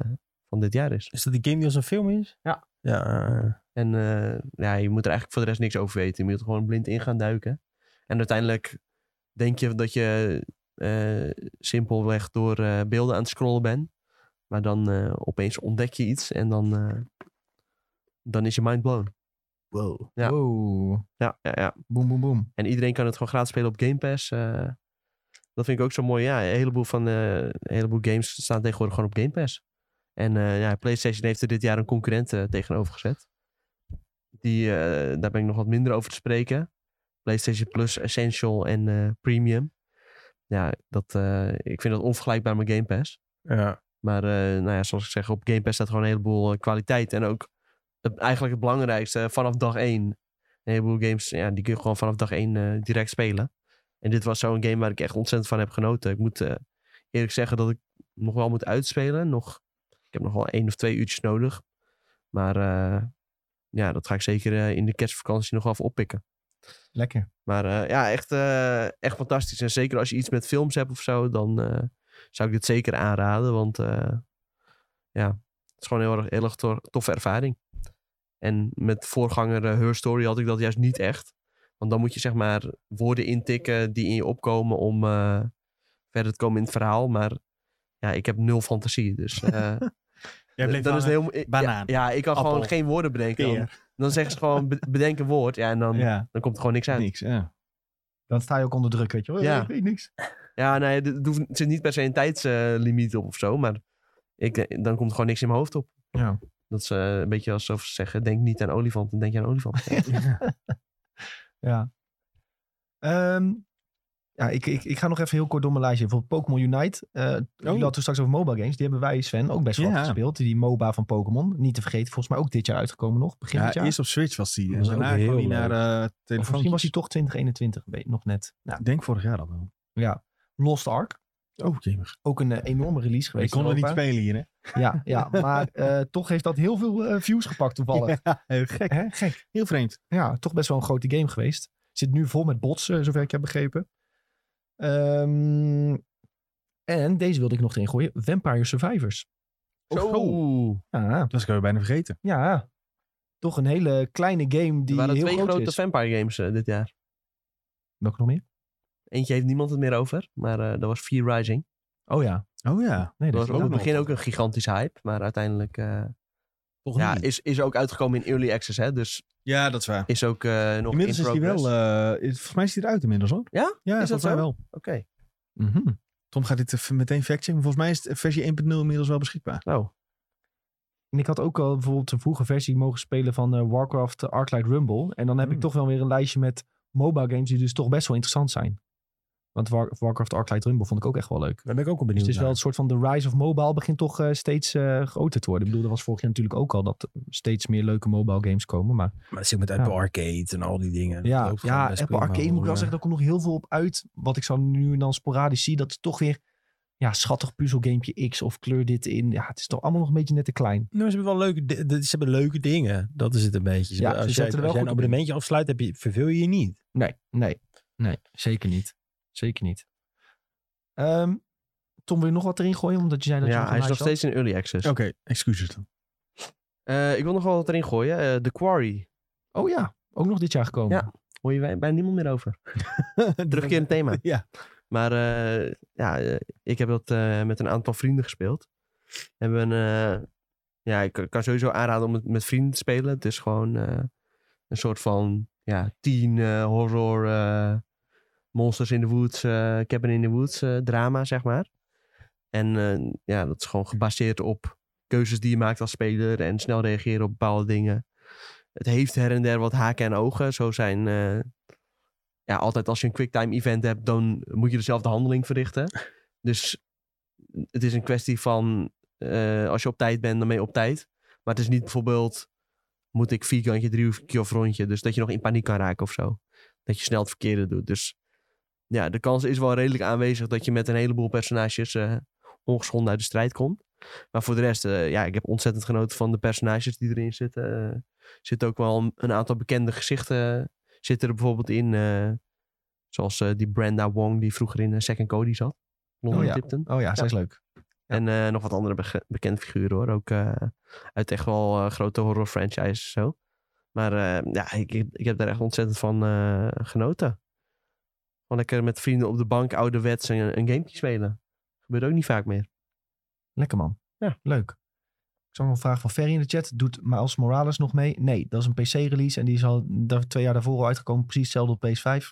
B: van dit jaar is.
C: Is dat die game die als een film is?
B: Ja.
C: Ja, eh,
B: En eh, ja, je moet er eigenlijk voor de rest niks over weten. Je moet er gewoon blind in gaan duiken. En uiteindelijk denk je dat je eh, simpelweg door eh, beelden aan het scrollen bent. Maar dan eh, opeens ontdek je iets en dan, eh, dan is je mind blown.
A: Wow.
B: Ja.
A: Wow.
B: Ja, ja, ja.
A: Boom, boom, boom.
B: En iedereen kan het gewoon gratis spelen op Game Pass. eh. dat vind ik ook zo mooi. Ja, een heleboel, van, eh, een heleboel games staan tegenwoordig gewoon op Game Pass. En eh, ja, PlayStation heeft er dit jaar een concurrent eh, tegenover gezet. Die, eh, daar ben ik nog wat minder over te spreken. PlayStation Plus, Essential en eh, Premium. Ja, dat, eh, ik vind dat onvergelijkbaar met Game Pass.
C: ja.
B: Maar eh, nou ja, zoals ik zeg, op Game Pass staat gewoon een heleboel eh, kwaliteit. En ook het, eigenlijk het belangrijkste, eh, vanaf dag één. Een heleboel games, ja, die kun je gewoon vanaf dag één eh, direct spelen. En dit was zo'n game waar ik echt ontzettend van heb genoten. Ik moet eh, eerlijk zeggen dat ik nog wel moet uitspelen. Nog, ik heb nog wel één of twee uurtjes nodig. Maar eh, ja, dat ga ik zeker eh, in de kerstvakantie nog wel even oppikken.
A: Lekker.
B: Maar eh, ja, echt, eh, echt fantastisch. En zeker als je iets met films hebt of zo, dan eh, zou ik dit zeker aanraden. Want eh, ja, het is gewoon een heel erg, heel erg to- toffe ervaring. En met voorganger eh, Her Story had ik dat juist niet echt. Want dan moet je zeg maar woorden intikken die in je opkomen om eh, verder te komen in het verhaal. Maar ja, ik heb nul fantasie. Dus eh,
D: Jij bleef
B: dan is het
D: hangen.
B: heel...
D: Banaan.
B: Ja, ja, ik kan
D: Appel.
B: gewoon geen woorden bedenken. Dan,
D: Peer.
B: dan zeggen ze gewoon be- bedenk een woord. Ja, en dan,
D: Ja,
B: dan komt er gewoon niks uit.
D: niks. Ja.
A: Dan sta je ook onder druk, weet je wel.
B: Ja.
A: Ik weet niks.
B: Ja, nee, er er hoeft- er zit niet per se een tijdslimiet op of zo, maar ik, eh, dan komt er gewoon niks in mijn hoofd op.
A: Ja.
B: Dat is eh, een beetje alsof ze zeggen, denk niet aan olifant, dan denk je aan olifant.
A: Ja. Ehm, ja, ik, ik, ik ga nog even heel kort door mijn lijstje. Bijvoorbeeld Pokémon Unite. Eh Jullie hadden toen straks over MOBA games. Die hebben wij, Sven, ook best wel
D: Oh. Ja.
A: wat gespeeld. Die MOBA van Pokémon. Niet te vergeten, volgens mij ook dit jaar uitgekomen nog. Begin
D: ja
A: dit jaar.
D: eerst op Switch was die. En
C: Dat was
D: daarna
C: ook heel
D: kwam die
C: leuk.
D: naar eh
A: Of misschien
D: telefoon.
A: was hij toch 2021, weet- nog net. Nou,
D: Ik denk vorig jaar al wel.
A: Lost Ark.
D: Oh, jemig.
A: Ook een eh, enorme release
D: Ik
A: geweest.
D: kon er
A: in
D: niet
A: Europa.
D: spelen hier, hè?
A: Ja, ja maar eh, toch heeft dat heel veel eh, views gepakt toevallig.
D: Ja, heel gek.
A: Hè? Gek.
D: Heel vreemd.
A: Ja, toch best wel een grote game geweest. Zit nu vol met bots, eh, zover ik heb begrepen. Ehm, en deze wilde ik nog erin gooien. Vampire Survivors.
D: Oh.
B: Zo,
A: Ah,
D: Dat kan je bijna vergeten.
A: ja, toch een hele kleine game
B: er
A: die
B: waren
A: heel
B: twee
A: groot
B: grote
A: is.
B: vampire games eh, dit jaar.
A: Welke nog meer?
B: Eentje heeft niemand het meer over, maar eh dat was Fear Rising.
A: Oh ja.
D: Oh ja.
A: Nee, dat
B: Dat was ook in
A: ook
B: het
D: nog.
B: begin ook een gigantische hype, maar uiteindelijk eh,
C: Toch
B: ja,
C: niet.
B: is, is ook uitgekomen in Early Access, hè, dus
D: Ja, dat is waar.
B: is ook eh, nog
D: Inmiddels
B: in
D: is die
B: progress.
D: wel... eh, is- volgens mij is die eruit inmiddels, hoor.
B: Ja?
D: Ja,
B: dat
D: volgens mij
B: zo?
D: wel.
B: Oké,
A: Mhm.
D: Tom gaat dit even meteen factchecken. Volgens mij is het eh, versie 1.0 inmiddels wel beschikbaar.
B: nou,
A: En ik had ook al bijvoorbeeld de vroege versie mogen spelen van eh, Warcraft eh, Arclight Rumble. En dan heb
D: Hmm.
A: ik toch wel weer een lijstje met MOBA games die dus toch best wel interessant zijn. Want War- Warcraft Arclight Rumble vond ik ook echt wel leuk.
C: Daar ben ik ook
A: Dus
C: wel benieuwd
A: het is wel
C: naar.
A: het soort van de rise of mobile begint toch eh, steeds eh, groter te worden. Ik bedoel, er was vorig jaar natuurlijk ook al dat steeds meer leuke mobile games komen. Maar
C: Maar het zit met
A: Apple
C: Apple Arcade en al die dingen.
A: ja, ja Apple Arcade moet ik wel zeggen, daar komt nog heel veel op uit. Wat ik zo nu en dan sporadisch zie, dat is toch weer ja, schattig puzzelgamepje X of kleur dit in. Ja, het is toch allemaal nog een beetje net te klein.
C: Nou, ze hebben wel leuke, di- di- ze hebben leuke dingen. Dat is het een beetje. Ze
A: Ja,
C: hebben-
A: ze
C: als jij,
A: zetten er wel
C: als jij een
A: goed op in.
C: abonnementje afsluit, heb je, verveel je je niet.
A: Nee, nee, nee, zeker niet. Zeker niet. Ehm, Tom, wil je nog wat erin gooien? Omdat je zei dat je
B: ja,
A: nog
B: hij is
A: een
B: nog
A: lijstje had.
B: steeds in early access.
D: Oké, excuses dan.
B: Eh, ik wil nog wel wat erin gooien. Eh, The Quarry.
A: Oh ja, ook nog dit jaar gekomen.
B: Ja. Hoor je bij- bijna niemand meer over. Terugkerend thema.
D: Ja.
B: Maar eh, ja, eh, ik heb dat eh, met een aantal vrienden gespeeld. Hebben we een, eh, ja, ik kan sowieso aanraden om het met vrienden te spelen. Het is gewoon eh, een soort van ja, teen eh, horror eh, monsters in the woods, eh, cabin in the woods eh, drama, zeg maar. En eh, ja, dat is gewoon gebaseerd op keuzes die je maakt als speler en snel reageren op bepaalde dingen. Het heeft her en der wat haken en ogen. Zo zijn eh, ja, altijd als je een quicktime event hebt, dan moet je dezelfde handeling verrichten. Dus het is een kwestie van eh, als je op tijd bent, dan ben je op tijd. Maar het is niet bijvoorbeeld moet ik vierkantje, driehoekje of rondje. Dus dat je nog in paniek kan raken of zo. Dat je snel het verkeerde doet. Dus ja, de kans is wel redelijk aanwezig dat je met een heleboel personages eh, ongeschonden uit de strijd komt. Maar voor de rest, eh, ja, ik heb ontzettend genoten van de personages die erin zitten. Eh, Er zitten ook wel een- een aantal bekende gezichten eh, zitten er bijvoorbeeld in. eh, zoals eh, die Brenda Wong die vroeger in eh, Second Cody zat. Londen
A: Oh ja.
B: Tipton.
A: Oh ja, zij is leuk.
B: En eh, nog wat andere bege- bekende figuren hoor. Ook eh, uit echt wel eh, grote horror franchises zo. Maar eh, ja, ik, ik, ik heb daar echt ontzettend van eh, genoten. Gewoon lekker met vrienden op de bank ouderwets een, een gamepje spelen. Gebeurt ook niet vaak meer.
A: Lekker man.
B: Ja.
A: Leuk. Ik zag nog een vraag van Ferry in de chat. Doet Miles Morales nog mee? Nee, dat is een PC-release. En die is al daar, twee jaar daarvoor al uitgekomen. Precies hetzelfde op PS5.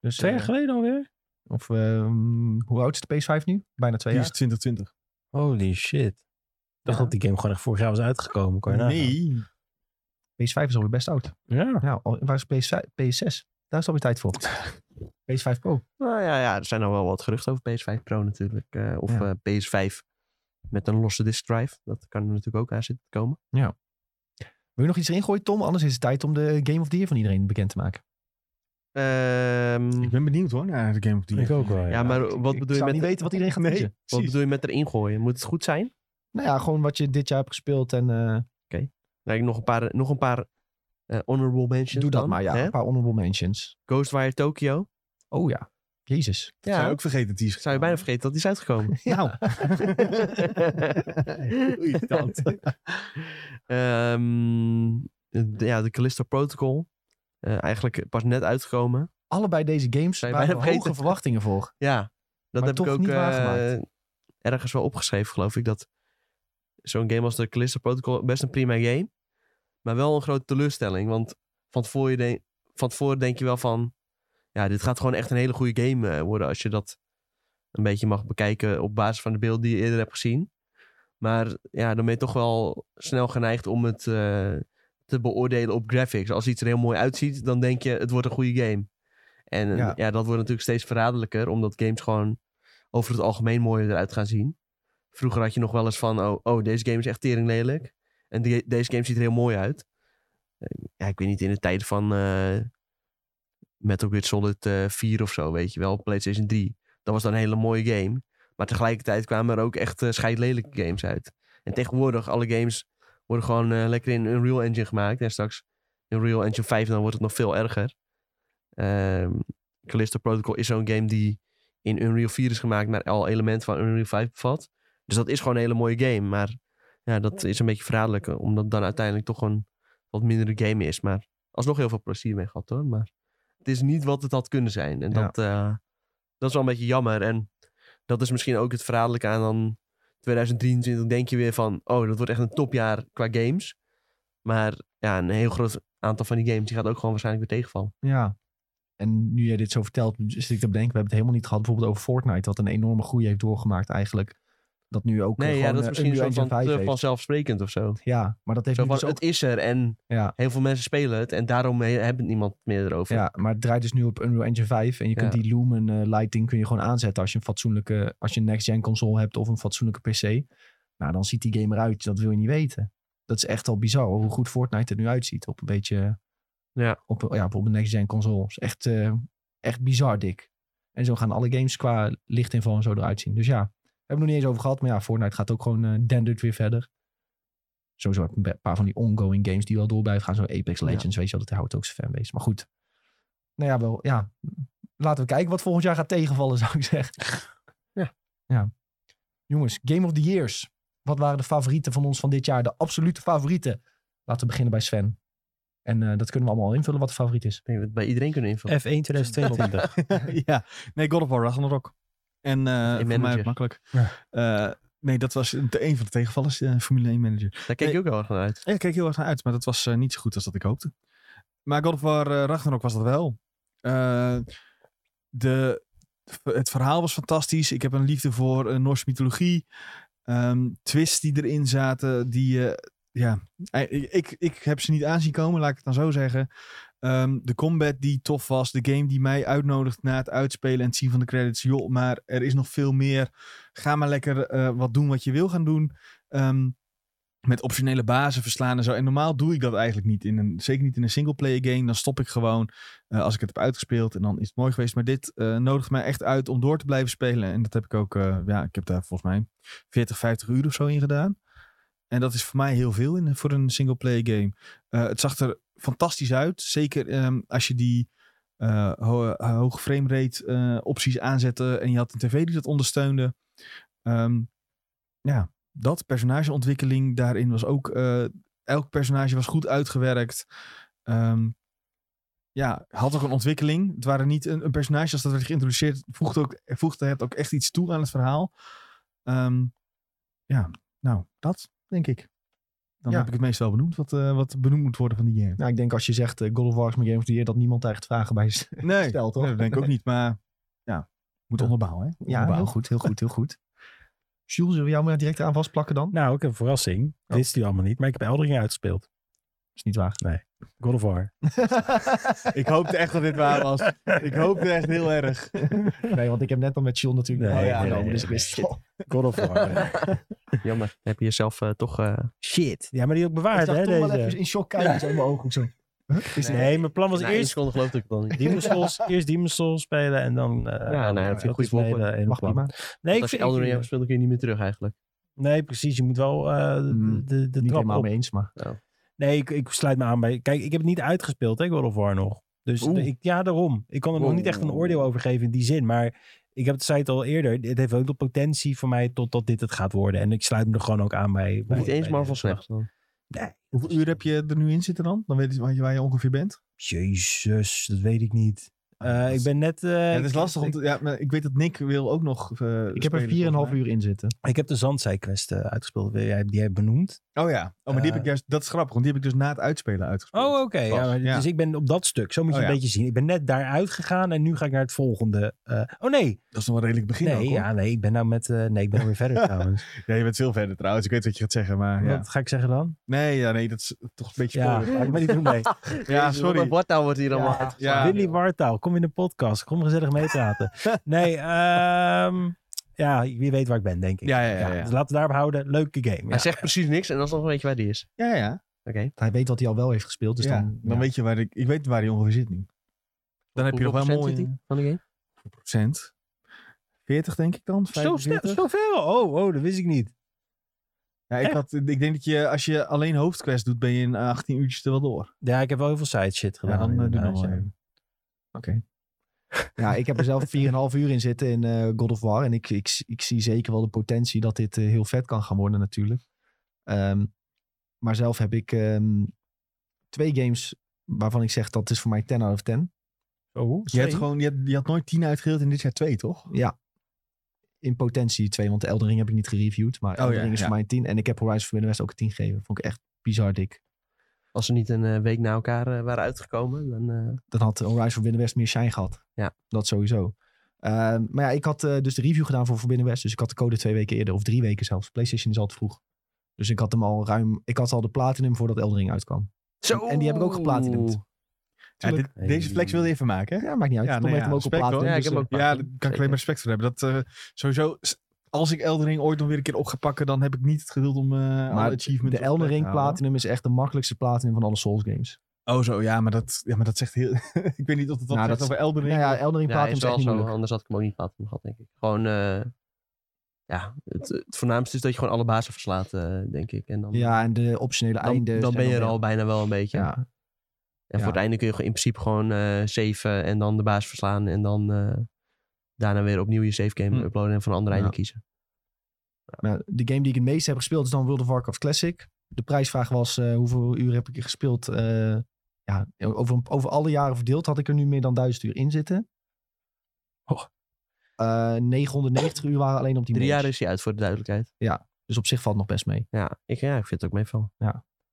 A: Dus,
C: Twee jaar
A: eh,
C: geleden alweer?
A: Of ehm, hoe oud is de PS5 nu? Bijna twee
D: Die
A: jaar.
D: is 2020.
C: Holy shit. Ik dacht
A: Ja.
C: dat die game gewoon echt vorig jaar was uitgekomen. Kan je nagaan.
D: nee.
A: PS5 is alweer best oud.
C: Ja.
A: Ja, al- waar is PS5 PS6? Daar is alweer tijd voor. PS5 Pro.
B: Nou ja, ja er zijn al wel wat geruchten over PS5 Pro natuurlijk. eh, of
A: Ja.
B: eh, PS5 met een losse disk drive. Dat kan er natuurlijk ook aan zitten te komen.
A: Wil je nog iets erin gooien, Tom? Anders is het tijd om de Game of the Year van iedereen bekend te maken.
B: Ehm,
D: Ik ben benieuwd hoor naar de Game of the Year.
C: Ik ook wel. Ja.
B: ja, maar wat bedoel,
A: ik
B: je
A: zou
B: met,
A: niet weten wat iedereen gaat
D: Nee.
A: kiezen.
B: wat
D: Precies.
B: bedoel je met erin gooien? Moet het goed zijn?
A: Nou ja, gewoon wat je dit jaar hebt gespeeld. En eh,
B: Nou, ik nog een paar, nog een paar eh, honorable mentions.
A: doe dat
B: dan,
A: maar. Ja,
B: hè?
A: een paar honorable mentions.
B: Ghostwire Tokyo.
A: Oh ja. Jezus.
D: Ik zou
B: Ja,
D: ook vergeten dat die is
B: zou je bijna vergeten dat die is uitgekomen.
D: Nou. Irritant.
B: Ehm, d- ja, de Callisto Protocol. Eh, eigenlijk pas net uitgekomen.
A: Allebei deze games
B: Zijn
A: waren
B: bijna
A: hoge
B: vergeten.
A: verwachtingen voor.
B: Ja, dat
A: Maar
B: heb ik
A: toch
B: ook
A: niet
B: eh,
A: waargemaakt.
B: ergens wel opgeschreven, geloof ik. Dat zo'n game als de Callisto Protocol best een prima game. Maar wel een grote teleurstelling. Want van tevoren, denk- van tevoren denk je wel van... Ja, dit gaat gewoon echt een hele goede game eh, worden. Als je dat een beetje mag bekijken op basis van de beelden die je eerder hebt gezien. Maar ja, dan ben je toch wel snel geneigd om het eh, te beoordelen op graphics. Als iets er heel mooi uitziet, dan denk je het wordt een goede game. En eh,
A: Ja.
B: ja, dat wordt natuurlijk steeds verraderlijker. Omdat games gewoon over het algemeen mooier eruit gaan zien. Vroeger had je nog wel eens van, oh, oh deze game is echt tering lelijk. En die- deze game ziet er heel mooi uit. Eh, Ja, ik weet niet, in de tijden van eh Metal Gear Solid eh 4 of zo, weet je wel, op PlayStation 3. Dat was dan een hele mooie game. Maar tegelijkertijd kwamen er ook echt eh, scheidlelijke games uit. En tegenwoordig, alle games worden gewoon eh, lekker in Unreal Engine gemaakt. En straks in Unreal Engine 5, dan wordt het nog veel erger. Ehm Callisto Protocol is zo'n game die in Unreal 4 is gemaakt, maar al elementen van Unreal 5 bevat. Dus dat is gewoon een hele mooie game. Maar ja, dat is een beetje verraderlijk, eh, omdat het dan uiteindelijk toch een wat mindere game is. Maar alsnog heel veel plezier mee gehad hoor. Maar het is niet wat het had kunnen zijn. En
A: Ja.
B: dat, eh, dat is wel een beetje jammer. En dat is misschien ook het verraderlijke aan dan 2023 denk je weer van, oh, dat wordt echt een topjaar qua games. Maar ja, een heel groot aantal van die games die gaat ook gewoon waarschijnlijk weer tegenvallen.
A: Ja. En nu jij dit zo vertelt, zit ik te bedenken. We hebben het helemaal niet gehad bijvoorbeeld over Fortnite. Wat een enorme groei heeft doorgemaakt eigenlijk. Dat nu ook eh,
B: Nee, ja,
A: gewoon
B: dat is
A: eh,
B: misschien
A: Unreal
B: zo
A: Engine
B: van
A: 5
B: te
A: heeft.
B: vanzelfsprekend of zo.
A: Ja, maar dat heeft
B: Zo
A: nu
B: van,
A: dus ook...
B: het is er en
A: Ja.
B: heel veel mensen spelen het en daarom he- hebben het niemand meer erover.
A: Ja, maar het draait dus nu op Unreal Engine 5. En je kunt
B: Ja.
A: die Lumen eh, lighting kun je gewoon aanzetten als je een fatsoenlijke, als je een next-gen console hebt of een fatsoenlijke PC. Nou, dan ziet die game eruit. Dat wil je niet weten. Dat is echt al bizar hoor, hoe goed Fortnite er nu uitziet op een beetje.
B: Ja.
A: Op, ja, op een next-gen console. Is echt, eh, echt bizar dik. En zo gaan alle games qua lichtinval en zo eruit zien. Dus ja, hebben we het nog niet eens over gehad. Maar ja, Fortnite gaat ook gewoon eh dendert weer verder. Sowieso heb ik een be- paar van die ongoing games die wel door blijven gaan. Zo Apex Legends, weet je wel, dat houdt ook zijn fanbase. Maar goed, nou ja, wel, ja. Laten we kijken wat volgend jaar gaat tegenvallen, zou ik zeggen.
B: Ja.
A: ja. Jongens, Game of the Years. Wat waren de favorieten van ons van dit jaar? De absolute favorieten. Laten we beginnen bij Sven. En eh, dat kunnen we allemaal invullen wat de favoriet is.
B: Ik denk dat we het bij iedereen kunnen invullen.
C: F1 2022.
D: ja, nee, God of War Ragnarok. En eh voor mij
B: manager.
D: ook makkelijk.
C: Ja.
D: Eh, nee, dat was een een van de tegenvallers, eh, Formule 1 manager.
B: Daar
C: eh,
B: kijk ik ook wel erg naar uit.
D: Ja, ik keek heel erg naar uit, maar dat was eh, niet zo goed als dat ik hoopte. Maar God of War eh, Ragnarok was dat wel. Eh, de, het verhaal was fantastisch. Ik heb een liefde voor eh, Noorse mythologie. Ehm, twists die erin zaten, die... eh, ja, eh, ik, ik heb ze niet aanzien komen, laat ik het dan zo zeggen. Ehm, de combat die tof was. De game die mij uitnodigt na het uitspelen en het zien van de credits. Joh, maar er is nog veel meer. Ga maar lekker eh, wat doen wat je wil gaan doen. Ehm, met optionele bazen verslaan en zo. En normaal doe ik dat eigenlijk niet. In een, zeker niet in een singleplayer game. Dan stop ik gewoon eh, als ik het heb uitgespeeld. En dan is het mooi geweest. Maar dit eh, nodigt mij echt uit om door te blijven spelen. En dat heb ik ook... eh, ja, ik heb daar volgens mij 40, 50 uur of zo in gedaan. En dat is voor mij heel veel in, voor een singleplayer game. Eh, het zag er fantastisch uit. Zeker ehm, als je die eh, ho- hoge frame rate eh, opties aanzette. En je had een tv die dat ondersteunde. Ehm, ja, dat. Personageontwikkeling daarin was ook... eh, elk personage was goed uitgewerkt. Ehm, ja, had ook een ontwikkeling. Het waren niet een, een personage als dat werd geïntroduceerd. Voegde, ook, voegde het ook echt iets toe aan het verhaal. Ehm, ja, nou, dat denk ik. Dan
A: Ja.
D: heb ik het meestal benoemd wat, eh, wat benoemd moet worden van die game.
A: Nou, ik denk als je zegt eh, God of War is mijn Game of the Year, dat niemand daar echt vragen bij is.
D: Nee,
A: Stel, toch?
D: nee, dat denk ik ook niet. Maar ja, moet
A: Ja.
D: onderbouwen. Hè?
A: Ja, heel goed, heel goed, heel goed. Jules, zullen we jou maar direct aan vastplakken dan?
C: nou, ik heb een verrassing.
A: Oh.
C: Dit is die allemaal niet, maar ik heb Eldering uitgespeeld.
A: is niet waar.
C: God of War.
D: Ik hoopte echt dat dit waar was. Ik hoopte echt heel erg.
A: Nee, want ik heb net al met Jules natuurlijk
C: Nee,
A: nee,
D: nee,
A: genomen,
C: nee,
A: dus ik wist het al.
C: God of War.
B: Jammer. Dan heb je jezelf eh, toch... eh,
C: Shit. Ja, maar die heb ik
A: Ik
C: bewaard,
A: zag
C: hè,
A: Tom wel
C: deze.
A: even in shock kijken, zo in mijn ogen of zo.
C: Nee, mijn plan was
B: na één
C: eerst
B: seconde geloof ik dan niet.
C: Demon's Souls, eerst Demon's Souls spelen en dan... eh,
B: Ja, nee, dat vind ik goed
C: spelen
B: floppen.
C: en
A: Mag
C: plan.
A: prima.
C: Nee, ik
B: als je
C: vind- ik
B: Elden Ring hebt
C: vind-
B: gespeeld, dan kun je niet meer terug eigenlijk.
C: nee, precies. Je moet wel eh, de,
B: Mm,
D: Hmm,
C: de, de
A: Niet
C: trap
A: helemaal
C: op.
A: mee eens, maar...
C: Nee, ik, ik sluit me aan bij... Kijk, ik heb het niet uitgespeeld, hè, God of War nog. Dus
B: Oeh.
C: de- ik, ja, daarom. Ik kan er nog niet echt een
B: Wow.
C: oordeel over geven in die zin. Maar ik heb het zei het al eerder. Het heeft ook de potentie voor mij totdat dit het gaat worden. En ik sluit me er gewoon ook aan bij... bij
B: Niet eens
C: bij
B: Marvel
C: deze
B: Snap. Dan.
C: vraag. Nee.
D: Hoeveel uur heb je er nu in zitten dan? Dan weet je waar je, waar je ongeveer bent.
C: Jezus, dat weet ik niet.
B: Ah,
C: Eh, ik ben net... eh,
D: Ja, het is lastig. Om
C: ik-
D: te, ja, maar ik weet dat Nick wil ook nog. eh,
A: Ik heb er
D: spelen, volgens
A: 4,5 uur in zitten.
C: Ik heb de Zandzij-quest eh, uitgespeeld, die jij, die jij benoemd.
D: mij. Oh ja. Oh, maar die heb ik
C: Eh,
D: juist. Dat is grappig, want die heb ik dus na het uitspelen uitgespeeld.
C: Oh, oké. Ja,
D: Pas,
C: maar
D: ja.
C: Dus ik ben op dat stuk, zo moet je
D: Oh,
C: een
D: ja.
C: beetje zien. Ik ben net daaruit gegaan en nu ga ik naar het volgende. eh, oh nee,
D: Dat is nog wel redelijk begin.
C: nee,
D: ook, hoor.
C: ja, nee, ik ben nou met, eh, nee, ik ben alweer verder trouwens.
D: ja, je bent veel verder trouwens. Ik weet wat je gaat zeggen, maar. Ja.
C: Wat ga ik zeggen dan?
D: Nee, ja, nee, dat is toch een beetje.
C: Ja,
D: spoiler.
C: ga ik maar niet doen mee.
D: ja sorry.
B: Wat nou wordt hier allemaal
A: Ja.
B: uitgesproken?
D: Ja.
C: Willy Wartaal, kom in de podcast, kom gezellig meepraten. nee, ehm, ja, wie weet waar ik ben, denk ik.
D: Ja, ja, ja, ja.
C: dus laten we daarop houden. Leuke game.
B: Hij
C: Ja.
B: zegt precies niks en dan nog weet je waar die is.
D: Ja, ja.
B: Oké.
A: Hij weet wat hij al wel heeft gespeeld, dus
D: Ja,
A: dan...
D: dan weet je waar ik. Ik weet waar hij ongeveer zit nu. Dan heb je
B: Hoeveel
D: nog wel
B: procent
D: mooi.
B: zit die van de game?
D: procent. 40 denk ik dan.
C: Zo snel,
D: 45.
C: zoveel. Oh, oh, dat wist ik niet.
D: Ja, ik,
C: Echt?
D: had, ik denk dat je als je alleen hoofdquest doet, ben je in 18 uurtjes er wel door.
C: Ja, ik heb wel heel veel side shit
D: Ja,
C: gedaan.
D: dan eh, doe
C: inderdaad,
D: dat
C: ja.
D: zo.
A: Ja, ik heb er zelf 4,5 uur in zitten in eh, God of War. En ik, ik, ik zie zeker wel de potentie dat dit eh, heel vet kan gaan worden natuurlijk. Ehm, maar zelf heb ik ehm, twee games waarvan ik zeg dat is voor mij 10 out of 10.
C: Oh,
D: Je, hebt gewoon, je, had, je had nooit 10 uitgedeeld in dit jaar 2, toch?
A: In potentie twee, want de Elden Ring heb ik niet gereviewd. Maar
D: Oh ja,
A: Elden Ring is
D: ja.
A: voor mij een 10. En ik heb Horizon Forbidden West ook een 10 gegeven. Vond ik echt bizar dik.
B: Als ze niet een eh, week na elkaar eh, waren uitgekomen, dan... eh,
A: Dan had Horizon Forbidden West meer shine gehad.
B: Ja.
A: Dat sowieso. Ehm, maar ja, ik had eh, dus de review gedaan voor Forbidden West. Dus ik had de code twee weken eerder, of drie weken zelfs. PlayStation is altijd vroeg. Dus ik had hem al ruim. Ik had al de platinum voordat Elden Ring uitkwam.
B: Zo!
A: en die heb ik ook geplatinumd.
D: Ja, dit-
B: Tuurlijk.
D: Deze flex wilde je even maken, hè?
A: Ja, maakt niet uit.
D: Ja,
A: Tom
D: nee,
A: heeft
D: ja,
A: hem ook op
D: respect,
A: platinum.
D: hoor.
B: Ja, ik
A: dus,
B: heb
A: eh,
B: ook
D: Ja, daar kan ik alleen maar respect voor hebben. Dat, eh, sowieso, s- als ik Elden Ring ooit nog weer een keer op ga pakken, dan heb ik niet het geduld om eh alle achievements...
A: de
D: op te
A: Elden Ring
D: halen.
A: platinum is echt de makkelijkste platinum van alle Souls games.
D: Oh zo, ja, maar dat, ja, maar dat zegt heel... ik weet niet of het wat
A: Nou,
D: zegt
A: dat-
D: over Elden Ring.
A: Nou ja, Elden Ring
B: Ja,
A: platinum
B: is
A: is echt
B: wel
A: niet
B: zo,
A: moeilijk.
B: anders had ik hem ook niet platinum gehad, denk ik. Gewoon, eh, ja, het, het voornaamste is dat je gewoon alle bazen verslaat, eh, denk ik. En dan,
A: Ja, en de optionele
B: dan,
A: einden.
B: dan
A: zijn
B: ben je er
A: wel-
B: al bijna wel een beetje.
A: Ja,
B: En
A: Ja.
B: voor het einde kun je gewoon in principe gewoon eh saven en dan de baas verslaan. En dan eh, daarna weer opnieuw je save game
D: Hm.
B: uploaden en van een ander
A: Ja.
B: einde kiezen.
A: Nou, de game die ik het meest heb gespeeld is dan World of Warcraft Classic. De prijsvraag was eh, hoeveel uur heb ik er gespeeld? Eh, ja, over, over alle jaren verdeeld had ik er nu meer dan 1000 uur in zitten.
C: Oh.
A: Eh, 990 uur waren alleen op die
B: Drie
A: mage.
B: jaar is hij uit, voor de duidelijkheid.
A: Dus op zich valt het nog best mee.
B: Ja, ik, ja, ik vind het ook meevallen.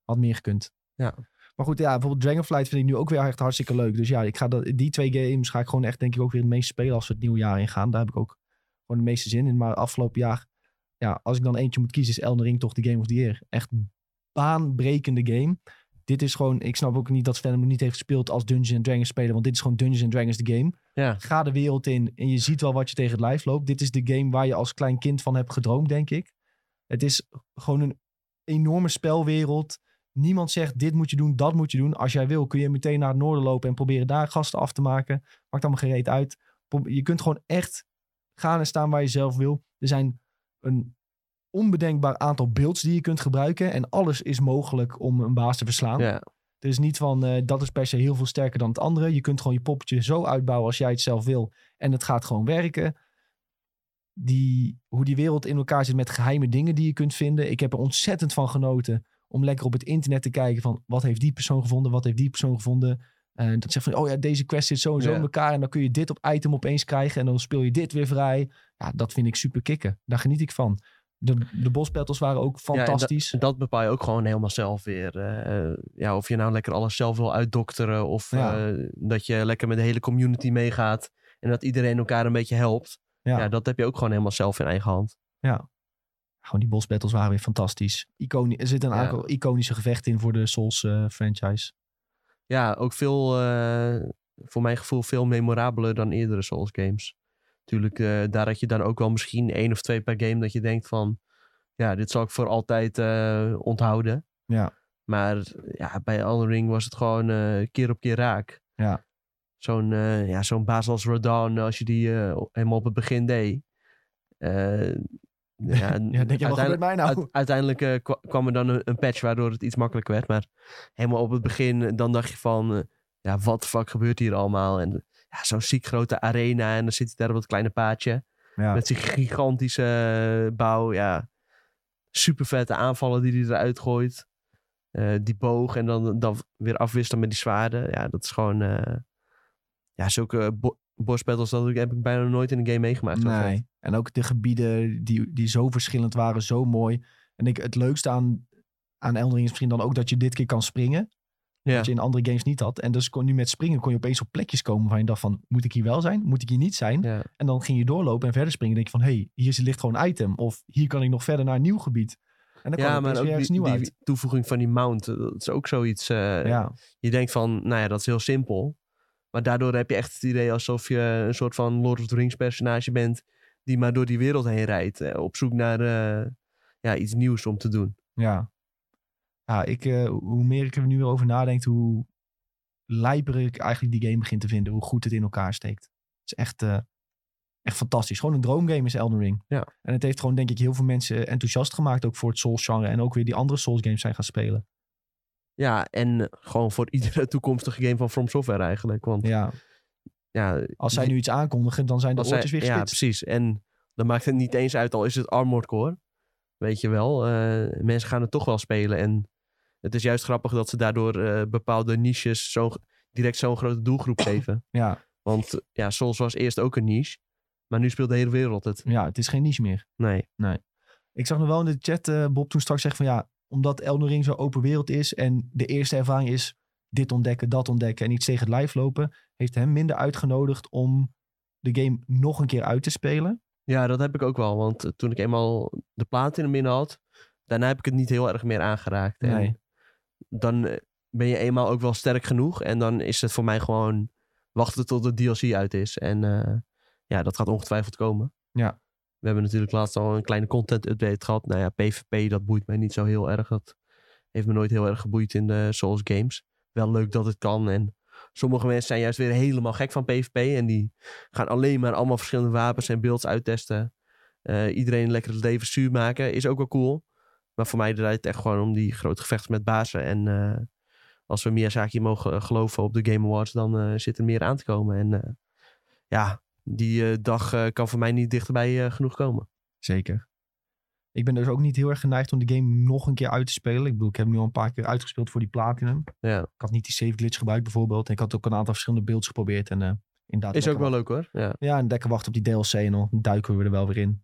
A: Had meer gekund.
B: Ja.
A: Maar goed, ja, bijvoorbeeld Dragonflight vind ik nu ook weer echt hartstikke leuk. Dus ja, ik ga dat, die twee games ga ik gewoon echt denk ik ook weer het meest spelen als we het nieuwe jaar ingaan. Daar heb ik ook gewoon de meeste zin in. Maar afgelopen jaar, ja, als ik dan eentje moet kiezen, is Elden Ring toch de game of the year. Echt baanbrekende game. Dit is gewoon, ik snap ook niet dat Sven hem niet heeft gespeeld als Dungeons and Dragons spelen. Want dit is gewoon Dungeons and Dragons de game.
B: Ja.
A: Ga de wereld in en je ziet wel wat je tegen het lijf loopt. Dit is de game waar je als klein kind van hebt gedroomd, denk ik. Het is gewoon een enorme spelwereld. Niemand zegt dit moet je doen, dat moet je doen. Als jij wil kun je meteen naar het noorden lopen en proberen daar gasten af te maken. Maakt allemaal gereed uit. Pro- Je kunt gewoon echt gaan en staan waar je zelf wil. Er zijn een onbedenkbaar aantal builds die je kunt gebruiken. En alles is mogelijk om een baas te verslaan.
B: Ja,
A: Het is niet van eh, dat is per se heel veel sterker dan het andere. Je kunt gewoon je poppetje zo uitbouwen als jij het zelf wil. En het gaat gewoon werken. Die, hoe die wereld in elkaar zit met geheime dingen die je kunt vinden. Ik heb er ontzettend van genoten om lekker op het internet te kijken van wat heeft die persoon gevonden, wat heeft die persoon gevonden. En dat zegt van, oh ja, deze quest zit zo en zo
B: Ja.
A: in elkaar. En dan kun je dit op item opeens krijgen. En dan speel je dit weer vrij. Ja, dat vind ik super kicken. Daar geniet ik van. De, de bospetels waren ook
B: en dat-
A: fantastisch.
B: En dat bepaal je ook gewoon helemaal zelf weer. eh, eh, ja, of je nou lekker alles zelf wil uitdokteren. Of
A: Ja.
B: eh, dat je lekker met de hele community meegaat. En dat iedereen elkaar een beetje helpt.
A: Ja.
B: Ja. dat heb je ook gewoon helemaal zelf in eigen hand.
A: Gewoon die boss battles waren Ah, weer fantastisch. Iconi er zit een
B: Ja.
A: aantal iconische gevechten in voor de Souls eh, franchise.
B: Ja, ook veel, eh, voor mijn gevoel, veel memorabeler dan eerdere Souls games. Natuurlijk, eh, daar had je dan ook wel misschien één of twee per game dat je denkt van... Ja, dit zal ik voor altijd eh, onthouden.
A: Ja.
B: Maar ja, bij Elden Ring was het gewoon eh, keer op keer raak.
A: Ja.
B: Zo'n eh, ja, zo'n baas als Radahn, als je die eh, helemaal op het begin deed. eh, ja,
A: Ja, denk je, wat gebeurt
B: uiteindelijk-
A: mij nou?
B: Uite- uiteindelijk eh, kwa- kwam er dan een, een patch waardoor het iets makkelijker werd. Maar helemaal op het begin, eh, dan dacht je van... eh, ja, wat de fuck gebeurt hier allemaal? En eh, ja, zo'n ziek grote arena en dan zit hij daar op dat kleine paadje.
A: Ja.
B: Met die gigantische eh, bouw, ja. Super vette aanvallen die hij eruit gooit. Eh, die boog en dan, dan weer afwisselen met die zwaarden. Ja, dat is gewoon... eh, ja, zulke bo boss battles, dat heb ik bijna nooit in een game meegemaakt. zo vet.
A: Nee. En ook de gebieden die, die zo verschillend waren, zo mooi. En ik, het leukste aan, aan Eldering is misschien dan ook dat je dit keer kan springen.
B: Ja.
A: Wat je in andere games niet had. En dus kon, nu met springen kon je opeens op plekjes komen waarvan je dacht van, moet ik hier wel zijn? Moet ik hier niet zijn?
B: Ja.
A: En dan ging je doorlopen en verder springen. denk je van, hé, hey, hier ligt gewoon een item. Of hier kan ik nog verder naar een nieuw gebied. En dan
B: ja,
A: kan
B: maar
A: er
B: ook
A: weer ergens
B: die,
A: nieuw
B: die
A: uit.
B: toevoeging van die mount, eh, dat is ook zoiets. eh,
A: Ja,
B: Je denkt van, nou ja, dat is heel simpel. Maar daardoor heb je echt het idee alsof je een soort van Lord of the Rings personage bent. Die maar door die wereld heen rijdt. eh, op zoek naar eh, ja, iets nieuws om te doen.
A: Ja. Ja, ik, eh, hoe meer ik er nu weer over nadenk, hoe lijper ik eigenlijk die game begin te vinden. Hoe goed het in elkaar steekt. Het is echt, eh, echt fantastisch. Gewoon een droomgame is Elden Ring.
B: Ja.
A: En het heeft gewoon, denk ik, heel veel mensen enthousiast gemaakt. Ook voor het Souls-genre. En ook weer die andere Souls-games zijn gaan spelen.
B: Ja, en gewoon voor iedere toekomstige game van From Software eigenlijk. Want
A: Ja.
B: ja,
A: Als zij nu iets aankondigen, dan zijn de
B: als zij-
A: oortjes weer
B: Ja,
A: gespitst.
B: precies. En dan maakt het niet eens uit, al is het Armored Core. Weet je wel, eh, mensen gaan het toch wel spelen. En het is juist grappig dat ze daardoor eh, bepaalde niches zo, direct zo'n grote doelgroep geven.
A: Ja.
B: Want eh, ja, Souls was eerst ook een niche. Maar nu speelt de hele wereld het.
A: ja, het is geen niche meer.
B: Nee.
A: Ik zag nog wel in de chat eh, Bob toen straks zeggen van ja, omdat Elden Ring zo open wereld is en de eerste ervaring is dit ontdekken, dat ontdekken en iets tegen het lijf lopen, heeft hem minder uitgenodigd om de game nog een keer uit te spelen.
B: Ja, dat heb ik ook wel. Want eh, toen ik eenmaal de plaat in hem binnen had, daarna heb ik het niet heel erg meer aangeraakt. En
A: Nee.
B: dan eh, ben je eenmaal ook wel sterk genoeg. En dan is het voor mij gewoon wachten tot de DLC uit is. En eh, ja, dat gaat ongetwijfeld komen.
A: Ja.
B: We hebben natuurlijk laatst al een kleine content update gehad. Nou ja, PvP, dat boeit mij niet zo heel erg. Dat heeft me nooit heel erg geboeid in de Souls games. Wel leuk dat het kan. En sommige mensen zijn juist weer helemaal gek van PvP. En die gaan alleen maar allemaal verschillende wapens en builds uittesten. Eh, iedereen lekker het leven zuur maken. Is ook wel cool. Maar voor mij draait het echt gewoon om die grote gevechten met bazen. En eh, als we Miyazaki mogen eh, geloven op de Game Awards, dan eh, zit er meer aan te komen. En eh, ja, die eh, dag eh, kan voor mij niet dichterbij eh, genoeg komen.
A: Zeker. Ik ben dus ook niet heel erg geneigd om de game nog een keer uit te spelen. Ik bedoel, ik heb hem nu al een paar keer uitgespeeld voor die platinum.
B: Ja.
A: Ik had niet die save glitch gebruikt bijvoorbeeld. En ik had ook een aantal verschillende builds geprobeerd. En eh, inderdaad...
B: Is ook
A: lekker
B: wel leuk hoor. Ja.
A: ja, en lekker wachten op die DLC en dan duiken we er wel weer in.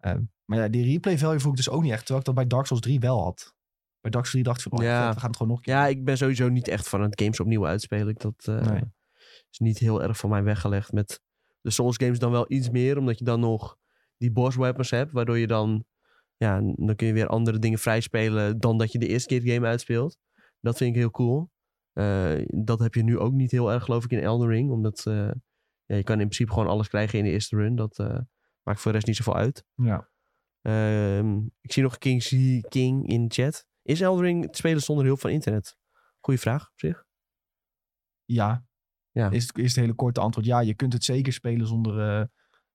A: Ehm, maar ja, die replay value voel ik dus ook niet echt. Terwijl ik dat bij Dark Souls 3 wel had. Bij Dark Souls 3 dacht ik van, oh,
B: Ja.
A: vet, we gaan het gewoon nog een keer.
B: ja, ik ben sowieso niet echt van het games opnieuw uitspelen. Ik Dat eh,
A: Nee.
B: is niet heel erg van mij weggelegd. Met de Souls games dan wel iets meer, omdat je dan nog die boss weapons hebt. Waardoor je dan, ja, dan kun je weer andere dingen vrijspelen dan dat je de eerste keer het game uitspeelt. Dat vind ik heel cool. Eh, dat heb je nu ook niet heel erg, geloof ik, in Elden Ring. Omdat eh, ja, je kan in principe gewoon alles krijgen in de eerste run. Dat eh, maakt voor de rest niet zoveel uit.
A: Ja.
B: Ehm, ik zie nog King, Z- King in de chat. Is Eldering te spelen zonder hulp van internet? Goeie vraag op zich.
A: Ja.
B: Ja.
A: Is, het- is het hele korte antwoord. Ja, je kunt het zeker spelen zonder eh,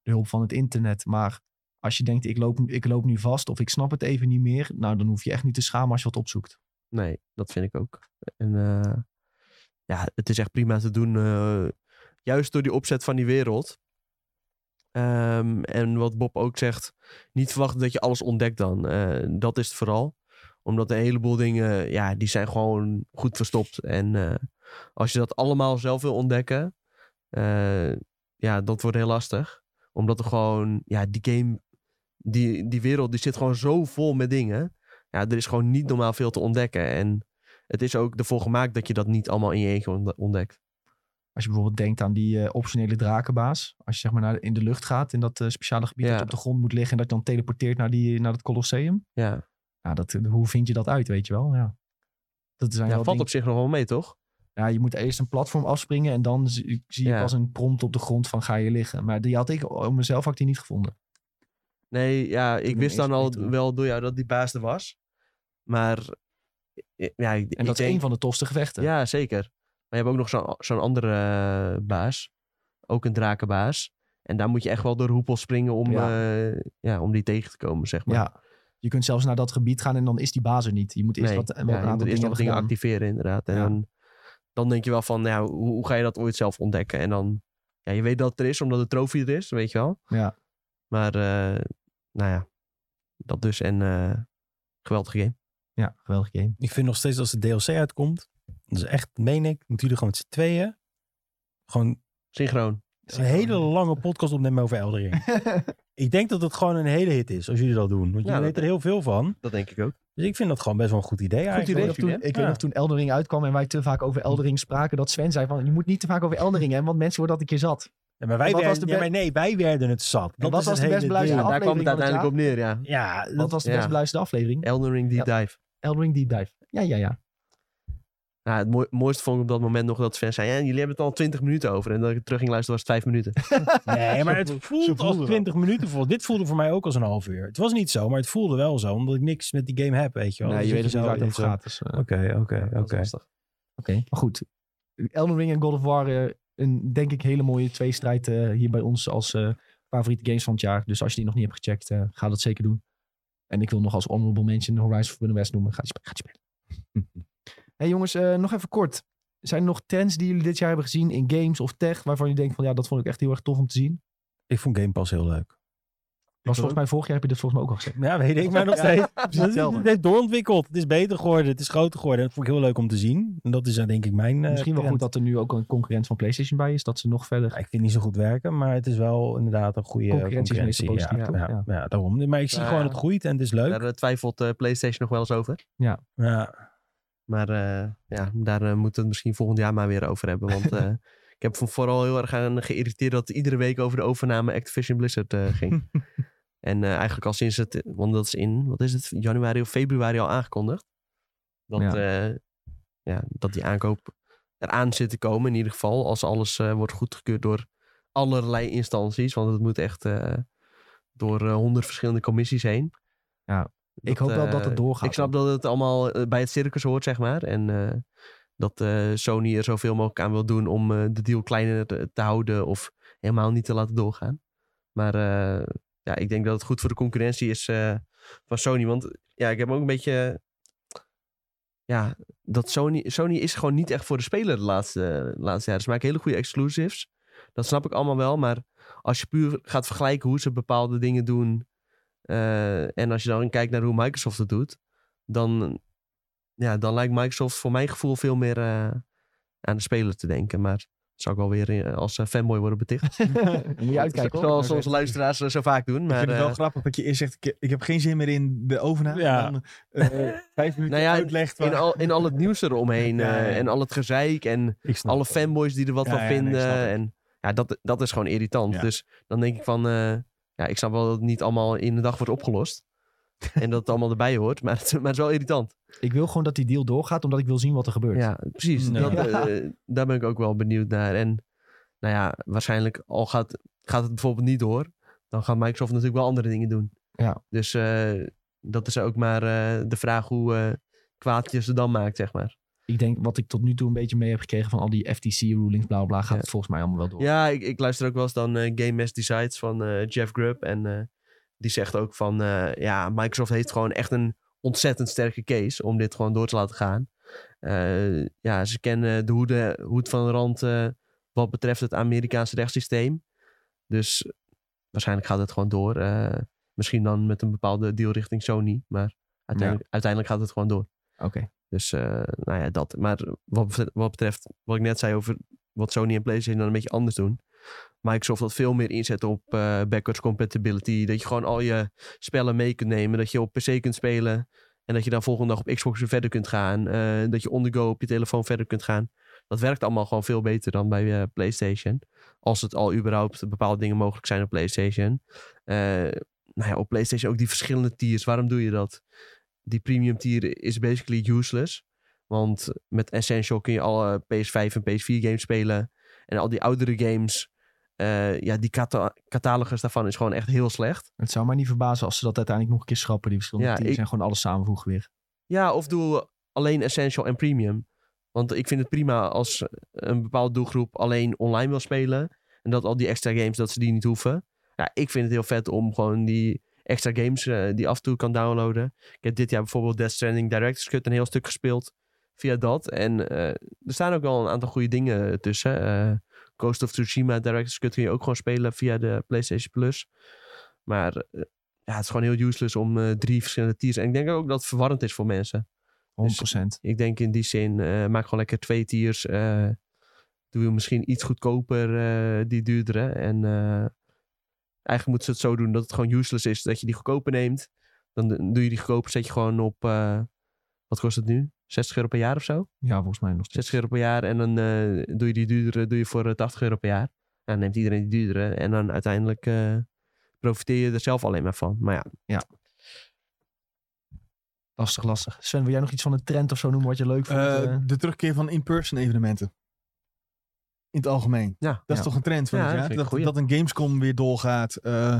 A: de hulp van het internet. Maar als je denkt, ik loop, ik loop nu vast of ik snap het even niet meer. Nou, dan hoef je echt niet te schamen als je wat opzoekt.
B: Nee, dat vind ik ook. En eh, ja, het is echt prima te doen. eh, juist door die opzet van die wereld. Ehm, en wat Bob ook zegt, niet verwachten dat je alles ontdekt dan. Eh, dat is het vooral. Omdat een heleboel dingen, ja, die zijn gewoon goed verstopt. En eh, als je dat allemaal zelf wil ontdekken, eh, ja, dat wordt heel lastig. Omdat er gewoon, ja, die game, die, die wereld, die zit gewoon zo vol met dingen. Ja, er is gewoon niet normaal veel te ontdekken. En het is ook ervoor gemaakt dat je dat niet allemaal in je eentje ontde- ontdekt.
A: Als je bijvoorbeeld denkt aan die eh, optionele drakenbaas. Als je zeg maar naar, de- in de lucht gaat in dat eh, speciale gebied
B: Ja.
A: dat op de grond moet liggen. En dat je dan teleporteert naar, die, naar het Colosseum.
B: Ja,
A: Nou, dat, hoe vind je dat uit, weet je wel? Ja. Dat zijn
B: ja
A: wel
B: valt op
A: dingen-
B: zich nog wel mee, toch?
A: ja, je moet eerst een platform afspringen en dan zie, zie je
B: Ja.
A: pas een prompt op de grond van ga je liggen. Maar die had ik om mezelf had ik die niet gevonden.
B: Nee, ja, ik
A: hem
B: wist dan
A: eerst
B: al
A: niet door.
B: wel door jou dat die baas er was. Maar eh, ja, ik-
A: En
B: ik
A: dat is
B: denk-
A: een van de tofste gevechten.
B: Ja, zeker. Maar je hebt ook nog zo'n zo'n andere eh, baas. Ook een drakenbaas. En daar moet je echt wel door hoepels springen om, ja. ja, om die tegen te komen, zeg maar.
A: Ja. Je kunt zelfs naar dat gebied gaan en dan is die baas er niet. Je moet eerst
B: Nee,
A: wat, wat
B: ja,
A: een
B: je moet
A: aantal
B: eerst
A: dingen
B: nog
A: hebben
B: dingen
A: gedaan.
B: activeren, inderdaad. En
A: Ja.
B: dan, dan denk je wel van, nou, hoe, hoe ga je dat ooit zelf ontdekken? En dan, ja, je weet dat het er is, omdat de trofee er is, weet je wel.
A: Ja.
B: Maar, eh, nou ja, dat dus. En eh, geweldige game.
A: Ja, geweldig game.
C: Ik vind nog steeds als de DLC uitkomt, dat is echt, meen ik, moeten jullie gewoon met z'n tweeën gewoon
B: Synchroon.
C: een hele lange podcast opnemen over Eldering. ik denk dat het gewoon een hele hit is als jullie dat doen. Want
B: Ja,
C: jullie
B: dat-
C: weten er heel veel van.
B: Dat denk ik ook.
C: Dus ik vind dat gewoon best wel een goed idee
A: Ik
C: eigenlijk.
A: weet nog
B: idee.
A: toen- Ik weet nog toen Eldering uitkwam en wij te vaak over Eldering spraken. Dat Sven zei van je moet niet te vaak over Eldering hebben, want mensen worden dat een keer zat.
C: Ja, maar, wij
A: En wat was
C: werden,
A: de
C: ja,
A: be-
C: maar nee, wij werden het zat. Dat
A: wat was
C: is het
A: de best
C: hele
A: beluisterde
C: ding.
B: daar kwam
A: aflevering
B: het uiteindelijk op
A: van
B: neer, ja.
C: Ja, dat,
A: Wat was de best
B: Ja.
A: beluisterde aflevering?
B: Elden Ring Deep Dive.
A: Eldering Deep Dive. Ja, ja, ja.
B: Nou, het mooi- mooiste vond ik op dat moment nog dat Sven zei... Ja, jullie hebben het al 20 minuten over. En dat ik het terug ging luisteren was het 5 minuten.
C: Nee, maar het voelt als
D: voelde dat.
C: 20 minuten vol. Dit voelde voor mij ook als een half uur. Het was niet zo, maar het voelde wel zo. Omdat ik niks met die game heb, weet je wel.
A: Nee,
C: Dus
A: je weet
C: dat
A: dus niet
C: zo
A: waar het
C: in
A: over
C: zo'n-
A: gaat. dus, eh,
C: Oké, oké,
B: Dat is
C: oké.
B: lastig.
A: Oké, maar goed. Elden Ring en God of War, eh, een denk ik hele mooie tweestrijd eh hier bij ons als eh, favoriete games van het jaar. Dus als je die nog niet hebt gecheckt, eh, ga dat zeker doen. En ik wil nog als honorable mention Horizon Forbidden West noemen. Ga die spe- ga die spelen. hey jongens, eh, nog even kort. Zijn er nog trends die jullie dit jaar hebben gezien in games of tech, waarvan je denkt van ja, dat vond ik echt heel erg tof om te zien?
C: Ik vond Game Pass heel leuk.
A: Was volgens mij vorig jaar heb je dit volgens mij ook al gezegd.
C: Ja, weet ik, maar nog steeds. Het is- het heeft doorontwikkeld. Het is beter geworden. Het is groter geworden. En dat vond ik heel leuk om te zien. En dat is eh, denk ik mijn... eh,
A: Misschien wel
C: trend.
A: goed dat er nu ook een concurrent van PlayStation bij is, dat ze nog verder.
C: Ja, Ik vind het niet zo goed werken, maar het is wel inderdaad een goede
A: Concurrentie is meestal
C: Ja,
A: positief,
C: ja,
A: toch?
C: ja, daarom. Maar ik zie
B: Ja.
C: gewoon het groeit en het is leuk.
B: Daar eh, twijfelt eh, PlayStation nog wel eens over.
C: Ja.
B: Maar eh, ja, daar eh, moeten we het misschien volgend jaar maar weer over hebben. Want eh, ik heb van vooral heel erg aan geïrriteerd dat het iedere week over de overname Activision Blizzard eh, ging. en eh, eigenlijk al sinds het, want dat is in, wat is het, januari of februari al aangekondigd. Dat,
A: Ja.
B: eh, ja, dat die aankoop eraan zit te komen in ieder geval. Als alles eh, wordt goedgekeurd door allerlei instanties. Want het moet echt eh, door eh, honderd verschillende commissies heen.
A: Ja, ik hoop wel dat het
B: eh,
A: doorgaat
B: Ik snap dat het allemaal eh, bij het circus hoort, zeg maar. En eh, dat eh, Sony er zoveel mogelijk aan wil doen om eh, de deal kleiner te, te houden of helemaal niet te laten doorgaan. Maar eh, ja, ik denk dat het goed voor de concurrentie is eh, van Sony. Want ja, ik heb ook een beetje. Ja, dat Sony, Sony is gewoon niet echt voor de speler de laatste, de laatste jaren. Ze maken hele goede exclusives. Dat snap ik allemaal wel. Maar als je puur gaat vergelijken hoe ze bepaalde dingen doen. eh, Eh, en als je dan kijkt naar hoe Microsoft het doet, dan, ja, dan lijkt Microsoft voor mijn gevoel veel meer eh, aan de speler te denken. Maar dat zou ik wel weer eh, als eh, fanboy worden beticht.
A: Dan moet je uitkijken. hoor.
B: Zoals onze luisteraars eh, zo vaak doen.
D: ik
B: Maar,
D: vind het wel
B: eh,
D: grappig dat je eerst zegt, ik, ik heb geen zin meer in de overname.
C: Ja.
D: En dan eh, vijf minuten
B: Nou ja,
D: uitlegt.
B: in, al, in al het nieuws eromheen
D: Ja, ja, ja.
B: eh, en al het gezeik en
C: Ik snap
B: alle
C: het.
B: fanboys die er wat
D: Ja,
B: van
D: ja, nee,
B: vinden.
D: snap ik.
B: en ja, dat, dat is gewoon irritant.
D: Ja.
B: Dus dan denk ik van, eh, ja, ik snap wel dat het niet allemaal in de dag wordt opgelost. en dat het allemaal erbij hoort, maar het, maar het is wel irritant.
A: Ik wil gewoon dat die deal doorgaat, omdat ik wil zien wat er gebeurt.
B: Ja, precies.
C: Ja.
B: Dat, eh, daar ben ik ook wel benieuwd naar. En nou ja, waarschijnlijk al gaat, gaat het bijvoorbeeld niet door, dan gaat Microsoft natuurlijk wel andere dingen doen.
A: Ja.
B: Dus eh, dat is ook maar eh, de vraag hoe eh kwaad je ze dan maakt, zeg maar.
A: Ik denk, wat ik tot nu toe een beetje mee heb gekregen van al die FTC-rulings, bla bla, bla, gaat
B: Ja.
A: het volgens mij allemaal wel door.
B: Ja, ik, ik luister ook wel eens dan eh, Game Mass Decides van eh, Jeff Grubb. En eh, die zegt ook van, eh, ja, Microsoft heeft gewoon echt een ontzettend sterke case om dit gewoon door te laten gaan. Eh, ja, ze kennen de hoede, hoed van de rand eh, wat betreft het Amerikaanse rechtssysteem. Dus waarschijnlijk gaat het gewoon door. Eh, misschien dan met een bepaalde deal richting Sony, maar uiteindelijk, uiteindelijk gaat het gewoon door.
A: Oké.
B: Dus eh, nou ja, dat. Maar wat betreft, wat betreft wat ik net zei over wat Sony en PlayStation dan een beetje anders doen. Microsoft wil veel meer inzetten op eh, backwards compatibility. Dat je gewoon al je spellen mee kunt nemen. Dat je op PC kunt spelen. En dat je dan volgende dag op Xbox weer verder kunt gaan. Eh, dat je on the go op je telefoon verder kunt gaan. Dat werkt allemaal gewoon veel beter dan bij eh, PlayStation. Als het al überhaupt bepaalde dingen mogelijk zijn op PlayStation. Eh, nou ja, op PlayStation ook die verschillende tiers. Waarom doe je dat? die premium tier is basically useless. Want met Essential kun je alle PS5 en PS4 games spelen. En al die oudere games, eh, ja, die cata- catalogus daarvan is gewoon echt heel slecht.
A: Het zou mij niet verbazen als ze dat uiteindelijk nog een keer schrappen, die verschillende
B: Ja,
A: teams.
B: ik-
A: En gewoon alles samenvoegen weer.
B: Ja, of doe alleen Essential en Premium. Want ik vind het prima als eh, een bepaalde doelgroep alleen online wil spelen. En dat al die extra games, dat ze die niet hoeven. Ja, ik vind het heel vet om gewoon die extra games eh, die je af en toe kan downloaden. Ik heb dit jaar bijvoorbeeld Death Stranding Director's Cut een heel stuk gespeeld via dat. En eh, er staan ook wel een aantal goede dingen tussen. Eh, Ghost of Tsushima Director's Cut kun je ook gewoon spelen via de PlayStation Plus. Maar eh, ja, het is gewoon heel useless om eh, drie verschillende tiers. En ik denk ook dat het verwarrend is voor mensen.
D: dus,
A: 100%.
B: Ik denk in die zin, eh, maak gewoon lekker twee tiers. eh, doe je misschien iets goedkoper eh, die duurdere. En eh, eigenlijk moeten ze het zo doen dat het gewoon useless is. Dat je die goedkoper neemt. Dan d- doe je die goedkoper, zet je gewoon op, eh, wat kost het nu? 60 euro per jaar of zo?
A: Ja, volgens mij nog steeds.
B: 60 euro per jaar. En dan eh, doe je die duurdere doe je voor eh, 80 euro per jaar. En dan neemt iedereen die duurdere. En dan uiteindelijk eh, profiteer je er zelf alleen maar van. Maar ja,
A: Lastig, lastig. Sven, wil jij nog iets van een trend of zo noemen wat je leuk vindt? eh?
D: de terugkeer van in-person evenementen. In het algemeen.
B: ja,
D: Dat
A: Ja.
D: is toch een trend van
B: Ja,
D: het
B: dat
D: jaar?
B: vind ik
D: Dat,
B: een
D: dat een Gamescom weer doorgaat. eh, eh,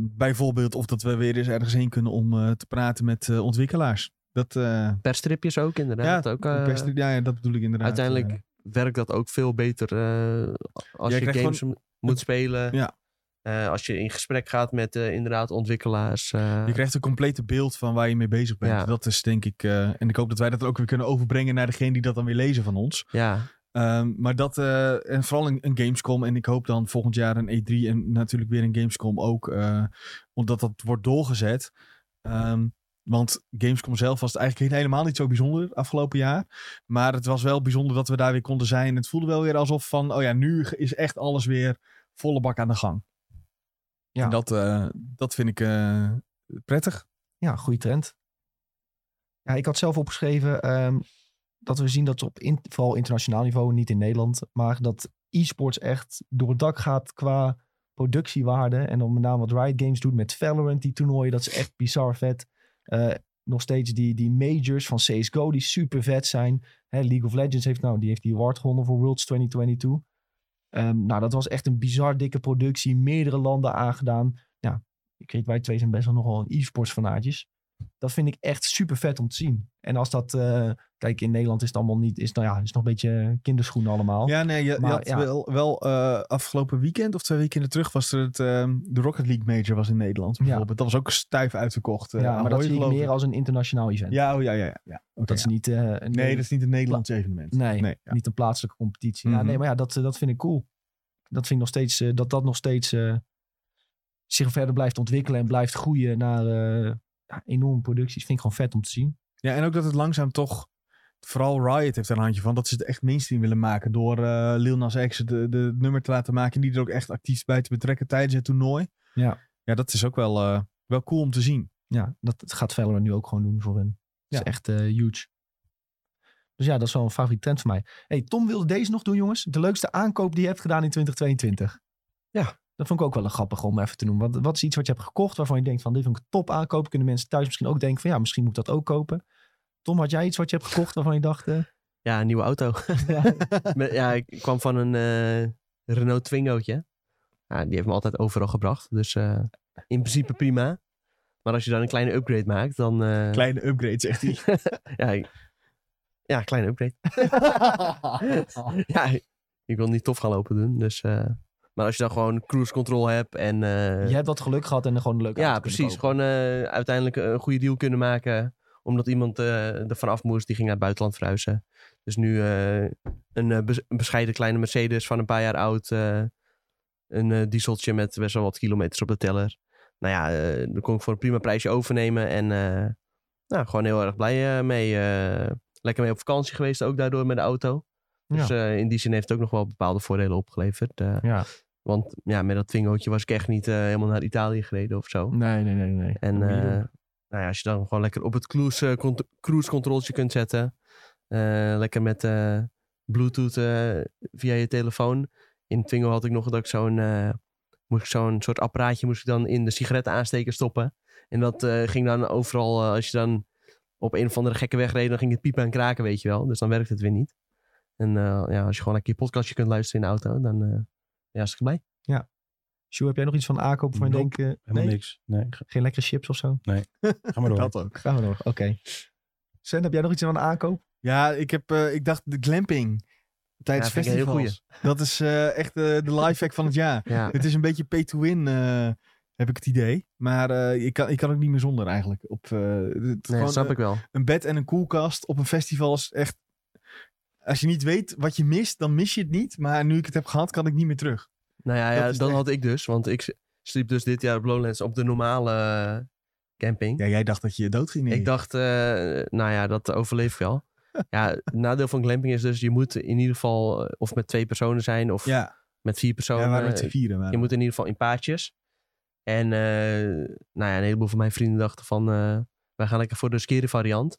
D: bijvoorbeeld of dat we weer eens ergens heen kunnen om eh, te praten met eh, ontwikkelaars. Dat, eh,
B: persstripjes ook inderdaad. ook, eh,
D: pers- ja, ja, dat bedoel ik inderdaad.
B: uiteindelijk
D: eh.
B: werkt dat ook veel beter eh, als
D: Jij
B: je
D: krijgt
B: games m- moet spelen.
D: Ja.
B: Eh, als je in gesprek gaat met eh, inderdaad ontwikkelaars. eh,
D: Je krijgt een complete beeld van waar je mee bezig bent.
B: Ja.
D: Dat is denk ik. eh, en ik hoop dat wij dat ook weer kunnen overbrengen naar degene die dat dan weer lezen van ons.
B: ja,
D: Ehm, maar dat. eh, en vooral een, een Gamescom. En ik hoop dan volgend jaar een E3 en natuurlijk weer een Gamescom ook. eh, omdat dat wordt doorgezet. Ehm, want Gamescom zelf was het eigenlijk helemaal niet zo bijzonder afgelopen jaar. Maar het was wel bijzonder dat we daar weer konden zijn. Het voelde wel weer alsof van. Oh ja, nu is echt alles weer volle bak aan de gang.
A: Ja.
D: En dat, eh, dat vind ik eh, prettig.
A: Ja, goede trend. Ja, ik had zelf opgeschreven ehm, dat we zien dat op in, vooral internationaal niveau, niet in Nederland, maar dat e-sports echt door het dak gaat qua productiewaarde. En dan met name wat Riot Games doet met Valorant, die toernooien, dat is echt bizar vet. Eh, nog steeds die, die majors van CSGO die super vet zijn. Hè, League of Legends heeft nou, die heeft die award gewonnen voor Worlds 2022. Ehm, nou, dat was echt een bizar dikke productie. Meerdere landen aangedaan. Ja, ik weet, wij twee zijn best wel nogal een e-sports fanaatjes. Dat vind ik echt super vet om te zien. En als dat, eh, kijk, in Nederland is het allemaal niet, is, nou ja, is nog een beetje kinderschoenen allemaal.
D: Ja, nee, je, je
A: Maar
D: had
A: ja.
D: wel, wel eh, afgelopen weekend of twee weken terug was er het, ehm, de Rocket League Major was in Nederland
A: Ja.
D: bijvoorbeeld. Dat was ook stuif uitverkocht. eh,
A: Ja, maar dat
D: Ahoy,
A: zie ik
D: geloof
A: meer als een internationaal event.
D: Ja, oh, ja, ja. ja. ja. Oké,
A: dat is
D: ja.
A: niet, eh, een,
D: Nee, dat is niet een Nederlands evenement.
A: nee,
D: ja.
A: niet een plaatselijke competitie. Ja,
D: Mhm.
A: nee, maar ja, dat, eh, dat vind ik cool. Dat vind ik nog steeds, eh, dat dat nog steeds eh, zich verder blijft ontwikkelen en blijft groeien naar eh, ja, enorme producties. Vind ik gewoon vet om te zien.
D: Ja, en ook dat het langzaam toch... Vooral Riot heeft er een handje van dat ze het echt mainstream willen maken. Door eh, Lil Nas X de, de nummer te laten maken. En die er ook echt actief bij te betrekken tijdens het toernooi.
A: Ja.
D: Ja, dat is ook wel, eh, wel cool om te zien.
A: Ja, dat gaat Valorant nu ook gewoon doen voor hun. Dat
D: Ja.
A: is echt eh, huge. Dus ja, dat is wel een favoriet trend van mij. hey, Tom wilde deze nog doen, jongens. De leukste aankoop die je hebt gedaan in 2022. Ja, dat vond ik ook wel een grappig om even te noemen. Wat, wat is iets wat je hebt gekocht waarvan je denkt van dit vond ik een top aankoop. Kunnen mensen thuis misschien ook denken van ja, misschien moet ik dat ook kopen. Tom, had jij iets wat je hebt gekocht waarvan je dacht... eh,
B: Ja, een nieuwe auto.
A: ja.
B: Met- ja, ik kwam van een eh, Renault Twingootje. Ja, die heeft me altijd overal gebracht. Dus eh, in principe prima. Maar als je dan een kleine upgrade maakt, dan... eh,
D: Kleine upgrade, zegt hij.
B: ja, ik- ja, kleine upgrade. ja, ik- ik wil niet tof gaan lopen doen. Dus, eh, maar als je dan gewoon cruise control hebt en... eh,
A: Je hebt wat geluk gehad en gewoon een leuke
B: ja,
A: auto kunnen
B: precies.
A: kopen.
B: Gewoon eh, uiteindelijk een goede deal kunnen maken. Omdat iemand eh ervan af moest, die ging naar het buitenland verhuizen. Dus nu eh, een, eh, bes- een bescheiden kleine Mercedes van een paar jaar oud. eh, een eh, dieseltje met best wel wat kilometers op de teller. Nou ja, eh daar kon ik voor een prima prijsje overnemen. En eh, nou, gewoon heel erg blij eh, mee. eh, lekker mee op vakantie geweest ook daardoor met de auto. Dus eh, in die zin heeft het ook nog wel bepaalde voordelen opgeleverd. eh.
A: Ja.
B: Want ja, met dat twingootje was ik echt niet eh, helemaal naar Italië gereden of zo.
A: Nee, nee, nee, nee.
B: En
A: Dat moet je
B: eh,
A: doen.
B: nou ja, als je dan gewoon lekker op het cruise, eh, cont- cruise controltje kunt zetten. eh, lekker met eh, Bluetooth eh, via je telefoon. In Twingo had ik nog dat ik zo'n eh, moest ik zo'n soort apparaatje moest ik dan in de sigarettenaansteker stoppen. En dat eh, ging dan overal, eh, als je dan op een of andere gekke weg reed, dan ging het piepen en kraken, weet je wel. Dus dan werkte het weer niet. En eh, ja, als je gewoon lekker je podcastje kunt luisteren in de auto, dan eh ja, is het blij.
A: Sjoe, heb jij nog iets van aankoop waarvan je
C: Nope.
A: denkt... eh,
C: Helemaal
A: nee?
C: niks. Nee, ga-
A: Geen lekkere chips of zo?
C: ga maar door.
D: dat ook.
A: Gaan we door. Oké. Sven, heb jij nog iets aan de aankoop?
D: Ja, ik, heb, eh, ik dacht de glamping tijdens
B: Ja, vind ik een hele
D: festivals. Dat is eh, echt eh, de lifehack van het jaar.
B: Ja,
D: Het is een beetje pay to win, eh, heb ik het idee. Maar eh, ik, kan, ik kan ook niet meer zonder eigenlijk. Op, eh, het-
B: nee,
D: gewoon,
B: dat snap
D: eh,
B: ik wel.
D: Een bed en een koelkast op een festival is echt... Als je niet weet wat je mist, dan mis je het niet. Maar nu ik het heb gehad, kan ik niet meer terug.
B: Nou ja, ja
D: Dat
B: dat
D: is echt-
B: had ik dus. Want ik s- sliep dus dit jaar op Lowlands op de normale eh, camping.
D: Ja, jij dacht dat je dood ging.
B: Ik dacht, eh, nou ja, dat overleef ik wel. ja, het nadeel van glamping is dus, je moet in ieder geval eh, of met twee personen zijn of
D: Ja,
B: met vier
D: ja
B: personen. eh,
D: we waren met z'n vieren. waren
B: je moet in ieder geval in paardjes. En eh, nou ja, een heleboel van mijn vrienden dachten van, eh, wij gaan lekker voor de skere variant.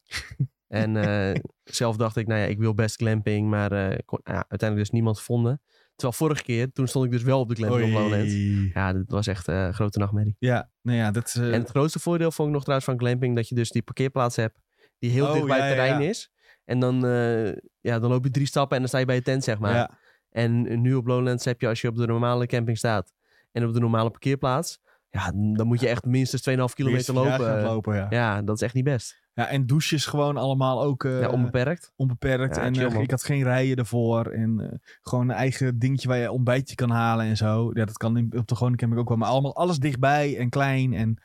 B: en eh, zelf dacht ik, nou ja, ik wil best glamping, maar eh, kon- ja, uiteindelijk dus niemand gevonden. Terwijl vorige keer, toen stond ik dus wel op de
D: we.
B: glamping op Lowlands.
D: Oei.
B: Ja, dat was echt eh, een grote nachtmerrie.
D: Ja, nou ja, dat is... eh,
B: En het grootste voordeel vond ik nog trouwens van glamping... dat je dus die parkeerplaats hebt die heel
D: Oh,
B: dicht bij
D: ja,
B: het
D: ja,
B: terrein
D: ja.
B: is. En dan, eh, ja, dan loop je drie stappen en dan sta je bij je tent, zeg maar.
D: ja.
B: En nu op Lowlands heb je, als je op de normale camping staat... en op de normale parkeerplaats... ja, dan moet je echt minstens 2,5 kilometer
D: Eerst
B: lopen. eh,
D: vandaag gaan lopen, ja.
B: Ja, dat is echt niet best.
D: Ja, en douches gewoon allemaal ook eh,
B: ja, onbeperkt.
D: onbeperkt.
B: Ja,
D: en
B: chill,
D: eh,
B: man.
D: ik had geen rijen ervoor. En eh, gewoon een eigen dingetje waar je ontbijtje kan halen en zo. Ja, dat kan in- op de gewone camping ook wel. Maar allemaal alles dichtbij en klein. En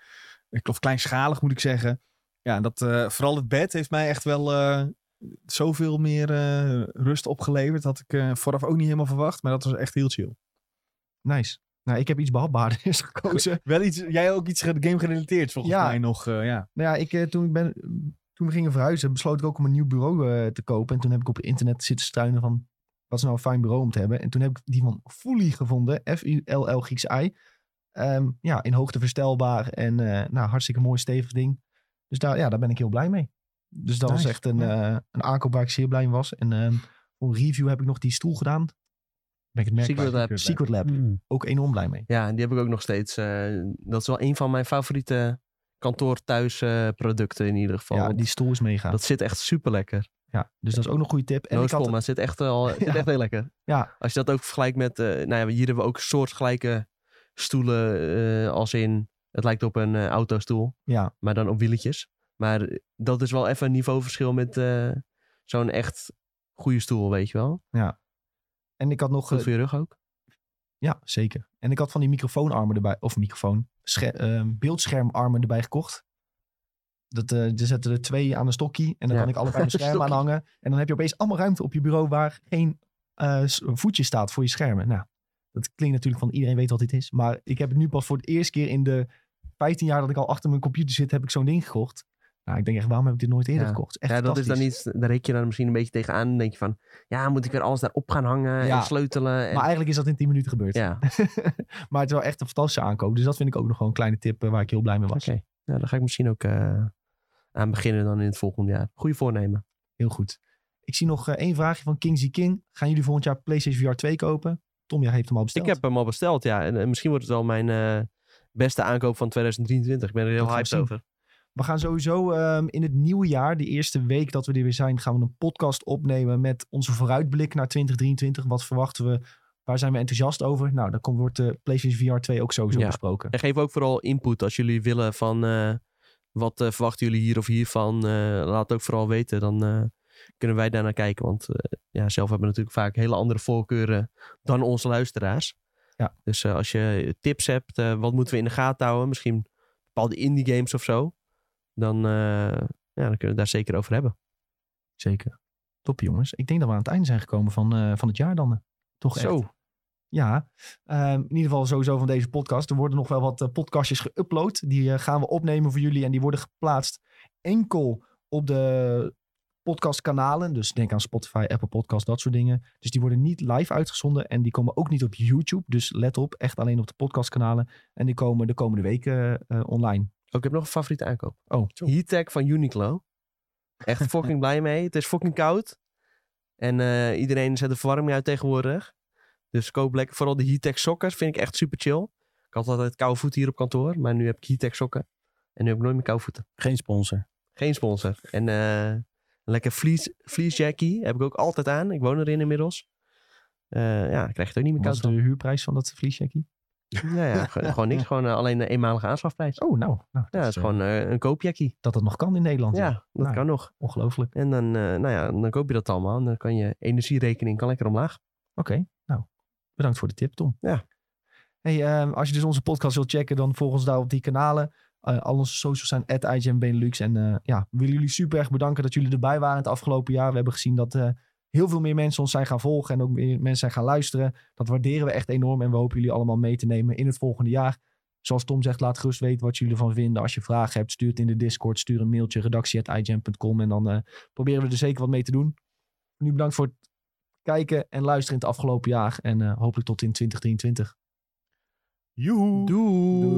D: ik of kleinschalig moet ik zeggen. Ja, en dat, eh, vooral het bed heeft mij echt wel eh, zoveel meer eh, rust opgeleverd. Dat had ik eh, vooraf ook niet helemaal verwacht. Maar dat was echt heel chill.
A: Nice. Nou, ik heb iets behapbaarders gekozen.
D: Wel iets, jij ook iets ge- game gerelateerd volgens
A: Ja.
D: mij nog. eh, ja.
A: Nou ja, ik, eh, toen, ik ben, toen we gingen verhuizen, besloot ik ook om een nieuw bureau eh, te kopen. En toen heb ik op het internet zitten struinen van, wat is nou een fijn bureau om te hebben? En toen heb ik die van Fully gevonden, F-U-L-L Grieks I. Ehm, ja, in hoogte verstelbaar en eh, nou, hartstikke mooi stevig ding. Dus daar, ja, daar ben ik heel blij mee. Dus dat
D: Nice,
A: was echt een, eh, een aankoop waar ik zeer blij mee was. En ehm, voor een review heb ik nog die stoel gedaan. Ben ik het merk
B: Secret
A: kwijt.
B: Lab.
A: Secret Lab.
C: Mm.
A: Ook enorm blij mee.
B: Ja, die heb ik ook nog steeds. eh, dat is wel een van mijn favoriete kantoor-thuis eh, producten in ieder geval.
A: Ja, die stoel is mega.
B: Dat zit echt super lekker.
A: ja, dus dat is ook nog een goede tip.
B: no
A: ik had-
B: spon, maar het zit echt, al, het zit
A: Ja.
B: echt heel lekker.
A: Ja.
B: Als je dat ook vergelijkt met... eh, nou ja, hier hebben we ook soortgelijke stoelen eh, als in... Het lijkt op een eh, autostoel,
A: ja,
B: maar dan op wieletjes. Maar dat is wel even een niveauverschil met eh, zo'n echt goede stoel, weet je wel.
A: en ik had nog...
B: Goed
A: eh,
B: voor je rug ook.
A: Ja, zeker. En ik had van die microfoonarmen erbij, of microfoon, sche- ehm, beeldschermarmen erbij gekocht. Dat, eh er zetten er twee aan een stokje en dan
B: Ja.
A: kan ik allebei mijn scherm
B: Stokkie.
A: aanhangen. En dan heb je opeens allemaal ruimte op je bureau waar geen eh, s- voetje staat voor je schermen. Nou, Dat klinkt natuurlijk van iedereen weet wat dit is. Maar ik heb het nu pas voor de eerste keer in de 15 jaar dat ik al achter mijn computer zit, heb ik zo'n ding gekocht. Nou, ik denk echt, waarom heb ik dit nooit eerder
B: Ja.
A: gekocht? Het Echt
B: ja, dat is dan
A: fantastisch.
B: iets, daar rek je dan misschien een beetje tegenaan. Dan denk je van, ja, moet ik weer alles daarop gaan hangen
A: Ja.
B: en sleutelen. En,
A: Maar eigenlijk is dat in 10 minuten gebeurd.
B: ja,
A: Maar het is wel echt een fantastische aankoop. Dus dat vind ik ook nog wel een kleine tip eh, waar ik heel blij mee was.
B: oké. Nou, daar ga ik misschien ook eh, aan beginnen dan in het volgende jaar. Goeie voornemen.
A: Heel goed. Ik zie nog eh, één vraagje van Kingzy King. Gaan jullie volgend jaar PlayStation VR 2 kopen? Tom, jij heeft hem al besteld.
B: Ik heb hem al besteld, ja. En, eh, misschien wordt het wel mijn eh, beste aankoop van 2023. Ik ben er
A: Dat
B: heel
A: gaan we
B: hyped
A: zien.
B: over.
A: We gaan sowieso ehm, in het nieuwe jaar, de eerste week dat we er weer zijn, gaan we een podcast opnemen met onze vooruitblik naar 2023. Wat verwachten we? Waar zijn we enthousiast over? Nou, dan komt, wordt de PlayStation VR 2 ook sowieso
B: Ja.
A: besproken.
B: En geef ook vooral input als jullie willen van eh, wat eh, verwachten jullie hier of hiervan. eh, laat ook vooral weten, dan eh, kunnen wij daar naar kijken. Want eh, ja, zelf hebben we natuurlijk vaak hele andere voorkeuren dan onze luisteraars.
A: Ja.
B: Dus eh, als je tips hebt, eh, wat moeten we in de gaten houden? Misschien bepaalde indie games of zo. Dan, eh, ja, dan kunnen we het daar zeker over hebben.
A: Zeker. Top jongens. Ik denk dat we aan het einde zijn gekomen van, eh, van het jaar dan. eh. Toch echt.
B: Zo.
A: Ja, ehm, in ieder geval sowieso van deze podcast. Er worden nog wel wat eh, podcastjes geüpload. Die eh, gaan we opnemen voor jullie en die worden geplaatst enkel op de podcastkanalen. Dus denk aan Spotify, Apple Podcast, dat soort dingen. Dus die worden niet live uitgezonden en die komen ook niet op YouTube. Dus let op, echt alleen op de podcastkanalen. En die komen de komende weken eh, online.
B: Oh, ik heb nog een favoriete aankoop.
A: Oh,
B: Heattech van Uniqlo. Echt fucking blij mee. Het is fucking koud. En eh, iedereen zet de verwarming uit tegenwoordig. Dus koop lekker. Vooral de Heattech sokken vind ik echt super chill. Ik had altijd koude voeten hier op kantoor. Maar nu heb ik Heattech sokken. En nu heb ik nooit meer koude voeten.
C: Geen sponsor.
B: Geen sponsor. En eh, een lekker fleece, fleece jackie heb ik ook altijd aan. Ik woon erin inmiddels. Eh, ja, ik krijg het ook niet meer
A: wat
B: koud.
A: is de huurprijs van dat vliesjackie?
B: van. Nou ja, gewoon, gewoon niks. Gewoon eh, alleen een eenmalige aanschafprijs.
A: Oh, nou. nou
B: Ja, dat is
A: eh,
B: gewoon eh, een koopjackie.
A: dat dat nog kan in Nederland.
B: Ja,
A: Ja.
B: dat
A: Nou.
B: kan nog.
A: Ongelooflijk.
B: En dan, eh, nou ja, dan koop je dat allemaal. En dan kan je energierekening kan lekker omlaag.
A: Oké, nou, bedankt voor de tip, Tom.
B: Ja.
A: Hey, ehm, als je dus onze podcast wilt checken, dan volg ons daar op die kanalen. Eh, al onze socials zijn at Benelux. En eh, ja, we willen jullie super erg bedanken dat jullie erbij waren het afgelopen jaar. We hebben gezien dat eh, heel veel meer mensen ons zijn gaan volgen en ook meer mensen zijn gaan luisteren. Dat waarderen we echt enorm en we hopen jullie allemaal mee te nemen in het volgende jaar. Zoals Tom zegt, laat gerust weten wat jullie ervan vinden. Als je vragen hebt, stuur het in de Discord. Stuur een mailtje, redactie.igem.com. En dan eh, proberen we er zeker wat mee te doen. Nu bedankt voor het kijken en luisteren in het afgelopen jaar. En eh, hopelijk tot in 2023.
D: Joehoe.
B: Doei!